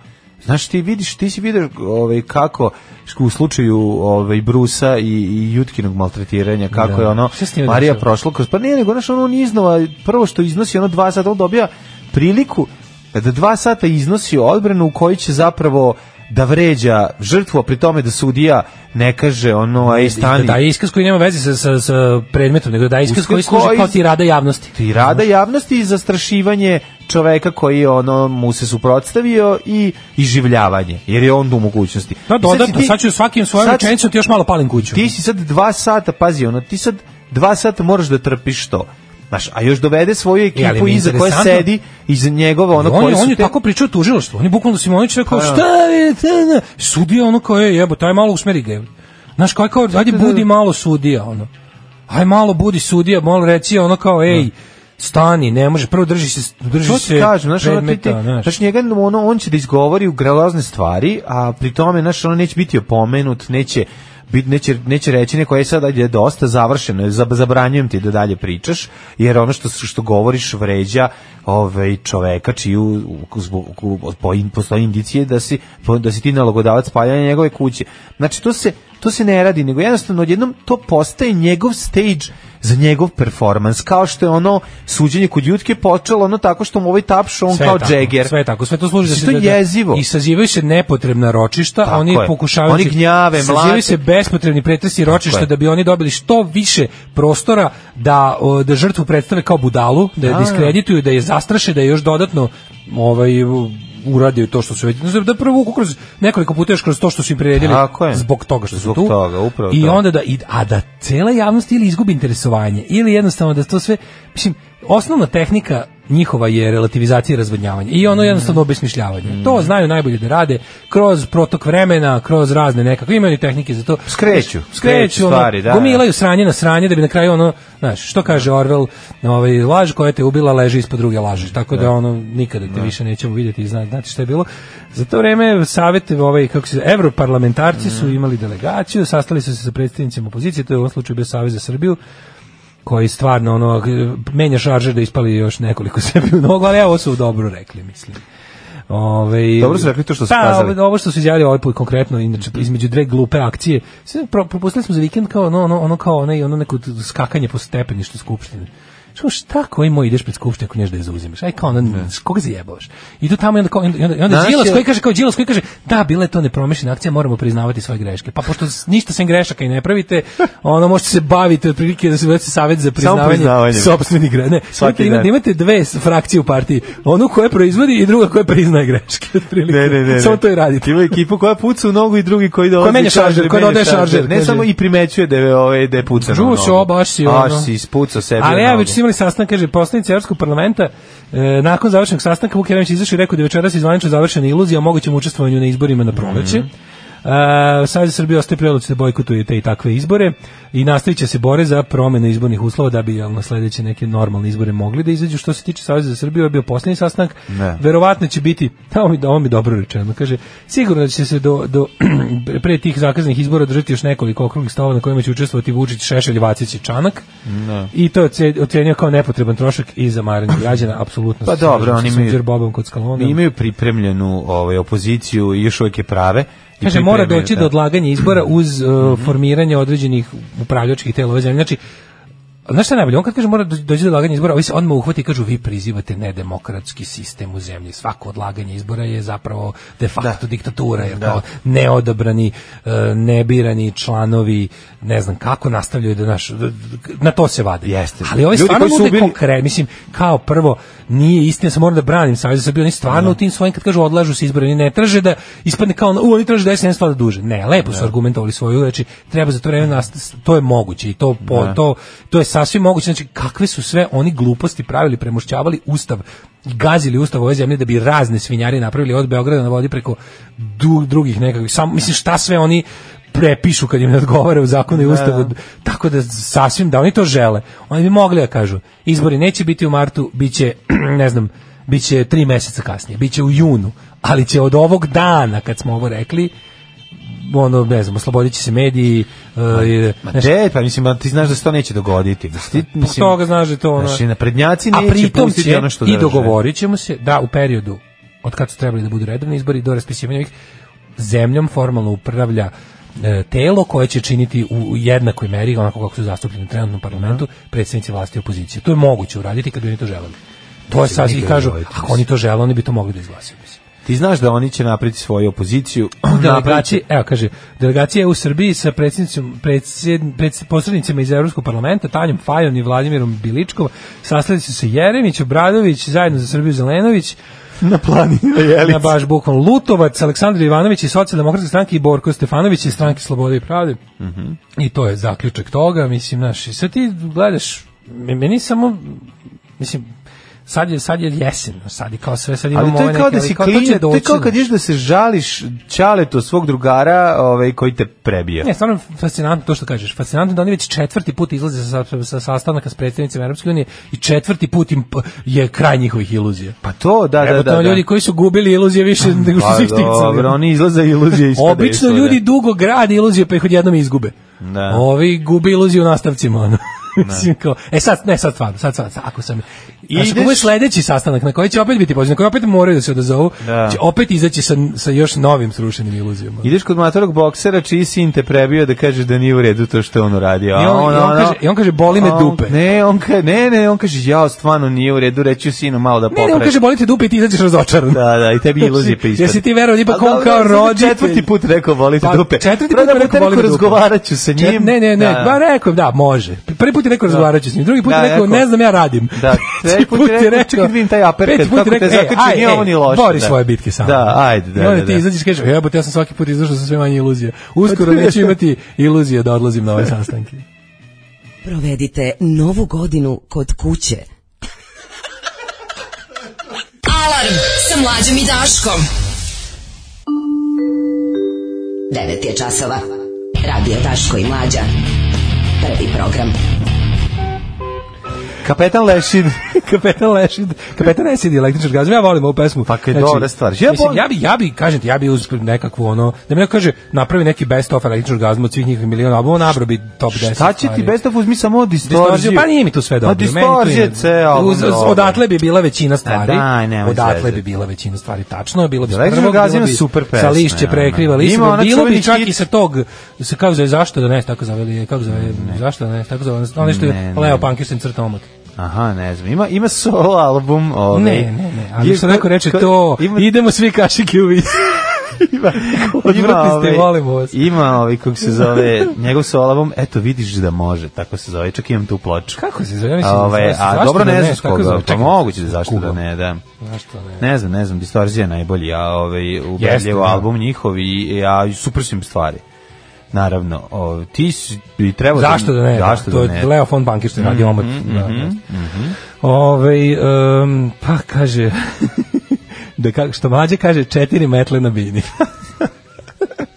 Znaš, ti vidiš, ti si vidio ovaj, kako š- u slučaju ovaj, Brusa i, i Jutkinog maltretiranja, kako
Da.
je ono,
Šta se njima
Marija
dešava?
prošla kroz, pa nije nego, znaš, ono on iznova, prvo što iznosi, ono dva sata, on dobija priliku da dva sata iznosi odbranu u kojoj će zapravo da vređa žrtvu, a pri tome da sudija ne kaže ono, ej, stani,
Da, da iskaz koji nema veze sa, sa, sa predmetom, nego da iskaz
Iskaz
koji služi
koji-
kao tirada javnosti.
i rada javnosti i zastrašivanje čoveka koji je ono mu se suprotstavio i iživljavanje jer je on u mogućnosti.
Da,
I sad si
dodatno,
ti-
sad ću svakim svojom
sad si-
rečenicom ti još malo palim kuću.
Ti si sad dva sata, pazi, ono, ti sad dva sata moraš da trpiš to. Znaš, a još dovede svoju
E, ali
ekipu
mi je
iza koja
interesantno-
sedi, iza njegova, ono,
on,
koji
je,
su
on je
te-
tako pričao tužilaštvu. On je bukvalno Simonić rekao,
Pa, da.
šta je, ta, na. sudija ono kao je, jebo, taj malo usmeri ga. jebote. Znaš, kao je kao, ajde
da,
budi malo sudija, ono. Aj malo budi sudija, malo reci, ono kao, ej, stani, ne može, prvo drži se, drži
Da. To ti
se
kažem, znaš, ono, ti, pa ti,
predmeta, znaš.
znaš, njega, ono, on će da izgovori u grelozne stvari, a pri tome, znaš, ono, neće biti opomenut, neće, bit, neće, neće reći neko, je sad je dosta završeno, zab- zabranjujem ti da dalje pričaš, jer ono što, što govoriš vređa ovaj, čoveka čiju u- zbog- u- po- postoje indicije da si, da si ti nalogodavac spaljanja njegove kuće. Znači, to se, To se ne radi, nego jednostavno odjednom to postaje njegov stage za njegov performans, kao što je ono suđenje kod Jutke počelo ono tako što mu ovaj tapšo, on
Sve
kao
je tako,
Jagger.
Sve je tako, sve to služi da
Mislim,
se
to je
da- da-
jezivo.
I sazivaju se nepotrebna ročišta,
Tako
oni
je.
pokušavaju
Oni gnjave, mlate.
Sazivaju se bespotrebni pretresi ročišta
je.
da bi oni dobili što više prostora da o, da žrtvu predstave kao budalu, da je
Da.
diskredituju, da je zastraše, da je još dodatno ovaj u- urade to što su već da provuku kroz nekoliko puta još kroz to što su im priredili
Tako je.
zbog toga što
Zbog
su tu
toga, upravo
i
to.
onda da i, a da cela javnost ili izgubi interesovanje ili jednostavno da to sve mislim osnovna tehnika njihova je relativizacija i razvodnjavanje i ono jednostavno obesmišljavanje. To znaju najbolje da rade kroz protok vremena, kroz razne nekakve imaju oni tehnike za to.
Skreću,
Znaš,
skreću
ono,
stvari, da,
Gomilaju sranje na sranje da bi na kraju ono, znaš, što kaže Orwell, ovaj laž koja te ubila leži ispod druge laži. Tako da ono nikada te više nećemo vidjeti i znati znate šta je bilo. Za to vreme savet ovaj kako se evroparlamentarci su
Mm.
imali delegaciju, sastali su se sa predstavnicima opozicije, to je u ovom slučaju bio Savez za Srbiju koji stvarno ono menja šaržer da ispali još nekoliko sebi u nogu, ali evo, ovo su dobro rekli, mislim. Ove,
Dobro su rekli to što su kazali.
ovo što su izjavili ovaj put konkretno, inače,
Da.
između dve glupe akcije, sve pro, propustili smo za vikend kao ono, ono, ono kao ono, ono neko t- skakanje po stepeništu skupštine. Što šta koji moj ideš pred skupštinu ako nešto da je zauzimaš? Aj kao ono, koga zajebavaš? Idu tamo i onda, kao, i onda, i onda, i onda
Naš
Đilas
je-
koji kaže kao Đilas koji kaže da bila je to nepromišljena akcija, moramo priznavati svoje greške. Pa pošto s- ništa sem grešaka i ne pravite, ono možete se baviti otprilike da se uvete savjet za priznavanje
priznavanjem.
sopstvenih grešaka. Ne,
Svaki
imate,
dan.
imate dve s- frakcije u partiji, onu koja proizvodi i druga koja priznaje greške. otprilike.
Ne, ne, ne, ne.
Samo to i radite.
Ima ekipu koja puca u nogu i drugi koji dolazi.
menja
i kaže,
šaržer, koja
menja
dodaje šaržer,
Ne
kaže.
samo i primećuje da je, ovaj, da je puca
Čuo se, o, baš si, ono.
Baš si ispucao sebi
Ali
u
ja
nogu.
već su imali sastanak, kaže, poslanici Evropskog parlamenta, e, nakon završenog sastanka, Vuk Jeremić izašao i rekao da je večeras izvanično završena iluzija o mogućem učestvovanju na izborima na proleće. Mm
Mhm.
-hmm. Savjez Srbije ostaje pri odluci da bojkotuje te i takve izbore i nastavit će se bore za promjene izbornih uslova da bi jel, na sledeće neke normalne izbore mogli da izađu. Što se tiče Savjeza za Srbiju, ovo je bio posljednji sastanak.
Ne.
Verovatno će biti, ovo mi, ovo mi je dobro rečeno, kaže, sigurno da će se do, do pre tih zakaznih izbora držati još nekoliko okruglih stolova na kojima će učestvovati Vučić, Šešelj, Vacić i Čanak.
Mhm.
I to je oce- ocenio kao nepotreban trošak i zamaranje građana, apsolutno.
Pa
se
dobro,
slažem
oni
sa
imaju-
Đerbobom kod Skalona.
imaju pripremljenu ovaj, opoziciju i još uvijek je prave. I
Kaže, mora
pripremljaju,
doći
da. Mhm.
do odlaganja izbora uz e, formiranje određenih upravljačkih tela ove zemlje. Znači, Znaš šta je najbolje? On kad kaže mora do- doći do odlaganja izbora, ovi se odmah uhvati i kažu vi prizivate nedemokratski sistem u zemlji. Svako odlaganje izbora je zapravo
Da.
de facto diktatura, jer kao neodabrani, e, nebirani članovi, ne znam kako, nastavljaju da naš... da- Na to se vade.
Jeste.
Ali ovi
Ljudi
stvarno
koji su
nude
ubili-
konkre- mislim, kao prvo, nije istina, se moram da branim Savez za Srbiju, oni stvarno u tim svojim, kad kažu odlažu se izbori, oni ne traže da ispadne kao, ono, u, oni traže da SNS vlada duže. Ne, lepo su argumentovali svoju, znači, treba za to vreme, nas, to je moguće i to, po, to, to je sasvim moguće, znači, kakve su sve oni gluposti pravili, premošćavali Ustav, i gazili Ustav ove zemlje da bi razne svinjari napravili od Beograda na vodi preko du- drugih nekakvih, samo, mislim, šta sve oni prepišu kad im ne odgovara u zakonu i ustavu. Tako da sasvim da oni to žele. Oni bi mogli da kažu izbori neće biti u martu, biće ne znam, biće tri meseca kasnije, biće u junu, ali će od ovog dana kad smo ovo rekli ono, ne znam, oslobodit će se mediji, uh, i-
Ma
znaš,
de, pa mislim, a ti znaš da se to neće dogoditi. Mislim, ti,
Zbog
mislim,
toga znaš da je to ono...
Znači, naprednjaci
A
neće
pritom
pustiti
će,
ono što
i
drže.
dogovorit ćemo se da u periodu od kad su trebali da budu redovni izbori do raspisivanja ovih, zemljom formalno upravlja e, telo koje će činiti u- u jednakoj meri, onako kako su zastupljeni u trenutnom parlamentu,
Mhm.
predstavnici vlasti i opozicije. To je moguće uraditi kad bi oni to želeli. To je
Mislim,
sasvim,
nikad
kažu,
ne dogoditi,
ako oni to žele, oni bi to mogli da izglasaju. mislim.
Ti znaš da oni će napraviti svoju opoziciju. napravit će-
Da, Delegacije, evo kaže, delegacija u Srbiji sa predsjednicom predsjed, preds- posrednicima iz Evropskog parlamenta, Tanjom Fajon i Vladimirom Biličkom, sastali su se Jeremić, Obradović, zajedno za Srbiju Zelenović,
na planinu Jelice.
na baš bukvalno Lutovac, Aleksandar Ivanović i socijaldemokratske stranke i Borko Stefanović iz stranke Slobode i Pravde.
Mhm.
I to je zaključak toga, mislim, znaš, i sad ti gledaš, me- meni samo, mislim, sad je, sad je jesen, sad je kao sve, sad imamo
Ali to je
ove
kao
neke,
da
ali
si
kao to će
klinac, to je
doći,
kao kad
znaš.
ješ da se žališ čaletu svog drugara ovaj, koji te prebija.
Pa Ne, stvarno fascinantno to što kažeš. Fascinantno je da oni već četvrti put izlaze sa, sa, sa sastanaka s predstavnicima Europske unije i četvrti put im p- je kraj njihovih iluzija.
Pa to, da, da,
Evo
da.
to
da.
ljudi koji su gubili iluzije više nego što
Pa
su ih
dobro,
ticali.
oni izlaze iluzije iz da.
Obično
podesa,
ljudi dugo grade iluzije pa ih odjednom izgube.
Da.
Ovi gube iluziju u nastavcima. Ono. Mislim kao, e sad, ne, sad stvarno, sad, sad, sad, ako sam
I
Znači,
ideš-
ovo je sledeći sastanak na koji će opet biti poziv, na koji opet moraju da se odazovu,
Da.
će opet izaći sa, sa još novim srušenim iluzijama.
Ideš kod matorog boksera čiji sin te prebio da kažeš da nije u redu to što je on uradio. a
I on- i on
da, ono-
kaže- i on kaže, "Boli me
a on-
dupe."
Ne, on ka, ne, ne, on kaže ja stvarno nije u redu, reći ću sinu malo da
Ne,
popravi.
ne, on kaže bolite dupe i ti izađeš razočaran.
Da, da, i tebi iluzije pa ispade.
Jesi ti verovao, ipak
A
on
dobro,
kao
sad je
roditelj.
da, Četvrti put rekao volite
Pa,
dupe.
Četvrti
Prvi
put
put
je rekao
rekao,
volim dupe.
razgovarat ću sa
Čet-
njim.
Ne, ne, ne,
Da.
pa rekao, da, može. Prvi put je rekao razgovarat ću s njim, drugi put
Da,
je rekao,
rekao-
ne znam, ja radim.
Da, treći put je rekao, čekaj, vidim taj uppercut,
peti put je
kako te
rekao, e,
zakači,
aj,
nije
ej,
ovo ni loše,
Bori
da.
svoje bitke sam.
Da, ajde, da,
I onda
da,
ti
da.
izađeš i kažeš, jebote, ja sam svaki put izašao sa sve manje iluzije.
Pa
Uskoro neću imati iluzije da odlazim na ove sastanke.
Provedite novu godinu kod kuće.
Alarm sa mlađom i Daškom.
9 je časova. Radio Daško i Mlađa. Prvi program.
Kapetan Lešin.
Kapetan Lešin, kapetan Esid i električar gazom, ja volim ovu pesmu.
Pa kad je dobra stvar. Ja
Ja, mislim,
volim-
ja bi, ja bi, kažem ti, ja bi uz nekakvu ono, da mi neko kaže, napravi neki best of električar gazom od svih njihovih miliona albuma, nabro bi top 10
Šta će ti
stvari.
best of uzmi samo distorziju?
Distorziju, pa nije mi tu sve dobro.
Ma distorzije ceo.
Uz, uz, odatle bi bila većina stvari.
E, daj, nemoj
odatle
zezati.
bi bila većina stvari. Tačno, bilo bi
Električna
strvog, bilo
gazina
bi
super pesma,
Sa lišće
ono.
prekriva lišće.
Ima ona
Bilo
čuveni
bi čak
hit.
i sa tog, se kako zove, zašto da ne, tako zove, ili kako zove, zašto da ne, tako zove, ono nešto
Ne,
je
ne.
Leo Pankirsen crta omot.
Aha, ne znam. Ima, ima solo album. Ovaj.
Ne, ne, ne, ali
Je-
što neko reče
ko-
to,
Ima,
idemo svi kašike u vis. Odvrtni ste,
ovaj,
volimo vas.
Ima ovaj, kako se zove, njegov solo album, eto vidiš da može, tako se zove, čak imam tu ploču.
Kako se zove? Ja mislim da se
Ove,
zove,
Ovaj, a
zašto
dobro
da
ne
ne,
znam s
tako
koga,
zove,
pa
čekaj.
moguće da zašto
Kuga.
da ne, da.
Zašto ne?
Ne znam, ne znam, Distorzija je najbolji, a ovaj,
Jeste,
ubedljivo
da.
album njihov i a super su im stvari. Naravno, o, ti si, bi trebao...
Zašto da ne?
Zašto
to
da ne? Mhm,
je Leo von Bankir što je radio omot. Da, da. Ovaj, em, pa kaže, da ka, što mlađe kaže, četiri metle na bini.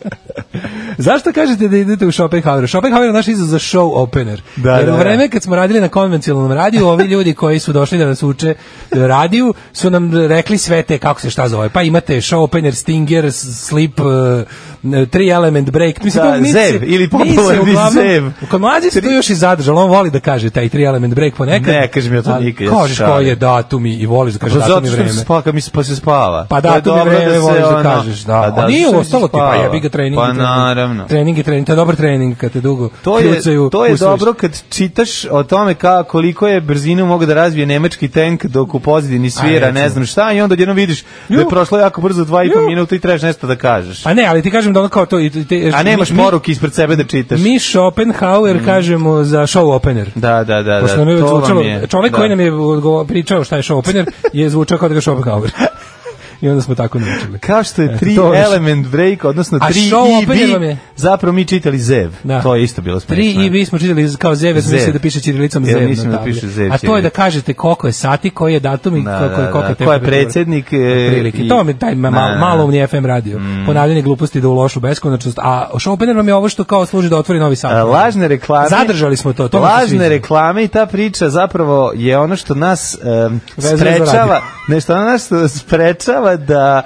Zašto kažete da idete u Schopenhauer? Schopenhauer je naš izaz za show opener.
Da,
Jer
da,
u
da.
vreme kad smo radili na konvencionalnom radiju, ovi ljudi koji su došli da nas uče radiju su nam rekli sve te kako se šta zove. Pa imate show opener, stinger, s- slip, eh, three element break. Mislim,
Da,
to niti se-
zev ili
niti se
popularni
uglavnom-
zev.
Kod mlađe se to još i zadržalo, on voli da kaže taj three element break ponekad.
Ne, kažem ja to
Ali
nikad, ja se
Kažeš koji
šalim.
je datum i i voliš da kažeš datum
Pa zato
i
što mi
vreme.
se spava, kad mi se, pa se spava.
Pa
To je
da, to mi
dobro
vreme
se,
voliš da
ono,
kažeš, da.
pa
A nije
što mi se
ostalo ti, pa
spava?
jebi ga trening. i
Pa
trening.
naravno.
Trening je trening, to je dobar trening kad te dugo
To je,
kljucaju
to je
u svoj-
dobro kad čitaš o tome ka, koliko je brzinu mogu da razvije nemački tank dok u pozadini svira,
recimo.
ne znam šta, i onda odjednom vidiš da je
Ju.
prošlo jako brzo dva i po
Ju.
minuta i trebaš nešto da kažeš.
Pa ne, ali ti kažem da ono kao to... i Te,
A nemaš
mi-
poruke ispred sebe da čitaš.
Mi Schopenhauer kažemo za show opener.
Da, da, da,
Pošto
da,
nam je
to vam
zvučalo,
je,
čovjek
da.
koji nam je odgovo- pričao šta je show opener je zvučao kao da ga je Schopenhauer. I onda smo tako naučili.
Kao što je
Eto,
tri
to je što-
element break, odnosno
A
tri
show opener vam
EB,
je.
zapravo mi čitali zev.
Da.
To je isto bilo smešno.
Tri i mi smo čitali iz- kao zev, jer smo
Zev.
mislili da piše čirilicom
Jer
zev. na
mislim da
tabli.
piše zev
A to je da
ćirilica.
kažete koliko je sati, koji je datum i
Da,
koliko je
da,
koliko
da.
je
Ko je
temperatura.
predsjednik, e,
Otprilike.
i-
To mi taj ma,
Da, da, da.
malo umni FM radio.
Mm.
Ponavljanje gluposti da u lošu beskonačnost. A Schopenhauer vam je ovo što kao služi da otvori novi sat.
A, lažne reklame.
Zadržali smo to, to mi se
lažne
sviđa.
reklame i ta priča zapravo je ono što nas em,
Vezuje za
sprečava,
radio.
nešto ono nas što sprečava da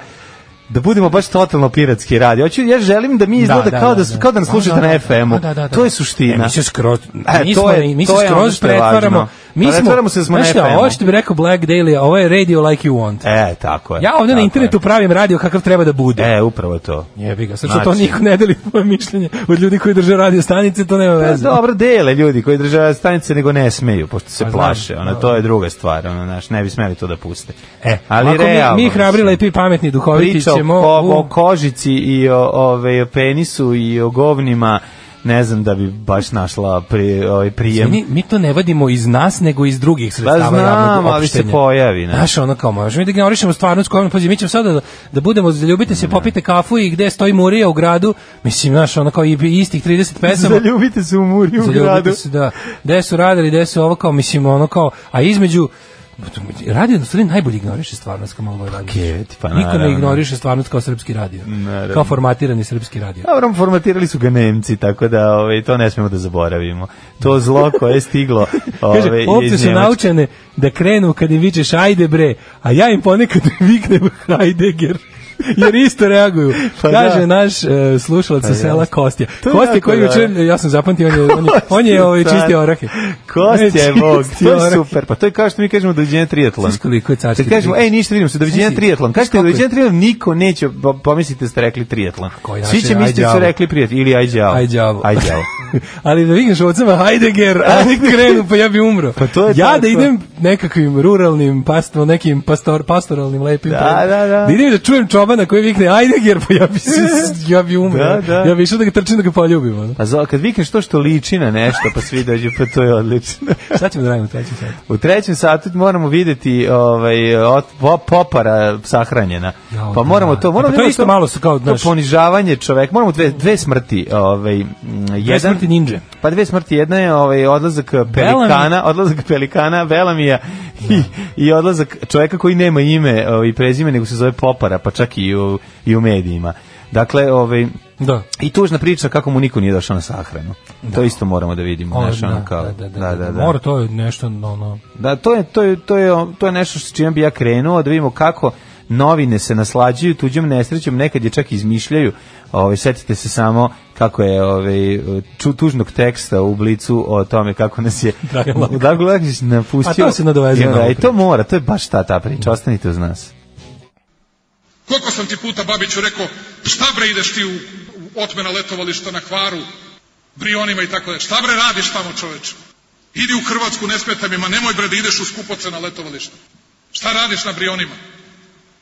da budemo baš totalno piratski radio. Hoću ja želim da mi izgleda kao da, kao da nas slušate na FM-u.
Da, da, da, da.
To je suština.
E, mi se skroz,
E,
mi
to
smo,
je-
mi se
to je ono
skroz
što je
pretvaramo.
važno.
Mi smo,
Pretvaramo se da smo
znaš
na
šta,
FM-u.
ovo što bi rekao Black Daily, ovo je radio like you want.
E, tako je.
Ja ovdje
Tako
na
je.
internetu pravim radio kakav treba da bude.
E, upravo to.
Jebi ga, sad što to
Znači-
niko ne deli moje mišljenje od ljudi koji drže radio stanice, to nema
Pa,
veze.
dobro dele ljudi koji drže stanice nego ne smeju pošto se
Pa, znam,
plaše. Ona to je druga stvar, ona naš ne bi smeli to da puste.
E,
ali
ovako
realno.
mi, mi hrabri,
mislim.
lepi, i pametni, duhoviti
priča o,
ćemo...
ko-
u-
o kožici i o, ove, o penisu i o govnima, ne znam da bi baš našla pri, ovaj, prijem.
Mi, mi to ne vadimo iz nas, nego iz drugih sredstava
Pa znam,
javnog
ali
opštenja.
se pojavi, ne.
Znaš, ono kao možemo mi da ignorišemo stvarnost kojom pođe, mi ćemo sada da, da budemo, zaljubite se, popite kafu i gde stoji Murija u gradu, mislim, znaš, ono kao i istih 30 pesama.
Zaljubite se u muri u
Zaljubite
gradu.
se, da. Gde su radari, gde su ovo kao, mislim, ono kao, a između, Radio na stvari najbolje ignoriše stvarnost kao malo radio.
Paket, pa
Niko ne
naravno.
ignoriše stvarnost kao srpski radio.
Naravno.
Kao formatirani srpski radio.
Dobro, formatirali su ga Nemci, tako da ovaj, to ne smemo da zaboravimo. To zlo koje je stiglo ovaj,
Kaže,
iz
ovce su
Njemačke.
naučene da krenu kad im vičeš ajde bre, a ja im ponekad viknem Heidegger. jer isto reaguju.
Pa
Kaže
da. Pa
naš e, slušalac sa sela Kostija.
To je
Kostija
jako
koji juče, ja sam zapamtio, on je, on je, on je ovaj, čistio orahe.
Kostja je bog,
Čistio
to je
orahe.
super. Pa to je kao što mi kažemo doviđenja triatlon.
Znaš koliko je carski
Kad kažemo,
trik?
ej, ništa, vidimo se, doviđenja
Znaš ti-
triatlon.
znaš
Kažete,
koliko je-
doviđenja triatlon, niko neće, pa- pomislite ste rekli triatlon.
koji
Svi će
način, aj
misliti da su
đavo.
rekli prijatelj, ili aj djavo.
Aj đavo.
Aj đavo.
Ali da vikneš ovcama Heidegger, a oni krenu, pa ja bi umro.
Pa to je
ja
tako.
da idem nekakvim ruralnim, pasto, nekim pastor, pastoralnim lepim.
Da,
predom,
da, da.
Da idem i da čujem čobana koji vikne Heidegger, pa ja bi, se, ja bi umro.
Da, da.
Ja bi išao da ga trčim da ga poljubim. ono.
Pa zo, kad vikneš to što liči na nešto, pa svi dođu, pa to je odlično.
Šta ćemo da radimo u trećem satu?
U trećem satu moramo vidjeti ovaj, od, po- popara sahranjena.
Jao,
pa moramo
da.
to... Moramo
E, pa to je isto malo su kao,
to
znaš-
ponižavanje čovek. Moramo dve, dve smrti. Ovaj, m, jedan,
smrti ninđe.
Pa dve smrti. Jedna je ovaj, odlazak pelikana, odlazak pelikana, Velamija
Da.
i, i odlazak čoveka koji nema ime ovaj, i prezime, nego se zove popara, pa čak i u, i u medijima. Dakle, ovaj,
Da.
i tužna priča kako mu niko nije došao na sahranu. To isto moramo da vidimo.
Ono,
znaš, ono kao-
da, da, da, da, da, Mora to je nešto, ono,
da, to je, to je, to je, to je nešto s čime bi ja krenuo, da vidimo kako novine se naslađuju tuđom nesrećom, nekad je čak izmišljaju. Ove, setite se samo kako je ove, ču, tužnog teksta u Blicu o tome kako nas je
Dragan Laković.
Dragan Laković napustio.
A to se nadovezuje
I onda,
na ovu
I to
priču.
mora, to je baš ta ta priča, ostanite uz nas.
Koliko sam ti puta, Babiću, rekao, šta bre ideš ti u, u otmena letovališta na kvaru, brionima i tako da, šta bre radiš tamo čoveče? Idi u Hrvatsku, ne smeta mi, ma nemoj bre da ideš u skupoce na letovališta. Šta radiš na brionima?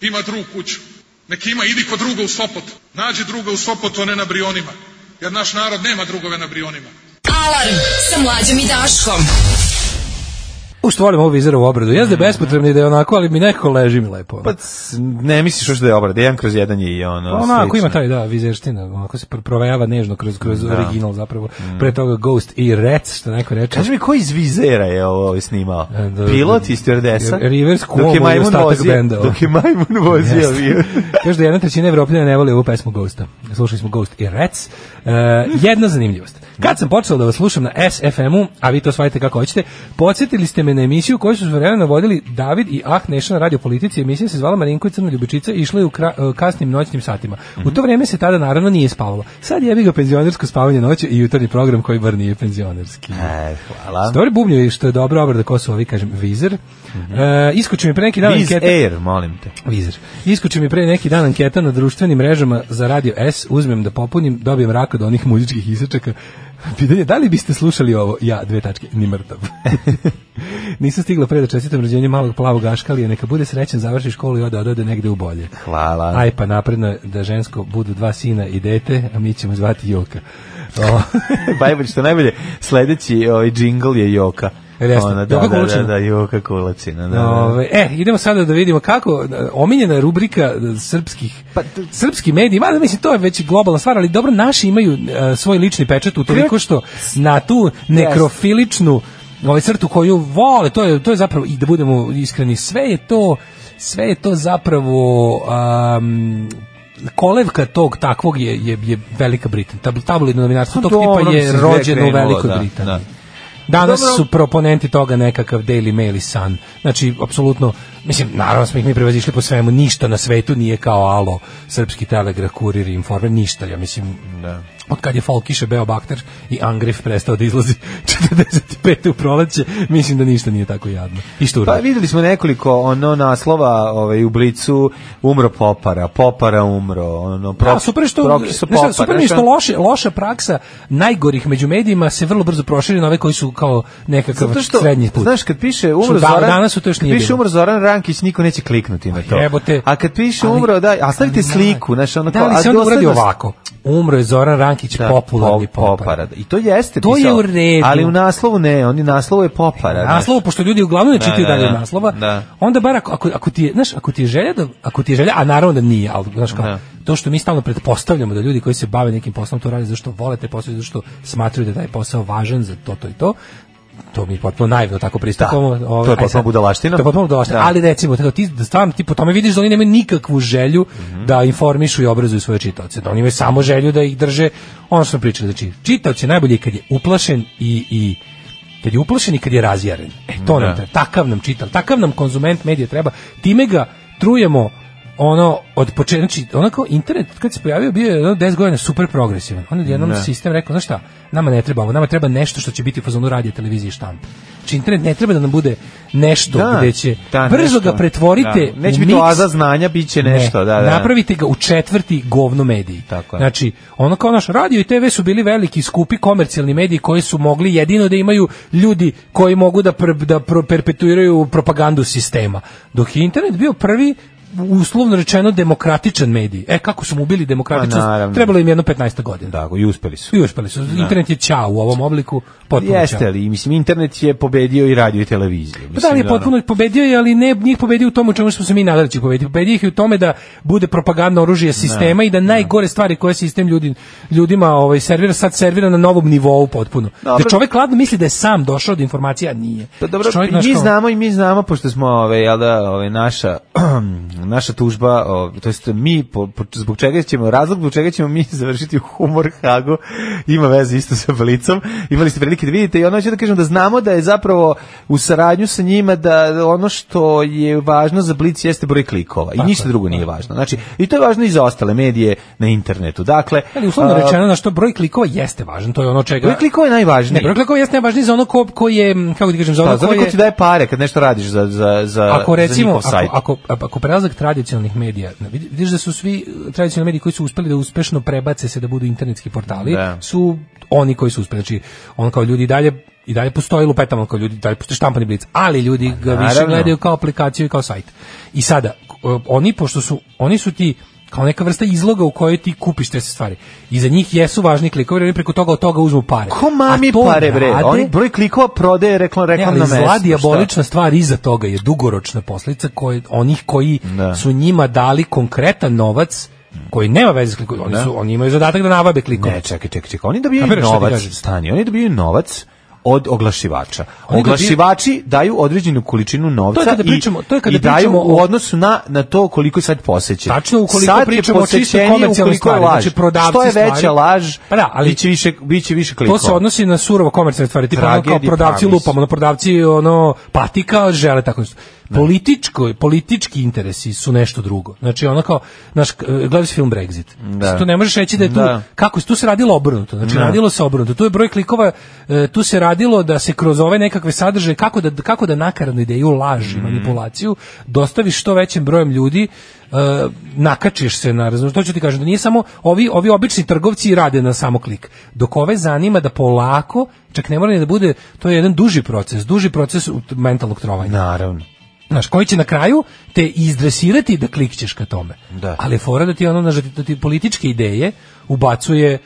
Ima drug kuću. Neki ima, idi kod druga u Sopot. Nađi druga u Sopotu, a ne na brionima. Jer naš narod nema drugove na brionima.
Alarm sa mlađom i Daškom.
U što volim ovu vizerovu obradu. Jeste da je bespotrebna i da je onako, ali mi nekako leži mi lepo. ono.
Mm. Pa c- ne misliš još da je obrada, jedan kroz jedan je i ono.
Pa onako
slično.
ima taj da vizerština, onako se pr- provejava nežno kroz kroz original zapravo. Pre toga Ghost i Rec, što neko reče.
Kaži mi, ko iz Vizera je ovo ovaj snimao?
E, da,
Pilot iz Stjordesa?
Rivers Cuomo
dok je
i
majmun
ostatak
vozio,
benda, ovo.
Dok je majmun vozio
Jeste.
avion.
Kaže da jedna trećina Evropljana ne voli ovu pesmu Ghosta. Slušali smo Ghost i Rec. E, jedna zanimljivost. Kad sam počeo da vas slušam na SFM-u, a vi to shvatite kako hoćete, podsjetili ste me na emisiju koju su svojevremeno vodili David i Ah Neša na radio politici. Emisija se zvala Marinko i Crna Ljubičica i išla je u kra- e, kasnim noćnim satima. U to vreme se tada naravno nije spavalo. Sad jebi ga penzionersko spavanje noću i jutarnji program koji bar nije penzionerski.
E, hvala.
Dobro bubnju i što je dobro obrada Kosova, vi kažem, vizer. E, iskoči mi pre neki dan
Mhm. Viz e,
anketa-
Air, molim te.
Vizer. Iskoči mi pre neki dan anketa na društvenim mrežama za Radio S, uzmem da popunim, dobijem rak od onih muzičkih isečaka. Pitanje, je, da li biste slušali ovo? Ja, dve tačke, ni mrtav. Nisam stigla pre da čestitam rođenje malog plavog aškalija, neka bude srećan, završi školu i ode, da ode, ode negde u bolje.
Hvala.
Aj pa napredno je da žensko budu dva sina i dete, a mi ćemo zvati Joka. O,
Bajbolj, što najbolje, sledeći ovaj džingl je Joka.
Jeste.
Ona, da,
Joka
da, da,
Kulačina.
da, Joka Kulačina. Da, da.
Ove, e, idemo sada da vidimo kako e, omiljena rubrika e, srpskih
Pa,
pa,
t-
srpski mediji, mada mislim to je već globalna stvar, ali dobro naši imaju e, svoj lični pečat u toliko što na tu nekrofiličnu ovaj crtu koju vole, to je to je zapravo i da budemo iskreni, sve je to sve je to zapravo um, kolevka tog takvog je je, je Velika Britanija. Tab, tabloidno novinarstvo tog
Pa dobro,
tipa je
mislim, sve
rođeno u
krenulo,
Velikoj
da,
Britaniji.
da.
Danas
Dobro.
su proponenti toga nekakav Daily Mail i Sun. Znači, apsolutno, mislim, naravno smo ih mi prevazišli po svemu, ništa na svetu nije kao alo, srpski telegraf, kurir i informer, ništa, ja mislim,
Da.
od kad je Folkiše beo bakter i Angref prestao da izlazi 45. u proleće, mislim da ništa nije tako jadno. I što
Pa
uradi?
videli smo nekoliko ono naslova ovaj, u Blicu, umro Popara, Popara umro, ono, pro,
Da, super je što,
proki su
ne
Popara.
znam, super mi je što
znaš,
loše, loša praksa najgorih među medijima se vrlo brzo proširi na ove koji su kao nekakav
Zato što,
srednji put.
znaš, kad piše
Što
umro
da-
Zoran,
danas su to još
kad
nije
piše
bilo.
umro Zoran Rankić, niko neće kliknuti na to.
Jebote.
A kad piše
Ali-
umro, daj, a stavite
ali
sliku,
mlađe,
znaš, ono
Da li se
a
onda uradi
dosledno-
ovako? Umro je Zoran Rankić,
Da,
popularni
pop-
popar.
popara. I to jeste
To je
pisao,
u redu.
Ali u naslovu ne, oni naslovu je popara. znaš.
Naslovo, pošto ljudi uglavnom ne
Da,
čitaju
da,
dalje od
da.
naslova,
Da.
onda bar ako, ako, ako ti je, znaš, ako ti je želja, da, ako ti je želja, a naravno da nije, ali znaš kao,
Da.
to što mi stalno pretpostavljamo da ljudi koji se bave nekim poslom to rade zato što vole taj posao, i zato što smatraju da je taj posao važan za to, to i to, to mi je potpuno naivno tako pristupamo.
Da,
ovaj,
to je
aj
potpuno
sad,
budalaština.
To je potpuno budalaština,
Da.
ali recimo, tako, ti, da stvarno, ti po tome vidiš da oni nemaju nikakvu želju da informišu i obrazuju svoje čitaoce, da oni imaju samo želju da ih drže, ono što smo pričali, znači, čitaoć je najbolji kad je uplašen i, i kad je uplašen i kad je razjaren. E, to
Da.
nam treba, takav nam čital, takav nam konzument medija treba, time ga trujemo ono od početka znači onako internet kad se pojavio bio je ono 10 godina super progresivan on je jednom
Ne.
sistem rekao znaš šta nama ne treba ovo nama treba nešto što će biti u fazonu radija televizije i štampe znači internet ne treba da nam bude nešto
Da,
gde će
da,
brzo
nešto.
ga pretvorite
Da. Neće
u
biti
mix-
oaza znanja, bit će nešto, da, da.
napravite ga u četvrti govno mediji
Tako je.
znači ono kao naš radio i TV su bili veliki skupi komercijalni mediji koji su mogli jedino da imaju ljudi koji mogu da pr- da pro- perpetuiraju propagandu sistema dok je internet bio prvi uslovno rečeno demokratičan medij. E kako su mu ubili
Pa,
demokratičnost?
naravno. Da.
Trebalo im jedno 15 godina.
Tako, i uspeli su.
I uspeli su. Internet je ćao u ovom obliku. Potpuno
Jeste
ćao.
li, mislim, internet je pobedio i radio i televiziju.
Pa da, ali je potpuno pobedio je, ali ne njih pobedio u tomu u čemu smo se mi nadali da će pobediti. Pobedio ih je u tome da bude propagandno oružje sistema i da najgore stvari koje sistem ljudi, ljudima ovaj, servira, sad servira na novom nivou potpuno.
Dobro.
Da čovek hladno misli da je sam došao do informacija, a nije.
Pa dobro,
Čovek,
i
znaš
mi
kao-
znamo i mi znamo pošto smo ove jel da ove naša naša tužba, ove, to jest mi po, po- zbog čega ćemo razlog zbog čega ćemo mi završiti u humor Hagu ima veze isto sa Blicom. Imali ste prilike da vidite i ono hoću da kažem da znamo da je zapravo u saradnju sa njima da ono što je važno za Blic jeste broj klikova i ništa drugo nije važno. Znači i to je važno i za ostale medije na internetu. Dakle,
Ali uslovno
a,
rečeno, na što broj klikova jeste važan, to je ono čega...
broj klikova je
Ne,
najvažniji.
broj klikova jeste najvažniji za ono ko, ko je, m, kako ti kažem, za ono
Pa, zato
ko
ko
je...
ti daje pare kad nešto radiš za, za, za,
ako
za
recimo
njihov sajt.
ako, ako ako prelazak tradicionalnih medija na- vidi- vidiš da su svi eh, tradicionalni mediji koji su uspeli da uspešno prebace se da budu internetski portali
Da.
su oni koji su uspeli znači on kao ljudi i dalje i dalje postoji lupetamo kao ljudi i dalje postoji štampani blic ali ljudi ga više
Pa naravno.
gledaju kao aplikaciju i kao sajt i sada k- eh, oni pošto su oni su ti kao neka vrsta izloga u kojoj ti kupiš te stvari. I za njih jesu važni klikovi, jer oni preko toga od toga uzmu pare.
Ko mami
A to
pare bre?
rade-
Oni broj klikova prodaje reklam
Ne,
reklam
E, ali
na
zla
mesto.
diabolična stvar iza toga je dugoročna posljedica koje, onih koji
Da.
su njima dali konkretan novac koji nema veze s klikom. Oni,
Da.
su, oni imaju zadatak da navabe
Šta?
klikom.
Ne, čekaj, čekaj, čekaj. Oni dobijaju
Kapiraš šta ti
novac,
kažem?
stani. Oni dobijaju novac od oglašivača.
Oni
Oglašivači daju određenu količinu novca
To je kada
i-
pričamo- to je kada
i daju
pričamo
u
o-
odnosu na, na to koliko je sad posećen.
Tačno ukoliko
sad je
pričamo o čisto
posećenije
komercijalnoj
ukoliko je
stvari,
laž.
znači prodavci
Što je veća
stvari-
laž,
Pa da, ali-
bit će više, bit će više klikova.
To se odnosi na surovo komercijalne stvari, tipa ono kao
Tragedije
prodavci
pravi
lupamo,
su.
ono prodavci ono patika žele tako nešto.
Da.
Političko, politički interesi su nešto drugo. Znači ono kao naš gledali ste film Brexit.
Da.
Tu ne možeš reći da je tu
Da.
kako se- tu se radilo obrnuto. Znači
Da.
radilo se obrnuto. Tu je broj klikova, e, tu se radilo da se kroz ove nekakve sadržaje kako da kako da nakaradnu ideju, laž i manipulaciju dostaviš što većem brojem ljudi e, nakačiš se na razumiješ to ću ti kažem da nije samo ovi ovi obični trgovci rade na samo klik dok ove zanima da polako čak ne mora ni da bude to je jedan duži proces duži proces ut- mentalnog trovanja
Naravno.
Znaš, koji će na kraju te izdresirati da klikćeš ka tome.
Da.
Ali je fora da ti ono, znaš, da ti- da ti političke ideje ubacuje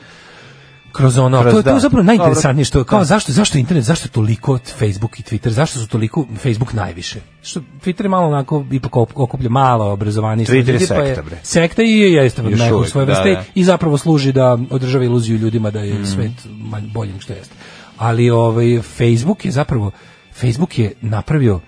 kroz ono,
Kroz,
to, je- to
da.
je zapravo najinteresantnije što je, kao zašto, zašto je internet, zašto je toliko Facebook i Twitter, zašto su toliko Facebook najviše? Što Twitter je malo onako ipak op- okuplja malo obrazovaniji
Twitter je
ljudi, pa
sekta, bre.
Sekta i je jeste
Još
neko
uvek,
svoje
da,
vrste
da.
i zapravo služi da održava iluziju ljudima da
Mm.
je svet manj, bolji nego što jeste. Ali ovaj Facebook je zapravo Facebook je napravio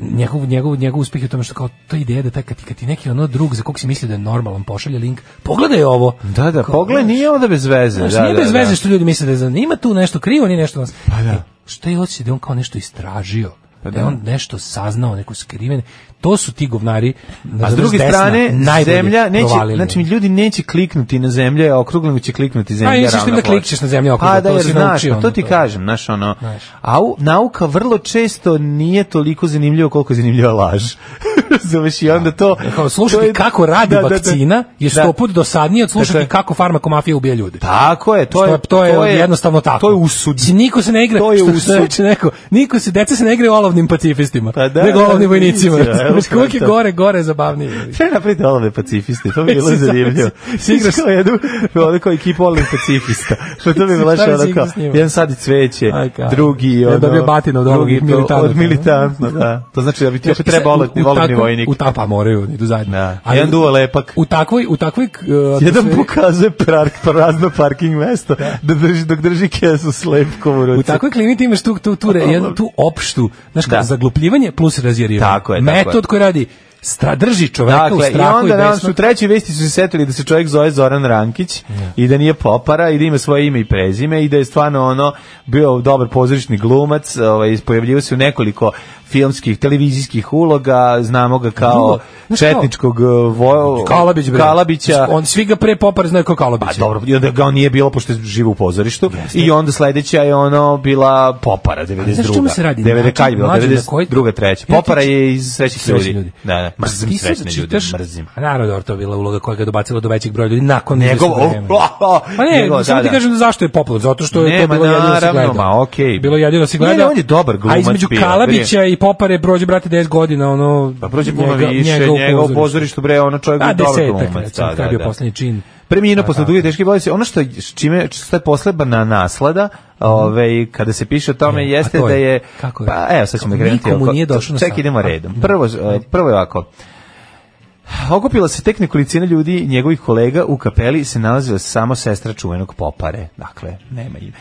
njegov, njegov, njegov uspjeh je u tome što kao ta ideja da taj, kad, ti- kad ti neki ono drug za kog si misli da je normalan pošalje link, pogledaj ovo.
Da, da,
Kao,
pogled nije onda bez veze.
Znaš,
da,
nije
da,
bez
da.
veze što ljudi misle da je zanima tu nešto krivo, nije nešto nas.
Pa da.
E, šta je hoće da je on kao nešto istražio?
Pa
da je
da.
on nešto saznao, neko skriven. To su ti govnari.
A
nazovimo
Pa s druge
desna,
strane,
najbolje
zemlja neće,
provalili.
znači ljudi neće kliknuti na zemlje, a okruglo nego će kliknuti zemlja.
A, i sistem
ravna
da
ploča.
klikćeš na zemlje okruglo,
Pa da,
to
jer
si
znaš,
naučio,
pa to
ono,
ti
to.
kažem, znaš, ono,
Znaš.
a u- nauka vrlo često nije toliko zanimljiva koliko je zanimljiva laž. Zoveš i onda to...
Da. E, Kao
to
slušati
je-
kako radi
Da, da, da.
vakcina je
Da.
sto put dosadnije od slušati
Dakle,
kako farmakomafija ubija ljude.
Tako je, to
Što
je,
to je, jednostavno tako.
To je usud.
Mislim, Niko se ne igra,
To je
što
usud.
se reče neko, niko se, deca se ne igraju olovnim pacifistima,
Pa da,
nego olovnim
da,
vojnicima.
vojnicima, evo
Znaš, Uvijek je
to.
gore, gore je zabavnije.
Treba napraviti olovne pacifiste, to bi bilo
Si
zanimljivo.
zamisli, si igraš-
kao jednu, ono kao ekipu olovnih pacifista. Što to bi bilo
Šta
što
bi
ono
si
kao,
igrao s njima?
jedan sadi cveće,
Aj, kao.
drugi,
Ja
ono,
dobio batinu od
drugi
olovnih
to-
militanata.
Od militantno, da. To znači da bi ti
Znaš,
opet treba
u-
olovni,
u
olovni
takvoj-
vojnik.
U ta, pa moraju, idu zajedno.
Da.
Ali
Jedan duva lepak.
U takvoj, u takvoj... k- uh,
Jedan
atmosferi-
pokazuje prak, prazno parking mesto, da drži, dok drži kesu s lepkom u ruci.
U takvoj klimi ti imaš tu, tu, tu, re- jednu tu opštu, znaš, kao
Da.
zaglupljivanje plus razjerivanje.
Tako je, tako
Metod
je.
koji radi stra, drži čoveka u
Dakle, i
strahu i,
onda nam
besno.
su u trećoj vesti su se setili da se čovjek zove Zoran Rankić i da nije popara i da ima svoje ime i prezime i da je stvarno ono bio dobar pozorišni glumac, ovaj pojavljivao se u nekoliko filmskih, televizijskih uloga, znamo ga kao
Drugo, znaš kao-
četničkog eh, vo...
Kalabić, bre.
Kalabića.
On svi ga pre popar znaju kao Kalabića.
Pa dobro, i onda ga on nije bilo pošto je živo u pozorištu. I onda sledeća je ono bila Popara 92.
znaš čemu se radi?
90
Način-
kad je bila,
mlađe, na
92.
koji-
treća.
Ja ti-
Popara je iz srećnih
Srećni
ljudi.
ljudi.
Da, da, mrzim
Ti sad
srećne ljude,
čitaš-
mrzim.
A naravno, dobro, to je bila uloga koja ga je dobacila do većeg broja ljudi nakon
Njegov,
izvesnog vremena. Pa ne,
njegov,
samo
Oh, da,
ti
da.
kažem da zašto je popularno, zato što je
Ne,
to
ma
bilo jedino da se
naravno,
gleda.
ma okej.
Bilo je jedino da se
Ne,
gleda.
ne, on je dobar
A
glumac
između
bio,
Kalabića i Popare prođe, brate, 10 godina, ono...
Pa prođe puno
njega-
više,
njega u
njega u pozorištu, bre, ono čovjek
A,
je dobar
desetak,
glumac,
recimo,
da,
kada
da,
je bio
da.
poslednji čin.
Preminuo
Pa
posle
tako.
duge teške bolesti. Ono što je- s čime što je poslebana naslada, ovaj kada se piše o tome
E, a
jeste
to je-
da je
kako je?
pa evo sad ćemo
Kako
krenuti.
nikomu
oko-
nije došlo na Pa, da.
Ček
sat.
idemo
A,
redom. Prvo eh, prvo je ovako. Okupila se tek nekolicina ljudi i njegovih kolega u kapeli se nalazila samo sestra čuvenog popare. Dakle, nema ime.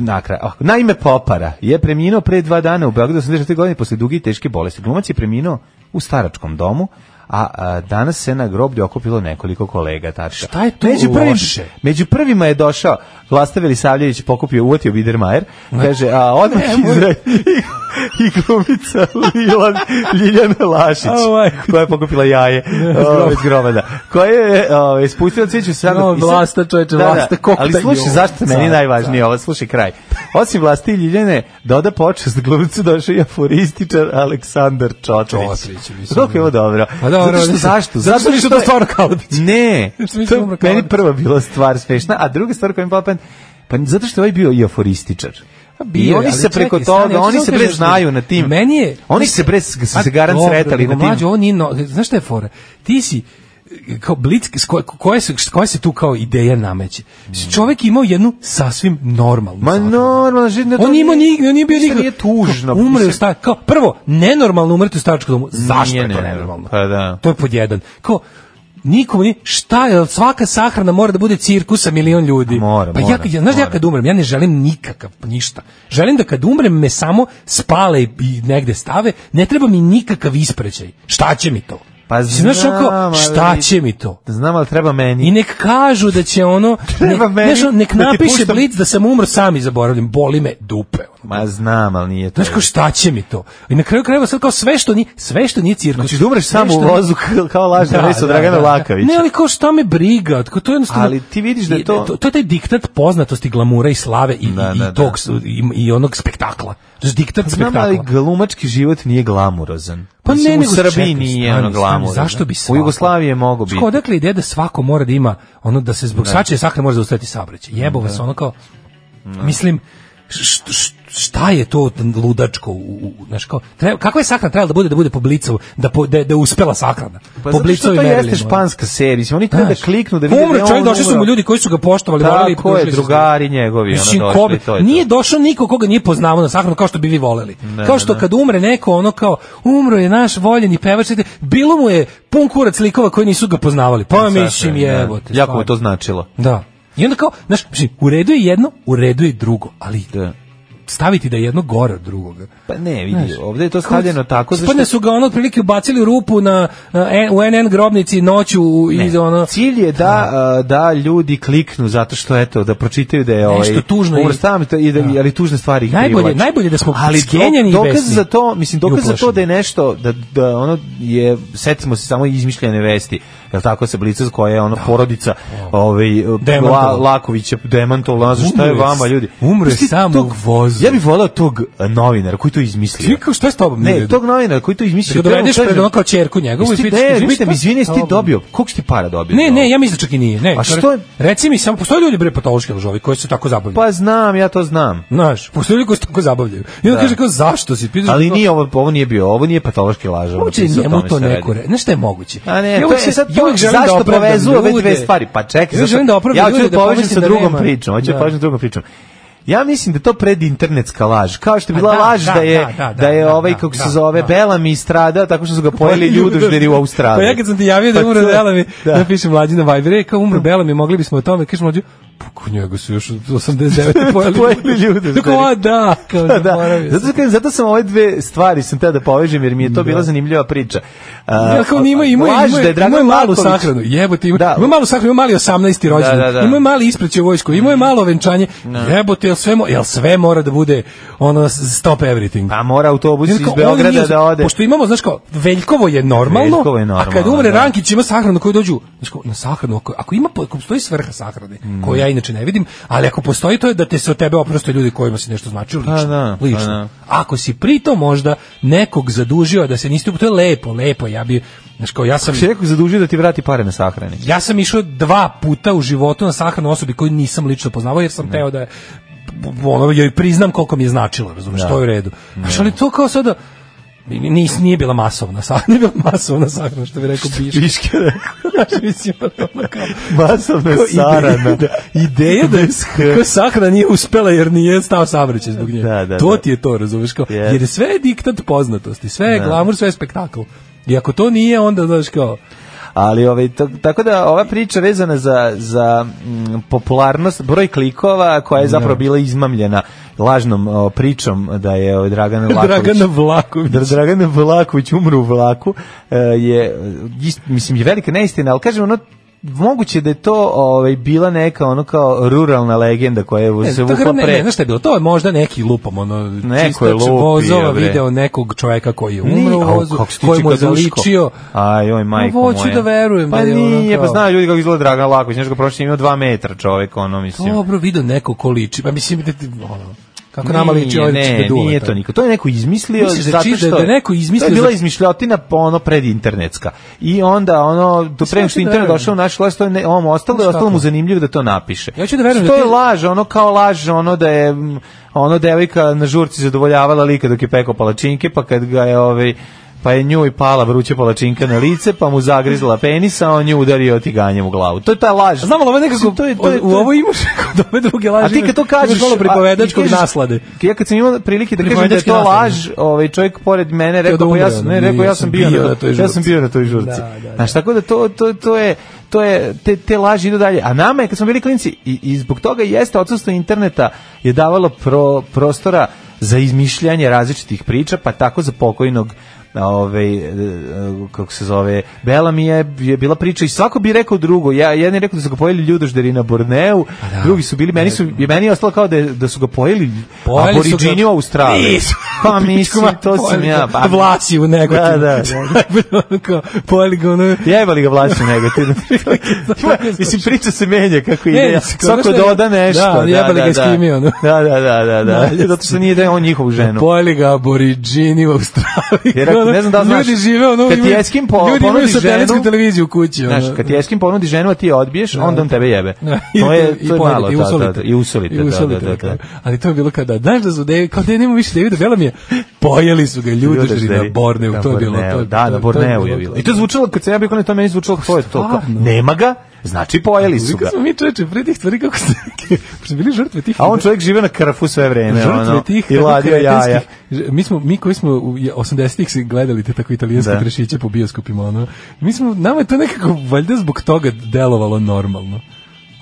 Nakra. ovako. Naime, Popara je preminuo pre dva dana u Beogradu 84. godine posle duge i teške bolesti. Glumac je preminuo u staračkom domu, a, a, danas se na groblju okupilo nekoliko kolega. Tačka.
Šta je tu
prvim-
loše?
među prvima je došao Vlasta Velisavljević, pokupio, uvotio Bidermajer, kaže, a odmah izra... i, i glumica Lilan, Ljiljana Lašić,
A, majko.
koja je pokupila jaje o, iz grobada, koja je o, spustila cvijeću sada.
No, Vlasta, čoveče, Vlasta, koliko
Da, Ali
taj
slušaj,
ljubov.
zašto meni je
Car,
najvažnije ovo, slušaj kraj. Osim Vlasti i Ljiljane, doda počest glumcu došao i aforističar Aleksandar Čočović.
Čočović, mislim.
Koliko je ovo dobro?
Pa dobro,
Zato što,
mislim,
zašto?
zato što nisu to
je-
stvarno da Kalabić.
Ne,
Mislim, da
to je
umro Kalabić.
meni prva bila stvar smešna, a druga stvar koja mi je pala na pamet, pa zato što je ovaj bio i aforističar.
Pa bio
I
je,
oni
ali
se preko
čekaj,
toga,
stani, hoću
oni
samo
se
kažem
bre
da-
znaju na tim.
Meni je...
Oni se bre s- s-
A
se garan
dobro,
sretali
nego
na tim.
Mlađo, ovo nije no, znaš šta je fora? Ti si e, kao blic, s ko- koja se, koja se tu kao ideja nameće. Čovek je imao jednu sasvim normalnu
Ma
zabavu.
normalno, živno.
On nije imao ni on nije bio
Ništa
nikakav.
nije tužno,
Kao, Umre u
mislim.
sta kao prvo nenormalno umreti u staračkom domu. Zašto
Nije
je to
nenormalno.
nenormalno?
Pa da.
To je pod jedan. Kao nikom ni šta je svaka sahrana mora da bude cirkus sa milion ljudi.
Mora,
pa ja
mora,
kad ja, znaš da ja
mora.
kad umrem ja ne želim nikakav ništa. Želim da kad umrem me samo spale i- i negde stave, ne treba mi nikakav ispraćaj. Šta će mi to?
Pa
Mislim, znaš, ono kao,
znam, ali-
šta će mi to?
Znam, ali treba meni.
I nek kažu da će ono, ne,
Treba meni
znaš, ono, nek
da ti
napiše
puštam-
Blic da sam umro sam i zaboravljam, boli me dupe. ono.
Ma znam, ali nije to.
Znaš kao šta će mi to? I na kraju krajeva sad kao sve što nije, sve što nije cirkus.
Znači, da umreš
sve
samo u
što Da, nije-
vozu kao- kao lažna vest od Dragana Lakovića.
Ne, ali kao šta me briga, kao to je jednostavno...
Ali ti vidiš da je to-
To, je taj diktat poznatosti, glamura i slave i,
Da,
i,
da, Pa
i tog, i, i onog spektakla. Znaš, diktat
Znam,
spektakla.
ali glumački život nije glamurozan.
Pa
Mislim,
ne,
u
nego
Srbiji
čekaj,
nije ono
stani, stani,
glamurozan.
Zašto bi
U
svako?
Jugoslaviji je mogo biti.
Znaš, kao, odakle ideja da svako mora da ima ono da se zbog svačije sakre može zaustaviti saobraćaj. Jebo
Da.
vas ono kao mislim š- š- šta je to ludačko u, u, u- znaš kao treba, kakva je sahrana trebala da bude da bude po blicu da po, da, da je uspela sahrana
Pa
po
zato što
blicu
to jeste španska serija. Mislim, oni treba da kliknu da vide da
umre
je on
čovjek došli su mu
umro.
ljudi koji su ga poštovali da voleli i
Tako je,
družili se s njim.
drugari njegovi. ono,
Mislim,
došli,
ko bi-
to je to.
nije došao niko koga nije poznavao na sahranu kao što bi vi voleli. kao što kad umre neko, ono kao, umro je naš voljeni pevač, znate, bilo mu je pun kurac likova koji nisu ga poznavali. Pa
Sasvim,
mislim,
da.
jebote.
Jako mu je to
stvarno.
značilo.
Da. I onda kao, znaš, mislim, u redu je jedno, u redu je drugo, ali
Da.
staviti da je jedno gore od drugoga.
Pa ne, vidi, ovdje je to stavljeno tako zašto
Spadne su ga ono otprilike ubacili u rupu na, na N- u NN grobnici noću u- iz
Ne.
ono...
Cilj je da a, da ljudi kliknu zato što eto da pročitaju da je ovaj
tužno i-
uvrstavamo to i da, ali tužne stvari ih
Najbolje-
privlače.
najbolje da smo
ali do-
skenjani i
dokaz
besni
za to mislim dokaz
i
za to
uplašeni.
da je nešto da da ono je setimo se samo izmišljene vesti jel tako se blica koja je ono
Da.
porodica ovaj La,
Demantovala.
Lakovića demantovala za šta je
Umro je
vama
s-
ljudi
umro je
Mislim,
sam
tog-
u vozu.
ja bih voleo tog e, novinara koji to izmislio
Ti kao, šta je s tobom? nije u
ne,
redu?
tog novinara koji to
Da ga
izmislio
dovedeš
treba mu
pred
kažem-
ono kao čerku njegovu i
Jesi ti-
pitaš,
ne,
izvini,
pitam,
šta je
izvini, jesi
s
ti
tobom?
dobio? Koliko si ti para dobio?
Ne, ne, ja mislim da čak i nije. Ne,
A
čovjek-
što je-
Reci mi samo, postoje ljudi bre patološki lažovi koji se tako zabavljaju.
Pa znam, ja to znam.
Znaš, postoje ljudi koji se tako zabavljaju. I onda kaže kao, zašto si? Pitaš
Da. Ali
kao,
nije ovo, ovo nije bio, ovo nije patološki laž. ovo
Moguće je
napisao, o
njemu
tome
to
se
neko
radi.
re... Znaš šta je moguće?
A ne,
Ja
to
uvek
je
se-
sad
ja uvek
to,
želim da
zašto
opravdam
povezuju ove dve
ljude.
stvari? Pa čekaj,
Ja
zašto-
želim da opravdam
ja ću
ljude,
da
da
povežem
pomislim
sa
da
drugom
nema.
pričom, hoću da
Da.
povežem sa drugom pričom. Ja mislim da je to predinternetska laž, kao što je
Pa
bila
da,
laž da,
da,
je
da, da,
je
da,
ovaj
da,
kako se
da,
zove
da.
Bellamy stradao tako što su ga pojeli ljudožderi u Australiji.
Pa ja kad sam ti javio da
Pa
umre
to je-
Bela mi,
da.
napišem mlađi na Viber, e, kao umre Bela mi, mogli bismo o tome, kažem mlađi, Kod njega su još 89. pojeli,
Pojeli ljude,
Tako,
stari.
a da, kao
Pa da.
zaboravio sam.
Zato, sam kažem, zato sam ove dve stvari sam teo da povežem jer mi je to bila zanimljiva priča. A,
Ja kao nima, ima,
laž
ima,
da je
ima,
Dragan
malu
Marković-
sahranu. Jebote, ima,
Da.
ima malu sahranu, ima mali 18. rođendan.
Da, da, Mhm. da.
Ima mali ispraćaj u vojsku, ima malo venčanje. Jebote, jel sve, mo- jel sve mora da bude ono stop everything.
Pa mora autobus
Ja
iz
kao, on
Beograda
nije-
da ode.
Pošto imamo, znaš kao, Veljkovo je normalno,
Veljkovo je normalno,
a kad umre
da.
Rankić ima sahranu koju dođu, znaš kao, na sahranu, ako, ako ima, po- ako postoji svrha sahrane,
Mm.
koju ja inače ne vidim, ali ako postoji to je da te se od tebe oproste ljudi kojima si nešto značio lično.
da, pa
lično.
da.
Ako si pritom možda nekog zadužio a da se niste, to je lepo, lepo, ja bi, znaš kao, ja sam...
Si rekao zadužio da ti vrati pare na sahrani.
Ja sam išao dva puta u životu na sahranu osobi koju nisam lično poznavao jer
Mhm.
sam teo da je- ono, joj priznam koliko mi je značilo, razumiješ,
Da.
to je u redu. Znaš, ali to kao sada, nis, nije bila masovna sahrana, nije bila masovna sahrana, što bi rekao Biška.
Piške
Znaš, mislim, pa ono kao,
Masovna
kao
sarana.
ideja, da, ideja da je kao sahrana nije uspela jer nije stao saobraćaj zbog nje.
Da, da,
to
da.
ti je to, razumiješ, kao,
Jeste. Da.
jer sve je diktat poznatosti, sve je glamur, sve je spektakl. I ako to nije, onda, znaš, kao,
Ali ovaj, to- tako da ova priča vezana za, za mm, popularnost, broj klikova koja je zapravo
Da.
bila izmamljena lažnom o, pričom da je ovaj, Dragan Vlaković.
Dragana Vlaković.
Da Dragan Vlaković umru u vlaku e, je e, ist- mislim je velika neistina, ali kažem ono moguće da je to ovaj bila neka ono kao ruralna legenda koja je
Ne,
se
E, to
vukla
ne, ne,
pre.
znaš šta je bilo, to je možda neki lupom, ono,
Neko je
čistač
lupio,
vozova
bre.
video nekog čoveka koji je
Ni-
umro u
Au,
vozu,
kako si ti
koji mu je
čika Duško.
zaličio.
Aj, oj, majko
hoću
moja.
da verujem
pa
da je ono
nije, pa
kao-
znaju ljudi kako izgleda Dragan Laković, nešto ga prošli imao 2 metra čovjek, ono, mislim.
Dobro, video neko ko liči, pa mislim, da, ti, ono, kako nama
Nije,
liči ovaj
ne,
liči
nije to niko. To je neko izmislio
Misliš da je
zato
čist- da
što
je neko izmislio
To je bila
za-
izmišljotina po ono predinternetska. I onda ono do pre nego što
hoću
je
da
internet
verujem.
došao u naš vlast, to je ne, on ostalo je
Znaš
ostalo mu
kako?
zanimljivo da to napiše.
Ja hoću da verujem
To
da
je
ti-
laž, ono kao laž, ono da je mm, ono devojka na žurci zadovoljavala lika dok je pekao palačinke, pa kad ga je ovaj pa je njoj pala vruća palačinka na lice, pa mu zagrizla penisa, a on nju udario tiganjem u glavu. To je ta laž.
Znamo li ovo nekako,
Mislim, to je- to je-
u
to je-
ovo imaš kod ove druge
a
laži.
ti kad to
imaš-
kažeš,
imaš malo
a-
pripovedačkog
ti kažeš-
naslade.
Ja kad sam imao prilike da kažem da je
Pripovedački
to
naslade.
laž, ovaj čovjek pored mene
da
rekao pa ja
umre,
sam
ono,
ne, rekao ja sam bio na toj ja sam
žurci.
bio na toj žurci.
Da, da, da.
Znaš, tako da to to to je to je te te laži idu dalje. A nama je kad smo bili klinci i, i zbog toga jeste odsustvo interneta je davalo pro, prostora za izmišljanje različitih priča, pa tako za pokojnog ovaj e, e, kako se zove Bellamy je, je bila priča i svako bi rekao drugo ja jedan je rekao da su ga pojeli ljudožderi na Borneu
Pa da.
drugi su bili meni su i meni je ostalo kao da, je- da su ga pojeli
Pojeli su
Aborigini
ga-
u Australiji
Nisu.
pa mislim to sam ja pa
Vlasi u negotinu.
Da, da.
Ono kao, pojeli ga ono-
Jebali ga vlasi nego ti. Mislim, priča se menja kako ide.
Menja se, kao
Svako
znaš šta je-
doda nešto.
Da, jebali ga s kim je ono.
Da, da, da, da, da.
Dalje
Zato što nije da je on njihovu ženu.
Pojeli ga aboriđini u Australiji.
Jer ako- ne znam da li znaš,
ljudi žive ono,
kad ti
imaju-
eskim po-
ljudi imaju
ponudi
satelitsku
ženu-
televiziju u kući. Ono.
Znaš, kad ti eskim ponudi ženu, a ti je odbiješ, onda on tebe jebe.
Da, i-
To je,
i
to je
pojedete,
malo.
i
da, da,
usolite.
da, I usolite.
I
da, da,
usolite
da,
na
da.
kraju. Ali to je bilo kada, znaš da su David, kao da ja nema više Davida Belamija, pojeli su ga ljudožderi na Borneu,
Na
to je bilo.
Borneu,
to je-
Da,
to
na
je- to
Borneu je
bilo
bilo.
to.
I to je zvučalo, kad sam ja bio kod to je meni zvučalo, to je to. kao,
Stvarno?
Nema ga, znači pojeli su
Koliko
ga.
smo mi čoveče, pre tih stvari kako ste, kako ste bili žrtve tih
A on čovjek žive na krfu sve vreme.
žrtve
ono,
tih
I
tako
ladio
kretenskih-
jaja.
Ž- Mi smo mi koji smo u 80-ih se gledali te tako italijanske
Da.
trešiće po bioskopima ono. Mi smo nama je to nekako valjda zbog toga delovalo normalno.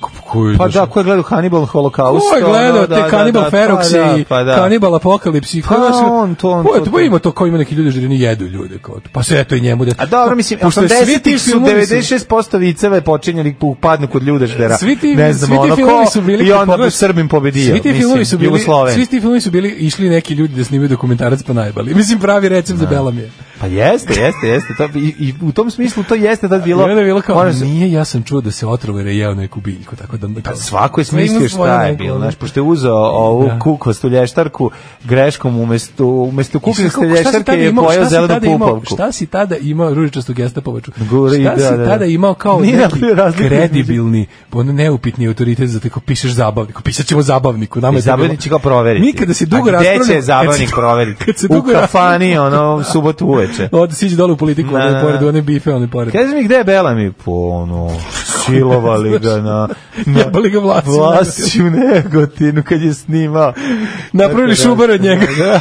Ko- Koji,
Pa
znaš,
da, ko je gledao Hannibal Holocaust?
Ko je gledao
ono,
te
da, da,
Cannibal
da, pa
Ferox
da,
i
pa da.
Cannibal Apocalypse i
Pa on to, on
ko je
to,
to,
to.
ima to kao ima neki ljudi što ni jedu ljude kao to. Pa sve to i njemu da.
A dobro, mislim,
Pošto je svi ti
80-ih su
filmovi
96% viceva je počinjeli po upadnu kod ljudeždera.
Svi ti,
Da. ne znam,
svi ti
ono
filmovi
ko,
su bili
i
kad
onda
pogledaš-
Srbim pobedio.
Svi ti
mislim,
filmovi su bili,
Jugosloven.
svi ti filmovi su bili išli neki ljudi da snimaju dokumentarac pa najbali. Mislim pravi recept za Belamije.
Pa jeste, jeste, jeste. To, bi- i, i u tom smislu to jeste tad bilo...
I onda je bilo kao,
Moram se-
nije, ja sam čuo da se otrovo jer je jeo neku biljku, tako da...
Pa svako je
Sve ima
smislio
svoje
šta je
neko, Da.
bilo,
ono.
znaš, pošto je uzeo ovu kukostu lještarku greškom umesto, umesto
Mislim,
kukostu
kako- šta si
lještarke
tada
je
imao,
pojeo
šta si
zelenu
tada imao,
pupovku.
Šta si tada imao, ružičastu gestapovaču,
Guri,
šta
da,
si
da, da.
tada imao kao
Nije
neki
napravio razliku
kredibilni, ono neupitni autoritet za tako pišeš zabavniku, pisat ćemo zabavniku. Nama
I
je to
zabavnik
bilo-
će ga proveriti.
Mi kada se dugo
A
raspravljamo...
Gde će
kad
zabavnik
se-
proveriti?
Kad se
U
dugo
kafani, ono, u subotu uveče.
Od siđe dole u politiku,
Da,
one
da,
pored
da.
one bife, one pored.
Kaži mi gde je Belami? Po ono, silovali ga na... na
Jebali ga vlasima.
Vlasti u negotinu kad je snimao.
Napravili
Tako da-
šubar od njega.
Da.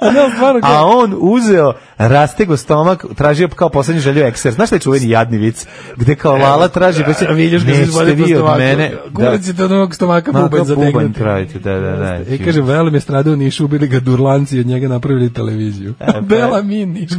A ne, stvarno,
A on uzeo rastego stomak, tražio kao poslednju želju ekser. Znaš taj čuveni jadni vic, gde kao Lala traži, pa se
da, Miljuš ga se izvodi po stomaku. Mene, Gurac
da,
je od ovog stomaka bubanj
bubanj
zategnut.
tražite, da, da, da.
I E, kaže, Velim je stradao u Nišu, ubili ga durlanci i od njega napravili televiziju.
E, pa-
Bela min Niška.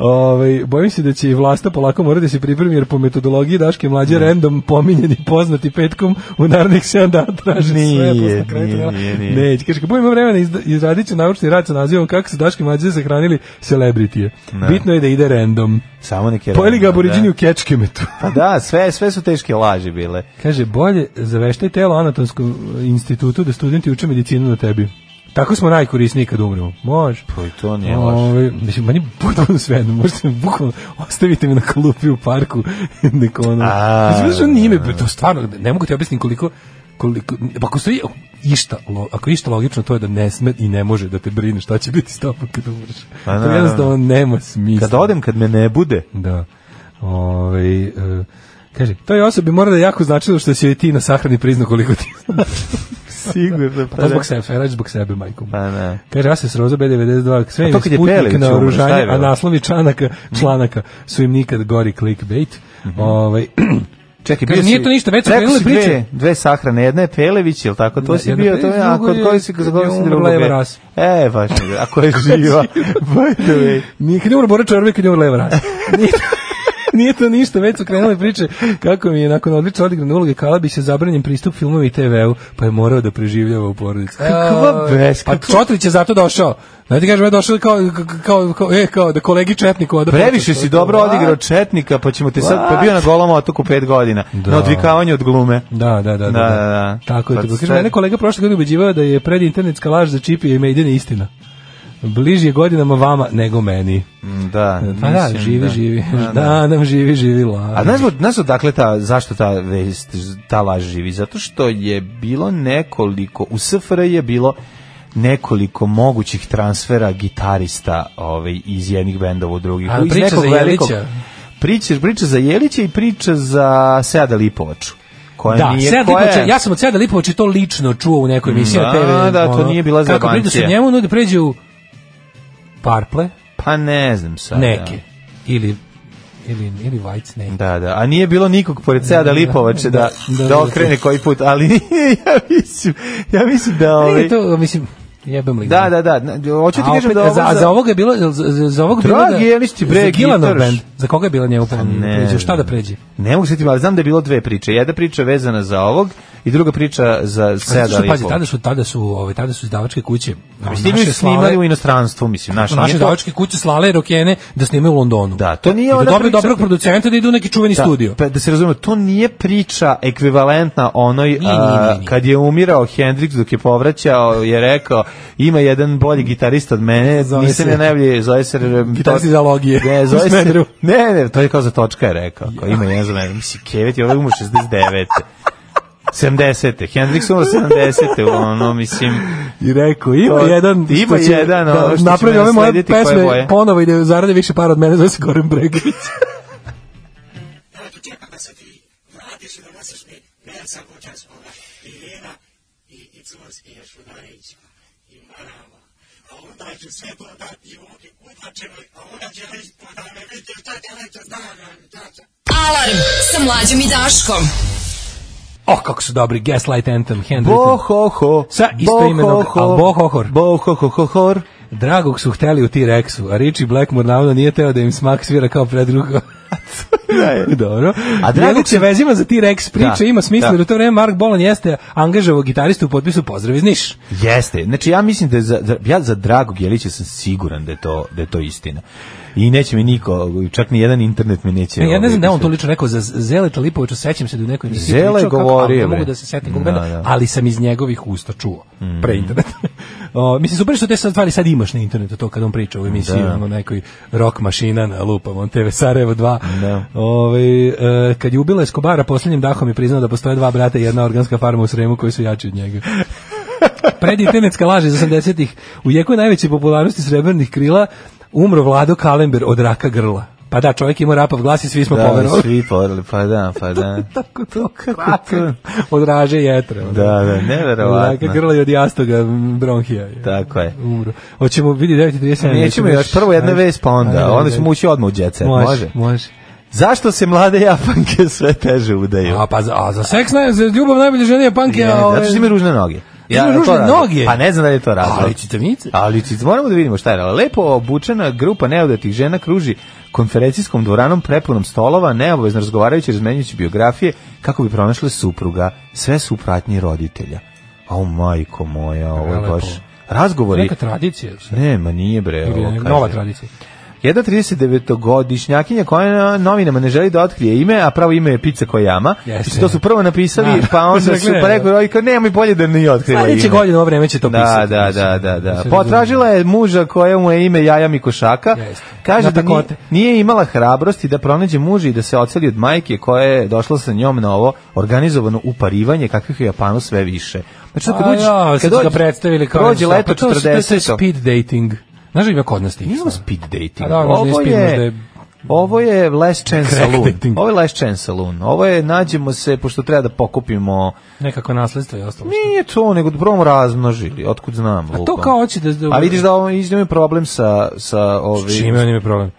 Ovaj, bojim se da će i vlasta polako morati da se pripremi, jer po metodologiji Daške mlađe random pominjeni poznati petkom u narednih 7 dana traži
Nije,
sve posle kraja
nije,
tunela.
nije, nije.
Neće, kaže, kako ima vremena izda- izradit ću naučni rad sa nazivom kako se Daške mlađe sahranili celebritije.
Da.
Bitno je da ide random.
Samo neke...
Pojeli ga
da.
aboriđini u kečkemetu.
Pa da, sve, sve su teške laži bile.
Kaže, bolje zaveštaj telo anatomskom e, institutu da studenti uče medicinu na tebi. Tako smo najkorisniji kad umremo. Može.
Pa i to nije loše.
Ove, mislim, meni je potpuno sve jedno. Možete me bukvalno ostavite me na klupi u parku. Neko ono...
A. da,
Mislim, znaš, on ime, to stvarno, ne mogu ti objasniti koliko koliko, pa ako stoji išta, lo- ako je išta logično, to je da ne sme i ne može da te brine šta će biti s tobom kad umreš.
Pa
to
da,
jednostavno nema smisla.
Kad odem, Da kad me ne bude,
Da. Ove, e, kaže, to je osobi mora da je jako značilo što si joj ti na sahrani priznao koliko ti
sigurno. da.
Pa zbog sebe, Ferać zbog sebe, majkom.
Pa ne.
Kaže, ja se sroza B92, sve
A
im
to
je
kad je
sputnik
Pelević
na
umro, šta je
oružanje, a
bilo?
naslovi članaka, članaka su im nikad gori clickbait.
Mhm.
Ovaj,
Čekaj,
Kaže,
bio
nije
si-
to ništa, već su
rekao
krenule
si
priče.
Dve, dve sahrane, jedna je Pelević, je li tako? To
Da,
si
jedna
bio, to
Pelević,
je, a
drugo
kod
je-
koji si,
kad
za koga
je
si
umrla
drugog
Eva
bio?
Ras.
E, baš, ne, a koja je živa, by the way.
Nije kad je umro Bora Čorbe, kad je umro Leva Rasa. Nije to, nije to ništa, već su krenule priče kako mi je nakon odlično odigrane uloge Kalabića zabranjen pristup filmovi i TV-u, pa je morao da preživljava u porodici.
Kakva
Eoj,
bes,
Pa
kakva-
Čotrić je zato došao. Znači ti kažem, ja došao kao, kao, kao, e, kao da kolegi Četniku oda
Previše si dobro odigrao Četnika, pa ćemo te sad, pa bio na golom otoku pet godina, na odvikavanju od glume.
Da, da, da, da.
Da, da, da.
Tako je.
Pa
to bilo. Kaže,
sve-
mene kolega prošle godine ubeđivao da je predinternetska laž za čipi i medijne istina. Bliži je godinama vama nego meni.
Da,
Pa da,
mislim,
živi,
da.
živi.
Da, da.
Da, nam živi, živi laž.
A znaš, od- znaš odakle ta, zašto ta vest, ta laž živi? Zato što je bilo nekoliko, u SFR je bilo nekoliko mogućih transfera gitarista ovaj, iz jednih bendova u drugih.
A
Iz
priča
nekog
za
velikog-
Jelića?
Priča, priča za Jelića i priča za Seada Lipovaču. Koja
Da,
Pa nije,
Sead
koja je-
Lipović, ja sam od Seada Lipovića to lično čuo u nekoj emisiji na
Da,
TV.
da, to
ono,
nije bila
Kako
zajebancija.
pridu se njemu, onda pređe u Parple,
Pa ne znam sad.
neke, ili ili ili White Snake.
Da, da, a nije bilo nikog pored Seada Lipovače da,
Da,
da,
da, da.
okrene koji put, ali ja mislim, ja mislim da... Ovaj,
Nije to, mislim, jebem li.
Da, da, da. na- Hoću ti
A
kažem
opet,
da ovo
za, a za ovoga je bilo, za, za, za ovoga je bilo da-
Dragi Jelić ti, bre,
za Gilanov
gitaraš.
band. Za koga je bila njemu pomoć?
ne
Pređe, šta da
znam.
pređe?
Ne mogu se setiti, ali znam da je bilo dve priče. Jedna priča vezana za ovog i druga priča za
A zato
Seda Pa
što, pazi,
Lipovog.
tada su, tada su, ovaj, tada su izdavačke kuće.
Ali
naše
ste ljudi
slale-
snimali u inostranstvu, mislim, naš,
Naše
nije to...
izdavačke kuće slale rokene da snimaju u Londonu.
Da, to nije
I da
ona
dobiju
priča-
dobrog producenta da idu u neki čuveni
Da,
studio.
pa da se razumemo, to nije priča ekvivalentna onoj
nije,
a,
nije, nije.
kad je umirao Hendrix dok je povraćao je rekao ima jedan bolji gitarista od mene,
Zove
nisam
se-
ja najbolji, zove se
Gitarist iz Alogije.
Ne, zove
U
se
Smederevu.
Ne, ne, to je kao za točka je rekao. Kao, ima jedan za mene, mislim Kevet je ovaj umro 69. 70. Hendrix umro 70. Ono, mislim...
I rekao, ima
To-
jedan...
ima
što će da
jedan, ono, što će
napravi
mene
ove moje
slediti koje
pesme
boje.
ponovo i da zarade više para od mene, zove se Goran Bregović.
Alarm sa mlađom i Daškom.
oh, kako su dobri, Gaslight Anthem,
Bo
Handwritten.
ho ho.
Sa istoimenog
Bo ho ho.
Albohohor.
Bo ho ho ho hor.
Dragog su hteli u T-Rexu, a Richie Blackmore navodno nije teo da im smak svira kao predrugo. Dobro. A
Da A Dragog
Dragog se
su-
vezima za T-Rex priča,
Da,
ima smisla,
da.
jer u to vreme Mark Bolan jeste angažavao gitaristu u potpisu Pozdrav iz Niš.
Jeste. Znači ja mislim da je za, za- ja za Dragog Jelića sam siguran da je to da je to istina. I neće mi niko, čak ni jedan internet mi neće.
Ne, ja ne
ovaj,
znam da je on to lično rekao za Zeleta Lipovića, sećam se da je u nekoj emisiji
Zele je
pričao kako-
govorio,
ali ne mogu
bre.
da se setim kog
Da,
benda,
da. Mhm.
ali sam iz njegovih usta čuo pre interneta. o, mislim, super što te sad stvari sad imaš na internetu to kad on priča u emisiji,
Da.
ono nekoj rock mašina na lupam, on TV Sarajevo 2.
Da.
Ovaj, e, kad je ubila Escobara, posljednjim dahom je priznao da postoje dva brata i jedna organska farma u Sremu koji su jači od njega. Predinternetska laž iz 80-ih. U jeku najveće popularnosti srebrnih krila umro Vlado Kalember od raka grla. Pa da, čovjek ima rapav glas i svi smo
da,
poverovali.
svi poverovali, pa da, pa da.
Tako to, kako to? Od raže i jetre. ono.
Da, da, neverovatno.
Od raka grla i od jastoga m, bronhija.
Tako je.
Umro. Hoćemo vidi 9.37.
Da. E, Nećemo još prvo jedna vest, pa onda. Onda ćemo ući odmah u djece. Može.
Može, može.
Zašto se mlade japanke sve teže udaju?
A pa za, a za seks, naj, za ljubav najbolje želije panke.
Ja, zato što imaju ružne noge.
ovaj, Imaju
to
ružne
razlog.
noge?
Pa ne znam da li je to razlog.
Ali čitavnice.
Ali cic- moramo da vidimo šta je. razlog. Lepo obučena grupa neodatih žena kruži konferencijskom dvoranom prepunom stolova, neobavezno razgovarajući, razmenjujući biografije, kako bi pronašle supruga. Sve su u pratnji roditelja. A majko moja, ovo je
Lepo.
baš... Razgovori...
Neka tradicija.
Nema, nije bre.
Ili
ovo
je
kaže.
nova tradicija.
Jedna 39-godišnjakinja koja na novinama ne želi da otkrije ime, a pravo ime je Pizza Kojama.
Jeste.
I to su prvo napisali,
Da.
pa onda su
Dakle,
pa rekao, "Oj, kao, nema i bolje da ne otkriva ime.
Sledeće godine Pa ovo vreme će to
Da,
pisati.
da,
mislim.
da, da, da.
se
Potražila je muža kojemu je ime Jaja Mikošaka.
Jeste.
Kaže
Na
da nije,
takote.
nije imala hrabrosti da pronađe muža i da se oceli od majke koja je došla sa njom na ovo organizovano uparivanje kakvih je u Japanu sve više. Znači, kad
A
uđeš-
ja,
kad
sad su
dođe-
ga predstavili kao...
prođe
nešto,
leto
pa to su- To je
40.
speed dating. Znaš da ima kod nas tih?
Nije ovo
stvari?
speed dating.
A da, možda je
ovo,
speed, možda
je,
je-
ovo je last chance
Crack
saloon.
dating.
Ovo je last chance saloon. Ovo je nađemo se, pošto treba da pokupimo...
Nekako nasledstvo i ostalo.
Nije to, nego da probamo razmnožili. Otkud znam,
A to
lupam.
kao hoće da... da
A vidiš da ovo iznimno je problem sa, sa ovim...
S Čime on ima problem?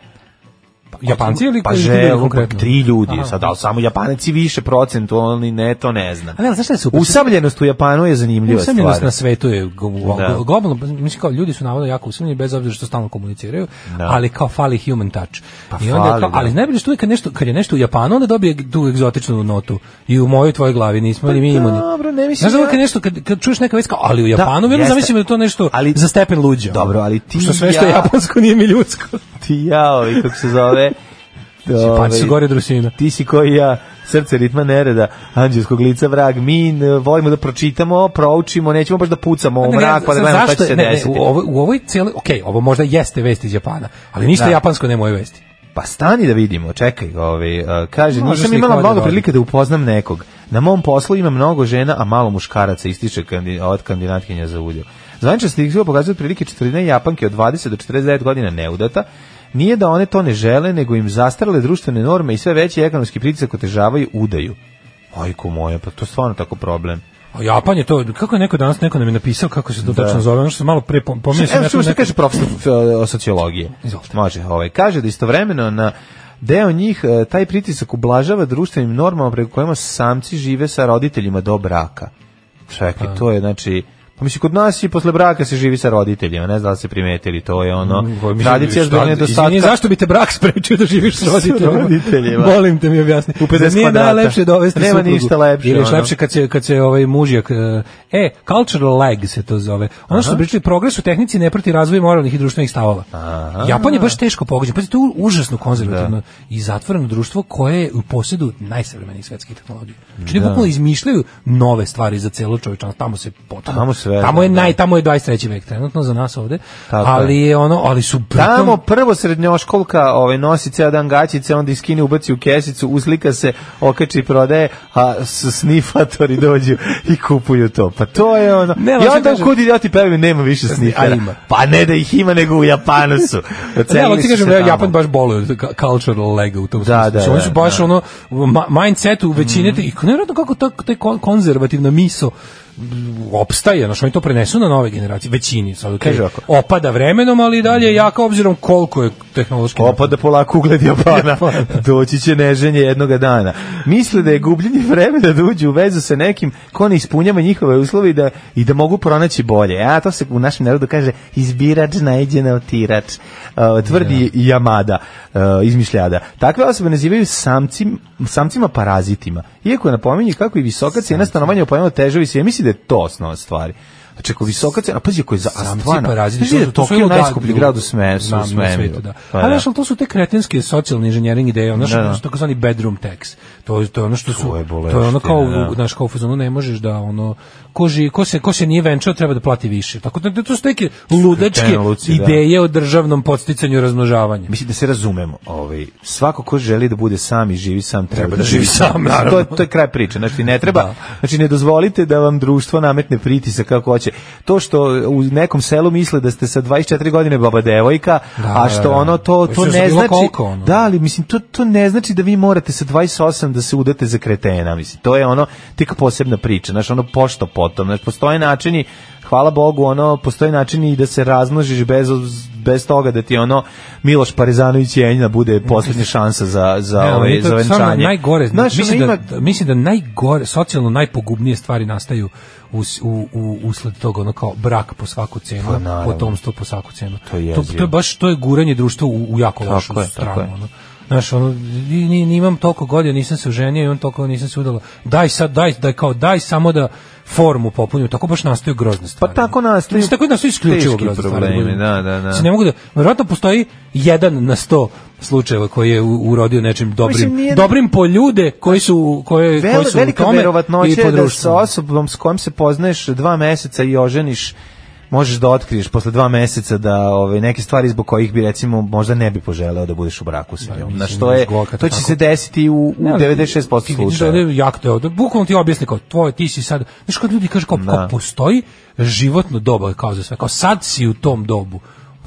Pa, Japanci ili
pa
ili
želu,
konkretno?
tri ljudi
Aha.
sad, ali samo Japanici više procentualni, ne, to ne znam.
Ali, ali znaš šta je super?
Usamljenost u Japanu je zanimljiva
Usamljenost
stvar.
na svetu je go- go-
Da.
globalno, mislim kao ljudi su navodno jako usamljeni bez obzira što stalno komuniciraju, ali kao fali human touch.
Da. Pa
I onda
fali,
kao,
da.
ali najbolje što je kad, nešto, kad je nešto u Japanu, onda dobije tu egzotičnu notu. I u mojoj tvojoj glavi nismo ni mi imuni.
Pa dobro, ne mislim
Znaš da ono
ja-
kad, nešto, kad, kad čuješ neka već kao, ali u Japanu, vjerujem
jeste.
zamislim da je to nešto
Ali-
za stepen luđa.
Dobro, ali ti
Što sve
i
što je
ja-
japansko nije mi ljudsko.
Ti jao, i kako se zove...
Pa se
Ovaj,
gore drusina.
ti si koji ja, srce ritma nereda, anđelskog lica vrag, mi e, volimo da pročitamo, proučimo, nećemo baš da pucamo u
Ne, ne,
mrak, pa da
sad
gledamo šta će
zašto je-
se
ne, ne,
desiti.
U ovoj, u ovoj cijeloj, ok, ovo možda jeste vest iz Japana, ali ništa
Da.
japansko nema u ovoj vesti.
Pa stani da vidimo, čekaj, ovaj, e, kaže,
Može
nisam
slika
imala
ovdje
mnogo
vodi.
prilike da upoznam nekog. Na mom poslu ima mnogo žena, a malo muškaraca, ističe kandi, od kandidatkinja za udjel. Zvanična statistika pokazuje otprilike četvrtina Japanke od 20 do 49 godina neudata, Nije da one to ne žele, nego im zastarale društvene norme i sve veći ekonomski pritisak otežavaju udaju. Majko moja, pa to je stvarno tako problem.
A Japan je to, kako je neko danas, neko nam je napisao kako se to tačno zove, ono što sam malo prije pom- pominjao sam
Evo Da. što
nekom-
što kaže profesor e, sociologije.
Izvolite.
Može, ovaj kaže da istovremeno na deo njih e, taj pritisak ublažava društvenim normama preko kojima samci žive sa roditeljima do braka. Čekaj, to je znači Pa mislim, kod nas i posle braka se živi sa roditeljima, ne znam da li ste primetili, to je ono,
Mm, ovaj, Mislim,
tradicija
šta-
zbog nedostatka.
Izvini, zašto bi te brak sprečio da živiš s roditeljima?
roditeljima.
Molim te mi objasni.
U 50
Zar Nije
kvadrata.
najlepše dovesti
Nema
suprugu?
ništa lepše,
Ili još
ono.
lepše kad se, kad se ovaj mužjak... eh, E, cultural lag se to zove. Ono što su pričali, progres u tehnici ne prati razvoj moralnih i društvenih stavova. Japan je baš teško pogođen. Pazite, to je užasno
Da.
konzervativno i zatvoreno društvo koje je u posjedu najsavremenijih svetskih tehnologija. Znači, da. bukvalno izmišljaju nove stvari za celo čovječanstvo. Tamo se potpuno...
Tamo sve,
Tamo je,
da.
naj, tamo je 23. vek trenutno za nas ovde.
Tako je.
ali je ono, ali su pritom-
Tamo prvo srednjoškolka ovaj, nosi ceo dan gaćice, onda iskine, ubaci u kesicu, uslika se, okači i prodaje, a s- snifatori dođu i kupuju to. Pa to je ono.
Ne, ali
I
što
onda
kažem-
kod idioti pevaju, nema više snifera.
ima.
Pa ne da ih ima, nego u Japanu su.
Ne,
Ocelili
ali ti
su
kažem,
se
da
tamo.
Japan baš boluje od ka- cultural lega u
Da,
tom smislu.
da,
Znači, Oni su
da,
baš
da. Mhm.
ono, ma- mindset u većini, te- i nevjerojatno kako ta, ta kon- konzervativna miso m, opstaje, znači oni to prenesu na nove generacije, većini, sad okej,
Kaže ovako.
opada vremenom, ali i dalje je jaka obzirom koliko je tehnološki
Opada da polako ugled
Da,
Japana.
pa
Doći će neženje jednoga dana. Misle da je gubljenje vremena da uđu u vezu sa nekim ko ne ispunjava njihove uslove i da, i da mogu pronaći bolje. A to se u našem narodu kaže izbirač najde na otirač. Uh, tvrdi
Da.
Yamada, uh, izmišljada. Takve osobe nazivaju samcim, samcima parazitima. Iako napominje kako i visoka cijena stanovanja u pojemu težavi se. Ja mislim da je to osnova stvari. Znači, ako visoka cijena, a pazi, ako je za, a
samci
stvarno,
paraziti,
znaš da je
to pa su- to su
Tokio
ludaci
najskuplji
ljudi.
grad u, sme, u
Znam, na
svemiru.
svetu, da.
Pa
Ali
da.
znaš, ali to su te kretenske socijalni inženjering ideje, ono što su takozvani bedroom tax. To je to je ono što su
je
to je ono kao
boleština, da.
u- znaš kao u fazonu ne možeš da ono ko ži, ko se ko se nije venčao treba da plati više. Tako da da to su neke ludačke
Kreteno luci, da.
ideje o državnom podsticanju i razmnožavanju.
Mislim da se razumemo, ovaj svako ko želi da bude sam i živi sam treba da
živi sam, naravno.
To je, to je kraj priče. Znači ne treba,
Da.
znači ne dozvolite da vam društvo nametne pritisak kako hoće sledeće. To što u nekom selu misle da ste sa 24 godine baba devojka, a što ono to to
Da, Mislim,
ne
su bilo
znači
koliko, ono?
da, ali mislim to to ne znači da vi morate sa 28 da se udate za kretena, mislim. To je ono tek posebna priča, znači ono pošto potom, znači postoje načini Hvala Bogu, ono, postoje načini i da se razmnožiš bez, bez toga da ti ono Miloš Parezanović i Enjina bude posljednja šansa za, za,
Ne, ali
ovaj,
mi to
za
stvarno
venčanje.
Najgore,
Znaš,
mislim,
ono, ima-
da, mislim da najgore, socijalno najpogubnije stvari nastaju us- u, u, usled toga, ono kao brak po svaku cenu,
Pa, naravno.
potomstvo po svaku cenu.
To je
to,
jezivo.
to je baš, to je guranje društva u, u jako
Tako
lošu
je, tako
stranu.
je.
Ono. Znaš, ono, ni- ni- nimam toliko godina, nisam se oženio, imam toliko nisam se udala. Daj sad, daj, daj, kao, daj samo da formu popunim, tako baš nastaju grozne stvari.
Pa tako nastaju
Mislim, tako i nastaju isključivo
teški
grozne
problemi,
stvari.
da, da, da.
Mislim, ne mogu da, verovatno postoji jedan na sto slučajeva koji je u- urodio nečim dobrim,
Mislim, nije-
dobrim po ljude koji su, koje,
Vel,
koji su u
velika
tome i
verovatnoća
po
je da sa
društvu.
osobom s kojom se poznaješ dva meseca i oženiš možeš da otkriješ posle dva meseca da ove neke stvari zbog kojih bi recimo možda ne bi poželeo da budeš u braku sa njom.
mislim,
Na što je
zbog- kad
to će
tako-
se desiti u, u
Ne, ali ti
96%
vidiš da ovde
slučajeva.
je jak to, da bukvalno ti objasni kao tvoje, ti si sad, znaš kad ljudi kažu kao,
Da.
kao postoji životno doba kao za sve, kao sad si u tom dobu.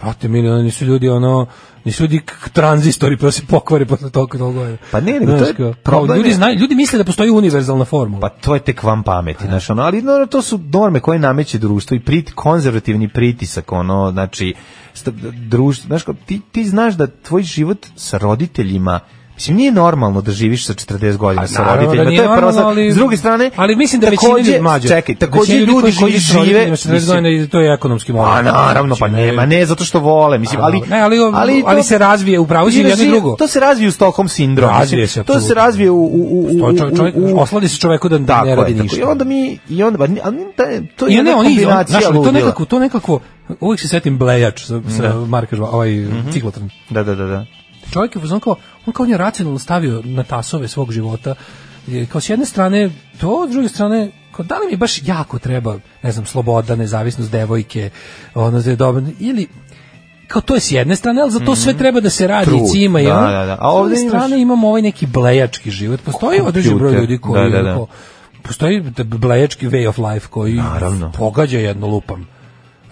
Brate, mili, ono, nisu ljudi ono, nisu ljudi k- tranzistori pa se pokvare posle toliko toliko godina.
Pa ne, nego to
Znaš,
je
kao,
problem
kao, ljudi,
je-
znaju, ljudi misle da postoji univerzalna formula.
Pa to je tek vam pameti, znaš, ono, ali no, to su norme koje nameće društvo i prit, konzervativni pritisak, ono, znači, st- društvo, znaš, kao, ti, ti znaš da tvoj život sa roditeljima Mislim, nije normalno da živiš sa 40 godina sa
naravno da
roditeljima.
nije
to je prva
normalno,
stvar.
ali-
S druge strane,
ali mislim da većina
takođe-
ljudi mlađe.
Čekaj, takođe
većina
ljudi koji
sa roditeljima
žive...
sa 40
mislim,
godina, to je ekonomski moment.
A naravno, pa
Znači,
nema, ne zato što vole, mislim, ali...
Ne, ali, ali,
to-
se razvije u pravu si
Mislim,
jedno i drugo.
To se razvije u Stockholm sindrom. mislim,
Razvije se,
To se
apsolutno.
razvije u... u, u, u,
To čovjek- čovjek-
u- u-
osladi se čovjeku da ne
tako je,
radi
tako.
ništa.
I onda mi i onda ba- ali da- to je
I ne,
jedna
oni, on,
kombinacija
znaš, ali to
ludila. Mhm.
nekako, to nekako, uvijek se setim blejač sa, sa Marka Žva- ovaj ciklotron.
Da, da, da, da.
Čovjek je on kao, on kao on je racionalno stavio na tasove svog života, je, kao s jedne strane to, s druge strane, kao da li mi baš jako treba, ne znam, sloboda, nezavisnost devojke, ono, da je dobro, ili, kao to je s jedne strane, ali za to sve treba da se radi
Mhm. Trud,
cima i
da,
ono.
da, da. A
S druge
ovdje imaš-
strane imamo ovaj neki blejački život. Postoji određen broj
Kompjuter,
ljudi koji
da, da, da.
onako, postoji da blejački way of life koji
Naravno.
pogađa jedno lupam.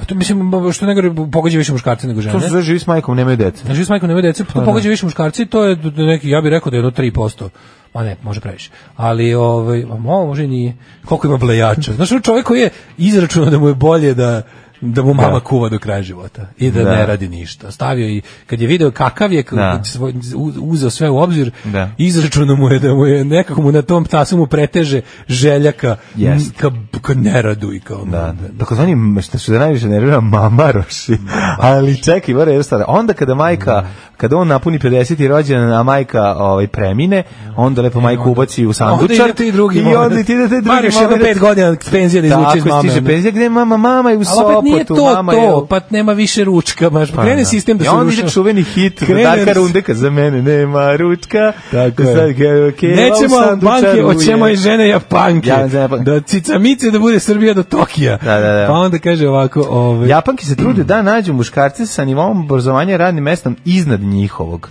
A to mislim što ne gore pogađa više muškarce nego žene.
To su sve živi s majkom, nemaju dece.
Znači, s majkom nema dece,
Pa da.
to pogađa više muškarci, to je d- d- neki, ja bih rekao da je jedno 3%. Ma ne, može previše. Ali, ovaj, a mo, može i nije. Koliko ima blejača. Znaš, ono, čovjek koji je izračunao da mu je bolje da da mu mama
Da.
kuva do kraja života i da,
Da.
ne radi ništa. Stavio i kad je video kakav je,
Da.
kad svoj- u- uzeo sve u obzir,
Da.
izračunao mu je da mu je nekako mu na tom ptasu mu preteže željaka
Jest.
ka, ka neradu i kao
Da, da. Takozvani, m- što se da najviše nervira, mamaroši. Ali čekaj, mora jedna stvar. Onda kada
Mm.
majka, kada on napuni 50. rođendan, a majka ovaj, premine, onda lepo majku ubaci u sandučar.
E, Onda ide ti drugi
I onda ti ide ti drugi.
Bar još jedno
moment.
pet godina penzija da izvuče iz
Tako,
mame.
stiže
ono.
penzija, gde je mama, mama je u
Ali opet nije
Sopotu,
to
mama je...
to,
u-
pa nema više ručka, baš pa, krene
da.
sistem da
I
se
onda
ruša.
ide čuveni hit
Krene da
Darka
se-
Rundeka, za mene nema ručka.
Tako je.
Sad ga- keva u
Nećemo
sandučaru
banke,
je.
hoćemo i žene japanke.
Ja, žene Japanke.
da cicamice da bude Srbija do Tokija.
Da, da, da.
Pa onda kaže ovako, ovaj,
Japanki se trude da nađu muškarce sa nivom obrazovanja i radnim mestom iznad njihovog.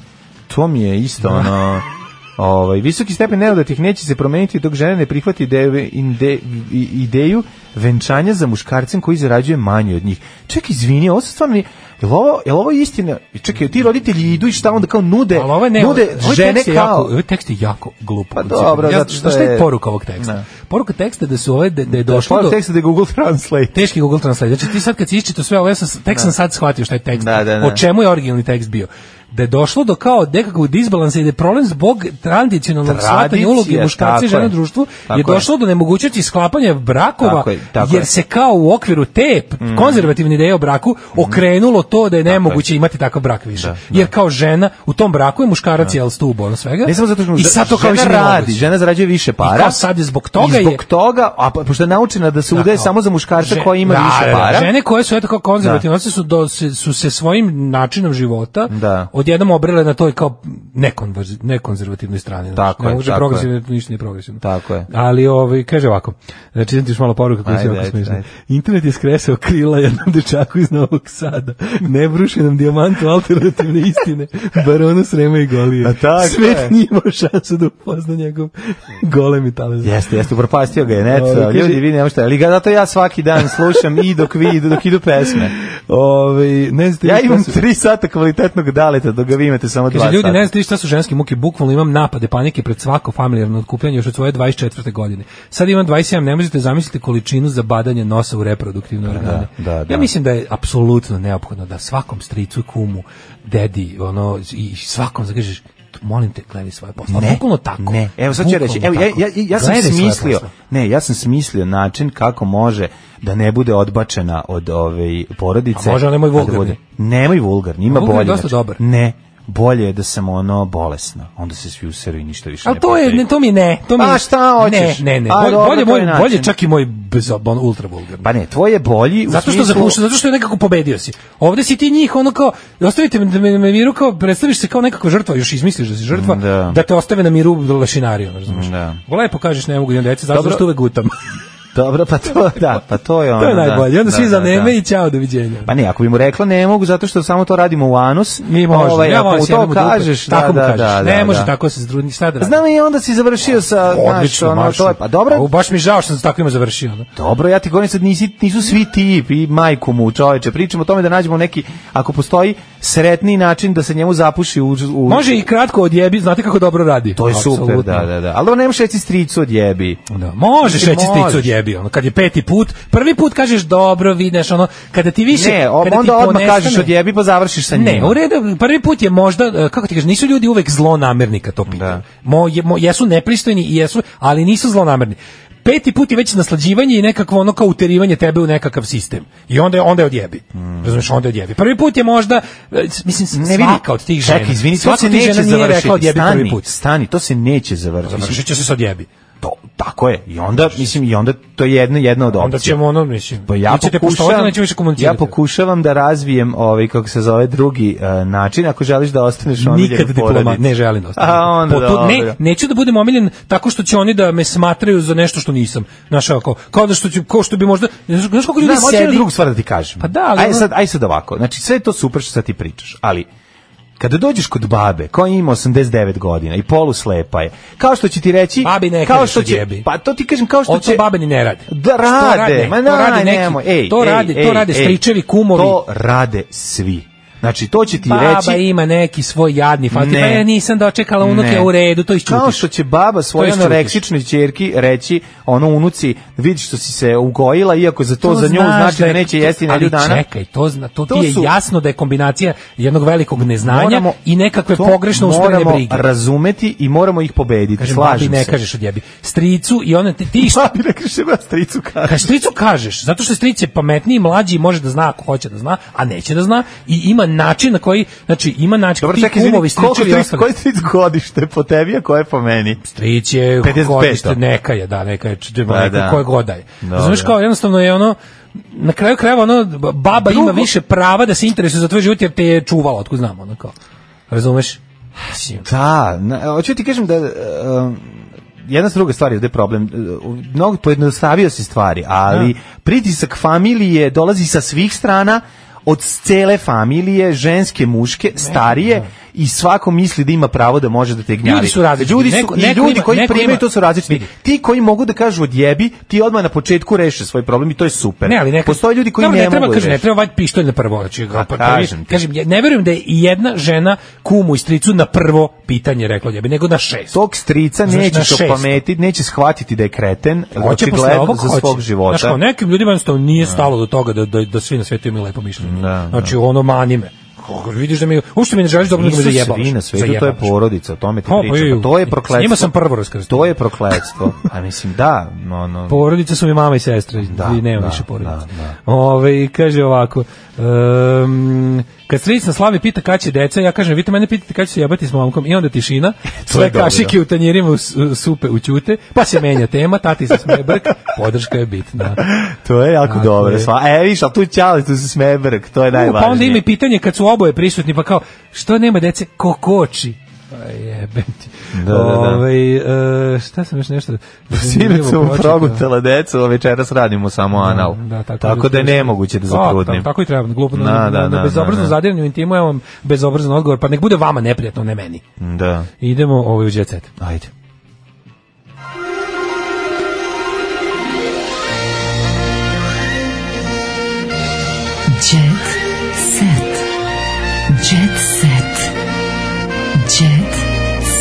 To mi je
Da.
isto ono... Ovaj, visoki stepen neodatih neće se promeniti dok žene ne prihvati ideju, inde, i- ideju venčanja za muškarcem koji zarađuje manje od njih. Čekaj, izvini, ovo se stvarno nije... Jel ovo, jel ovo istina? I Čekaj, ti roditelji idu i šta onda kao nude?
Ali ovo ne,
nude
ovaj
žene
tekst je jako,
kao...
ovaj tekst je jako glupo.
Pa
koncipiran.
dobro,
ja,
zato što
znaš šta je
je-
poruka ovog teksta?
Ne.
Poruka teksta je da su ove, da, da je došlo
Došlo
do...
teksta da je Google Translate.
Ovaj, Teški Google Translate. Znači ti sad kad si iščito sve ovo, ja sam, tek sam sad shvatio šta je tekst.
Da, da, da.
O čemu je originalni tekst bio? Da je došlo do kao nekakvog disbalansa i da je problem zbog tradicionalnog
Tradicija,
shvatanja uloge muškarca
tako
i žene u
je.
društvu
Tako
je
je.
došlo do nemogućnosti sklapanja brakova
Tako je, tako
jer
je. Mm.
se kao u okviru te konzervativne ideje o braku
Mm-hmm.
okrenulo to da je nemoguće imati takav brak
Da,
više. Jer kao žena u tom braku je muškarac je stubo ono svega.
Ne samo zato što
I sad to
žena
kao više nije
radi,
moguće.
žena zarađuje više para.
I kao sad je zbog toga
I zbog
je-
toga, a po- pošto je naučena da se
Da,
udaje
kao-
samo za muškarca
Žen-
koji ima
da,
više
da, da.
para.
Žene koje su eto kao konzervativne, one su, do, se, su se svojim načinom života
Da.
odjednom obrele na toj kao nekonverz- nekonzervativnoj strani. znači,
Tako
ne
je,
može
tako
progresivno,
je.
ništa nije progresivno.
Tako je.
Ali ovaj kaže ovako. Znači idem ti još malo poruka koja se
Ajde,
ovako
ajde,
smešna.
ajde.
Internet je skresao krila jednom dečaku iz Novog Sada. Ne bruši nam dijamantu alternativne istine. Barona Srema i Golije.
A Pa tako
Svet
je.
nije imao šansu da upozna njegov golemi talent.
Jeste, jeste, upropastio ga je, neto,
Dobro, kaže-
ljudi, vi ne možete, ali ga zato ja svaki dan slušam i dok vi idu, dok idu pesme.
Ove, Ovaj, ne znate
Ja
vi šta
imam
su-
tri sata kvalitetnog daleta, dok ga vi imate samo dva
Kaže, ljudi,
sata.
ne znate šta su ženske muke, bukvalno imam napade panike pred svako familijarno otkupljanje još od svoje 24. godine. Sad imam 27, ne možete zamisliti količinu za badanje nosa u reproduktivne organe.
da, da.
Ja mislim da je apsolutno neophodno da svakom stricu, kumu, dedi, ono, i svakom zakažeš, molim te, gledaj svoje posle.
Ne,
bukvalno tako.
Ne, evo sad ću
Bukvalno
reći, evo, ja,
tako.
ja, ja sam
Gledaj svoje
smislio,
posla.
ne, ja sam smislio način kako može da ne bude odbačena od ove porodice.
A može, ali nemoj
a da
vulgarni.
bude- Nemoj vulgarni, ima
Vulgarni je
bolje.
dosta dobar.
Ne, bolje je da sam ono bolesna, onda se svi useru i ništa više
Ali to je,
postoji.
ne, to mi ne. To mi,
A šta hoćeš?
Ne, ne, ne.
A,
bolje,
dobro,
bolje,
to je
moj,
način.
bolje čak i moj bezobon ultra vulgarni.
Pa ne, tvoj je bolji u
Zato što
smislu-
zapušta, zato što je nekako pobedio si. Ovde si ti njih ono kao ostavite me da me, me miru kao predstaviš se kao nekakva žrtva, još izmisliš da si žrtva,
Da.
da, te ostave na miru lešinariju, razumeš?
Da.
Lepo kažeš ne mogu da deca, zato
Dobro.
što uvek gutam.
Dobro, pa to, da, pa to je ono.
to je
da.
najbolje. Onda
Da,
svi
da,
za
da.
neme i ćao, doviđenja.
Pa ne, ako bi mu rekla ne mogu zato što samo to radimo u anus.
Mi možemo.
ovaj,
ja
ako
volim
mu
sjebem u
to
dupe.
kažeš, da,
tako mu
da,
kažeš.
da,
ne
da,
može
da.
tako se zdrudni sad radi.
Znam i onda si završio sa, znaš,
Odlično,
ono,
Mašo.
to je, pa dobro,
Au, baš mi je žao što sam s takvima završio. ono.
Dobro, ja ti govorim sad nisi, nisu svi ti i majku mu čoveče. Pričamo o tome da nađemo neki, ako postoji sretniji način da se njemu zapuši u... u
Može i kratko odjebi, znate kako dobro radi.
To je super,
Apsolutno.
da, da, da. Ali ovo ne možeš reći stricu odjebi.
Da, možeš
Mislim,
reći
možeš.
sticu odjebi, ono, kad je peti put, prvi put kažeš dobro, vidiš, ono, kada ti više...
Ne, o-
kada ti
onda odmah
ponestane-
kažeš odjebi pa završiš sa njim.
Ne, u redu, prvi put je možda, e, kako ti kažeš, nisu ljudi uvek zlonamerni kad to pitaju.
Da.
Mo, je- mo- jesu nepristojni i jesu, ali nisu zlonamerni. Peti put je već naslađivanje i nekakvo ono kao uterivanje tebe u nekakav sistem. I onda je, onda je odjebi. Razumeš, onda je odjebi. Prvi put je možda, e, mislim,
Hmm. Ne vidi.
svaka od tih žena.
Čekaj, izvini, to
svaka
se
od tih
neće
žena nije
završiti.
rekla odjebi
stani,
prvi put.
stani, to se neće završiti. Mislim,
Završit će se sa odjebi.
to, tako je. I onda, mislim, i onda to je jedna, jedna od opcija.
Pa Onda ćemo ono, mislim,
Pa ja
ili ćete poštovati,
pokušavam,
nećemo više
ja
komunicirati.
pokušavam da razvijem ovaj kako se zove drugi eh, način ako želiš da ostaneš omiljen
Nikad
u
diploma,
porodici.
ne želim da ostanem.
A onda
Po tu- ne,
dobro.
neću da budem omiljen tako što će oni da me smatraju za nešto što nisam. Znaš, kao, kao da što ću, kao što bi možda, znaš kako ljudi
Znam, hoću jednu
sedi.
drugu stvar da ti kažem.
Pa da, ali
Aj
ono-
sad, aj sad ovako. Znači, sve je to super što sad ti pričaš, ali kada dođeš kod babe koja ima 89 godina i poluslepa je, kao što će ti reći...
Babi ne
kao
kažeš
što će,
odjebi.
Pa to ti kažem kao što
Ovo to
će...
babeni ne rade.
Da
Što
rade,
rade?
ma
To
na,
rade neki.
nemoj, ej,
To
ej,
rade- to
ej,
rade
ej.
stričevi, kumovi.
To rade svi. Znači, to će ti
Baba
reći...
ima neki svoj jadni fati,
Ne.
pa ja nisam dočekala unuke
Ne.
u redu, to
Kao
isčutiš.
što će baba svojoj
isčutiš.
anoreksičnoj ćerki reći ono unuci, vidi što si se ugojila, iako za to, za nju
znaš
znači da,
je-
neće jesti na
ali
dana.
čekaj, to, zna, to,
To
ti je
su-
jasno da je kombinacija jednog velikog neznanja
Moramo-
i nekakve
to
pogrešno usmjerene
moramo
brige.
razumeti i moramo ih pobediti.
Kažem, babi
Slažem
ne
se.
kažeš odjebi. Stricu i ona ti, ti što
Babi ne kažeš, evo ja stricu kažem.
Kad stricu kažeš, zato što stric je pametniji, mlađi i može da zna ako hoće da zna, a neće da zna i ima način na koji, znači ima način
Dobro,
ti
čekaj, izvini,
kumovi,
koliko
stričevi i
stric,
ostali.
koji stric godište po tebi, a koje po meni?
Stric je
55.
godište, neka je, da, neka je, čudim,
Pa,
neka,
da.
koje goda je.
Dobro.
Razumeš kao, jednostavno je ono, na kraju krajeva ono, baba
Drugo-
ima više prava da se interesuje za tvoj život jer te je čuvala, otkud znamo, ono kao, razumeš? Mislim,
Da, na, hoću ti kažem da... um, jedna druga stvar je ovde problem. Uh, Mnogo pojednostavio se stvari, ali
Da.
pritisak familije dolazi sa svih strana, od cele familije, ženske, muške, starije i svako misli da ima pravo da može da te gnjavi.
da. Ljudi su različiti.
Ljudi su-
Neko-
i
neko
ljudi
ima-
koji
neko
primaju
ima-
to su različiti.
Vidi.
Ti koji mogu da kažu odjebi, ti odmah na početku reše svoj problem i to je super.
Ne, ali neka
Postoje ljudi koji
Dobro,
ne,
ne treba
mogu da
kaže ne
reše.
treba vaditi pištolj na prvo, znači ga pa
kažem
kažem,
ti.
kažem ja ne verujem da je i jedna žena kumu i stricu na prvo pitanje rekla jebi, nego na šest.
tog strica
Znaš, na
nećeš
šest.
opametiti, neće shvatiti da je kreten,
Hoće
očigledno
posle ovog
za
hoće.
svog života.
Znaš, kao nekim ljudima jednostavno nije stalo do toga da, da, da svi na svetu imaju lepo mišljenje.
Da,
znači, ono mani me. Kako vidiš da mi, uopšte mi ne želiš dobro da me
Nisu
zajebaš.
svi na svetu, to je
Zajebavaš.
porodica, o tome ti
O, pa
pričam.
ju,
Pa to je
ju.
prokletstvo.
S njima sam prvo raskrsnuo.
To je prokletstvo. A mislim, da, no, no.
Porodica su mi mama i sestra,
Da,
da, i nema
da,
više porodice.
da,
Ove, kaže ovako, um, kad stric na slavi pita kada će deca, ja kažem, vi te mene pitate kada će se jebati s momkom, i onda tišina, sve
dobro. da.
kašike u tanjirima u s- u supe učute, pa se menja tema, tati se smeje brk, podrška je bitna.
To je jako
Tako
dobro.
je.
Sva, e, viš, ali tu ćali, tu se smebrk, to je
U,
najvažnije.
Pa onda ima i pitanje kad su oboje prisutni, pa kao, što nema dece? Ko koči? Aj, jebem ti.
Da, da, da.
Ovaj, e, šta sam još nešto... da.
Sinoć
zanimljivo
sam
pročitao?
progutala decu, a večeras radimo samo anal. Da, tako, da je nemoguće da
Pa, tam-
zatrudnim.
Tako i treba, glupo. Na,
Da,
na,
da,
na,
da,
bezobrazno
da, da.
zadiranje u intimu, evo vam bezobrazan odgovor, pa nek bude vama neprijatno, ne meni.
Da.
Idemo ovaj u jet set.
Ajde.
Jet set. Jet set. Jet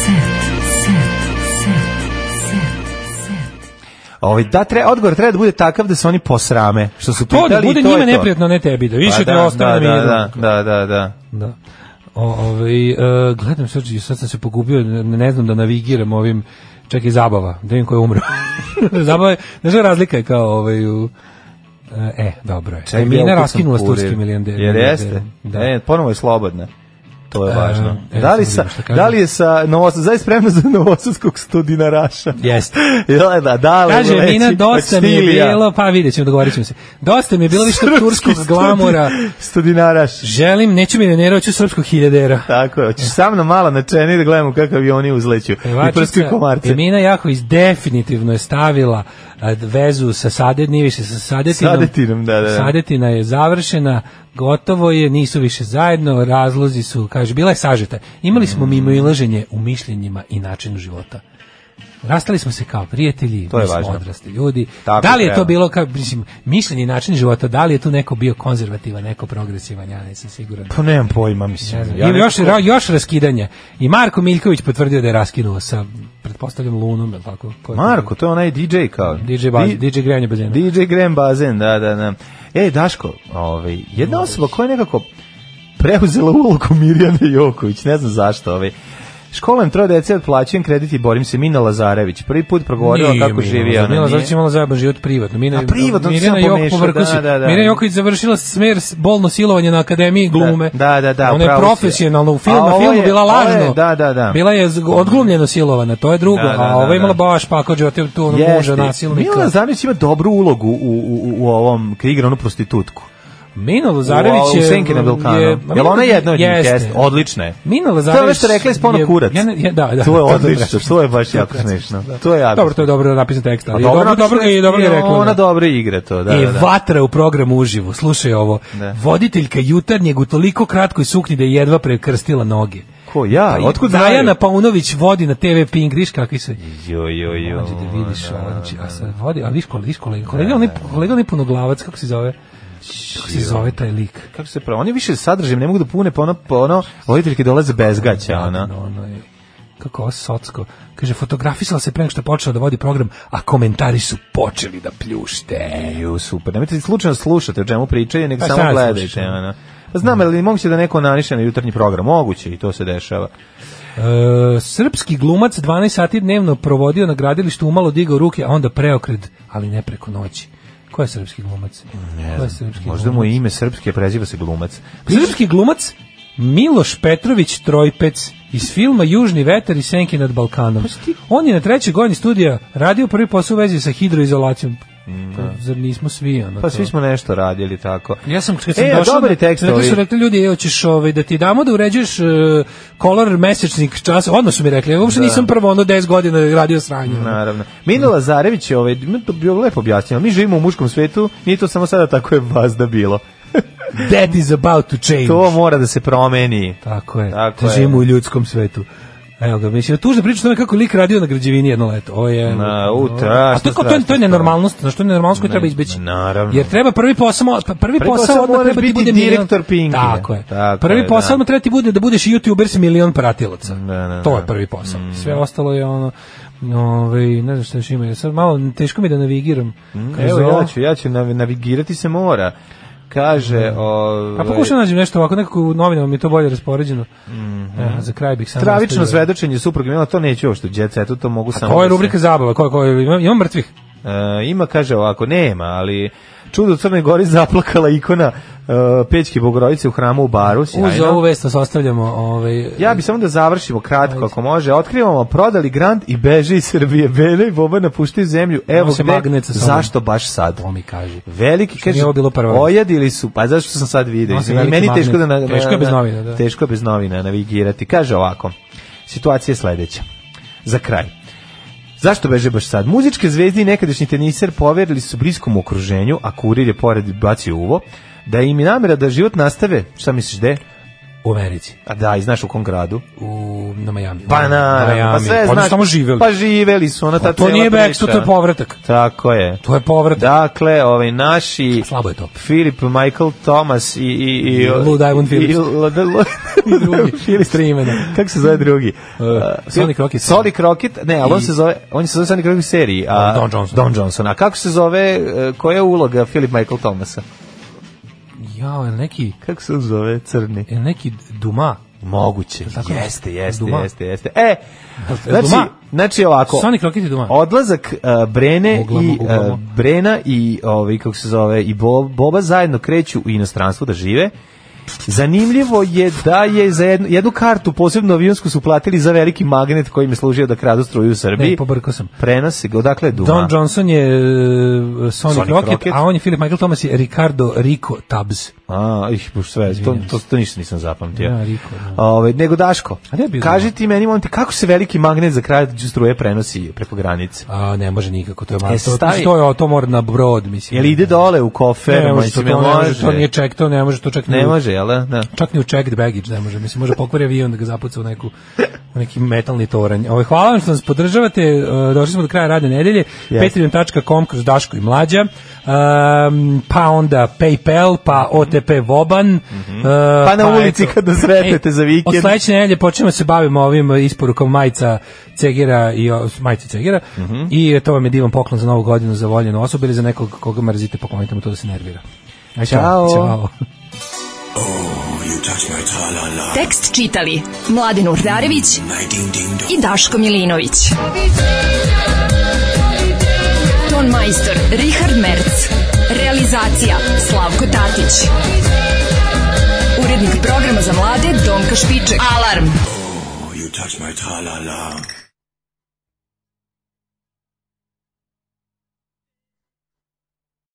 set. Set. Set. Set. Set.
Ovaj da tre odgovor treba da bude takav da se oni posrame, što su
To
pitali.
da
i
bude
to
njima
je to.
neprijatno, ne tebi, da više
Pa
te
da,
ostane na
da,
miru.
da, da, da, da.
Da. O, ovaj, e, gledam sad, sad sam se pogubio, ne, ne znam da navigiram ovim, čak i zabava, da vidim ko je umro. zabava je, znaš koja razlika je kao ovaj u... E, dobro je.
Čekaj,
Mina
ja ukucam
raskinula s
kurir.
turskim milijarderom.
Jer jeste.
Da.
E, ponovo je slobodna. To je važno.
e,
da, li
sad
sa,
vidim šta kažem.
da li je sa Novosadskog, zaista spremna za Novosadskog stodinaraša?
Jeste.
Jel da, da li
Kaže,
leći
Mina, dosta mi je
tekstilija?
bilo, pa vidjet ćemo, dogovorit ćemo se. Dosta mi je bilo više tog turskog
Srpski
glamura.
studi- Stodinaraš.
Želim, neću milionera, hoću srpskog hiljadera.
Tako je, hoćeš sa mnom malo na čeni da gledamo kako avioni uzleću i prskaju komarce.
Emina Jahović definitivno je stavila a, vezu sa Sadet, nije više sa Sadetinom.
Sadetinom, da, da, da.
Sadetina je završena, gotovo je, nisu više zajedno, razlozi su, kaže, bila je sažeta. Imali smo mimo ilaženje u mišljenjima i načinu života. Rastali smo se kao prijatelji,
To je
mi smo
važno.
odrasli ljudi.
Tako
da li je to
treba.
bilo kao, mislim, mišljenje i način života, da li je tu neko bio konzervativan, neko progresivan, ja nisam siguran.
Pa nemam pojma, mislim.
Ne znam,
Ja
Ili još,
nekako-
ra- još raskidanja. I Marko Miljković potvrdio da je raskinuo sa, pretpostavljam, Lunom, je li tako? Ko je
Marko, to je onaj DJ kao.
DJ, ba,
Di-
DJ grejanje bazena.
DJ Graham Bazen, da, da, da. E, Daško, ovaj, jedna osoba koja je nekako preuzela ulogu Mirjane Joković, ne znam zašto, ovaj, Školem troje dece otplaćujem kredit i borim se Mina Lazarević. Prvi put progovorila
Nije
kako
Mila
živi
Lazović,
ona.
Mila
nije.
Lazović je imala zajeban život privatno. Mina,
A privatno
Mirjana
sam
Jok
pomešao,
povrkusi.
da, da, da.
Mirjana Joković završila smer s- bolno silovanje na akademiji glume.
da, da, da,
Ona je
upravo si.
profesionalno u filmu,
A
na
ovo
filmu
je-
bila
ovo je-
lažno.
da, da, da.
Bila je zg- odglumljeno silovana, to je drugo.
Da, da,
a
da,
ova je imala
da.
baš pakao života tu ono muža nasilnika.
Mila Lazarević ima dobru ulogu u, u, u- u ovom, kad igra onu prostitutku.
Mina Lazarević
u,
je...
u Senke na Balkanu. Je, Jel ona je jedna od njih
Jeste.
jeste? Odlična je.
Mina
To je ono
Lazarević...
što rekla je spono
je-
kurac.
Ja, ne- ja, da, da,
to je
dobro
odlično,
rekla.
to je baš
Da,
jako smešno. To je jako
Dobro, to je dobro napisan tekst,
Pa
ali je dobro,
napisano
dobro ga je dobro ga je rekla.
Ona
da. E,
dobro igra to, da,
I
da, da.
vatra u programu uživo. Slušaj ovo.
Da.
Voditeljka jutarnjeg u toliko kratkoj suknji da je jedva prekrstila noge. Pa
Ko ja? Otkud znaju?
Dajana Paunović vodi na TV Pink, viš kakvi se...
Jo, jo, jo.
Dođe da vidiš ovo, znači, a sad vodi, a viš kolega,
da.
viš kolega, kolega, onaj, kolega onaj punoglavac, kako se zove? Kako se zove taj lik?
Kako se pravo? Oni više sadržajem ne mogu da pune, pa ono, pa ono, voditeljke dolaze bez
Da,
gaća, ona.
Ono, ono je, kako ovo socko. Kaže, fotografisala se pre nego što je počela da vodi program, a komentari su počeli da pljušte.
Jo, super. Nemojte slučajno slušati o čemu pričaju, nego
A
samo
sad
gledajte,
slušam.
ona. Pa znam, ali moguće da neko naniše na jutarnji program. Moguće i to se dešava.
E, srpski glumac 12 sati dnevno provodio na gradilištu, umalo digao ruke, a onda preokret, ali ne preko noći. Ko je srpski glumac? Ko je srpski
Možda mu
glumac?
je ime srpske, preziva se glumac.
Srpski glumac Miloš Petrović Trojpec iz filma Južni vetar i senke nad Balkanom. On je na trećoj godini studija radio prvi posao u vezi sa hidroizolacijom. Pa, zar nismo svi ono
Pa
to?
svi smo nešto radili tako.
Ja sam kad sam
e, a
došao,
dobar je
na-
tekst
rekli su
ovi.
rekli ljudi, evo ćeš ovaj da ti damo da uređuješ e, kolor mesečnik čas. Odmah su mi rekli, ja
Da.
uopšte nisam prvo ono 10 godina radio sranje. ono.
Naravno. Mina Lazarević je ovaj, ima to bio lepo objasnila. Mi živimo u muškom svetu, nije to samo sada tako je vas da bilo.
That is about to change.
To mora da se promeni.
Tako je.
Tako
Tako
je.
Živimo u ljudskom svetu. Evo ga, mislim, tužna priča o tome kako je lik radio na građevini jedno leto. O je,
Na, u,
o-
strašno,
A to, je kao- to, je, to je
strašno.
nenormalnost, znaš, to je nenormalnost koju
Ne,
treba izbeći.
naravno.
Jer treba prvi posao, pa prvi,
Prvi
posao,
posao
odmah
moraš
treba ti
biti
bude milion-
direktor Pinkija.
Tako je.
Tako
prvi
je,
posao
da.
odmah treba ti bude da budeš youtuber s milion pratilaca.
Da, da,
to je
da.
prvi posao. Sve ostalo je ono, ovaj, ne znam šta još ima. Sad malo teško mi je da navigiram. kroz
Evo,
ovo.
ja Mm, ovaj ću, ja ću nav- navigirati se mora. Kaže, ovaj,
A pokušam da nađem nešto ovako, nekako u novinama mi je to bolje raspoređeno. Evo, za kraj bih samo...
Mhm. Stravično
ostavio-
svedočenje supruga Mila, to neću uopšte u jet setu, to mogu samo...
Ovo je
da se-
rubrika zabava, koja, koja, ima, ima mrtvih.
E, ima, kaže ovako, nema, ali čudo u Crnoj Gori zaplakala ikona uh, Pećke Bogorodice u hramu u Baru, sjajno.
Uz ovu vest vas ostavljamo. Ovaj,
Ja bi samo da završimo kratko ako može. Otkrivamo prodali Grand i beži iz Srbije. Bena i Boba napuštaju zemlju. Evo
Nose
gde,
magnet sa sobom.
zašto baš sad?
To mi kaže.
Veliki, kaže,
nije ovo bilo prvo.
ojadili su, pa zašto sam sad video?
Nosi
Mislim,
veliki
Meni teško da... Na,
magnet.
na-
Teško je bez
na-
novina, da.
Teško je bez novina navigirati. Kaže ovako, situacija je sledeća. Za kraj. Zašto beže baš sad? Muzičke zvezde i nekadašnji teniser poverili su bliskom okruženju, a kurir je pored bacio uvo, da im je namera da život nastave, šta misliš, gde?
U Americi.
A da, i znaš u kom gradu?
U, na Miami.
Pa naravno, pa
Da, Miami.
sve
Oni
znaš.
samo živeli.
Pa živeli su, ona ta
Pa to
cela
nije
priča.
backstop, to je povratak.
Tako je.
To je povratak.
Dakle, ovaj naši
Slabo je to.
Filip Michael Thomas i i i
Lou Diamond Phillips.
i Lou Di- Lou-
Drugi,
Phillips.
tri imena.
Kako se zove drugi?
Uh,
Uh,
Sonic Rocket.
Sonic Rocket, ne, ali on se zove, on se zove Sonic Rocket u seriji, a
Don Johnson.
Don Johnson. A kako se zove, uh, koja je uloga Filip Michael Thomasa?
Jao, je li neki,
Kako se on zove, crni?
je li neki Duma?
Moguće.
Tako je.
Jeste, jeste,
Duma.
jeste, jeste. E,
Jel
znači,
Duma?
znači ovako.
Sonic Rocket i Duma.
Odlazak uh, Brene
Guglamo,
i
guglamo.
uh, Brena i ovaj kako se zove i Bo- Boba zajedno kreću u inostranstvo da žive. Zanimljivo je da je za jednu, jednu kartu posebno avionsku su platili za veliki magnet koji im je služio da kradu struju u Srbiji.
Ne, pobrkao E, sam.
Prenose ga, odakle je Duma?
Don Johnson je e, Sonic,
Sonic
Rocket,
Rocket.
a on je Philip Michael Thomas je Ricardo Rico Tubbs.
A, ih, boš sve, to, to, to ništa nisam zapamtio.
Da, Riko, da.
Ove, nego Daško,
A gde je bio
kaži
Duma?
ti meni, molim te, kako se veliki magnet za kraj struje prenosi preko granice?
A, ne može nikako, to je malo.
E,
to,
stavi-
to, je, to mora na brod, mislim.
Jel ide dole u kofer?
Ne može, to,
mislim,
to,
jel
ne može, to nije ček, to ne može, to čak ni
Ne
u-
može, jel da? Da.
Čak ni u checked baggage ne može, mislim, može pokvari avion da ga zapuca u, neku, u neki metalni toranj. Ovaj, hvala vam što nas podržavate, e, došli smo do kraja radne nedelje,
Jeste.
patreon.com kroz Daško i Mlađa, Ehm, pa onda Paypal, pa OTP Voban. e,
Pa na ulici kad nas sretnete za vikend.
Od sledeće nedelje počnemo da se bavimo ovim e, isporukom majica Cegera i o, majice Cegera
Mhm.
i to vam je divan poklon za novu godinu za voljenu osobu ili za nekog koga mrzite, poklonite mu to da se nervira. Aj,
Ćao.
Ćao.
Tekst čitali Mladin Urdarević i Daško Milinović. Ton majstor Richard Merc. Realizacija Slavko Tatić. Urednik programa za mlade Donka Špiček. Alarm!
Oh, you touch my tra-la-la.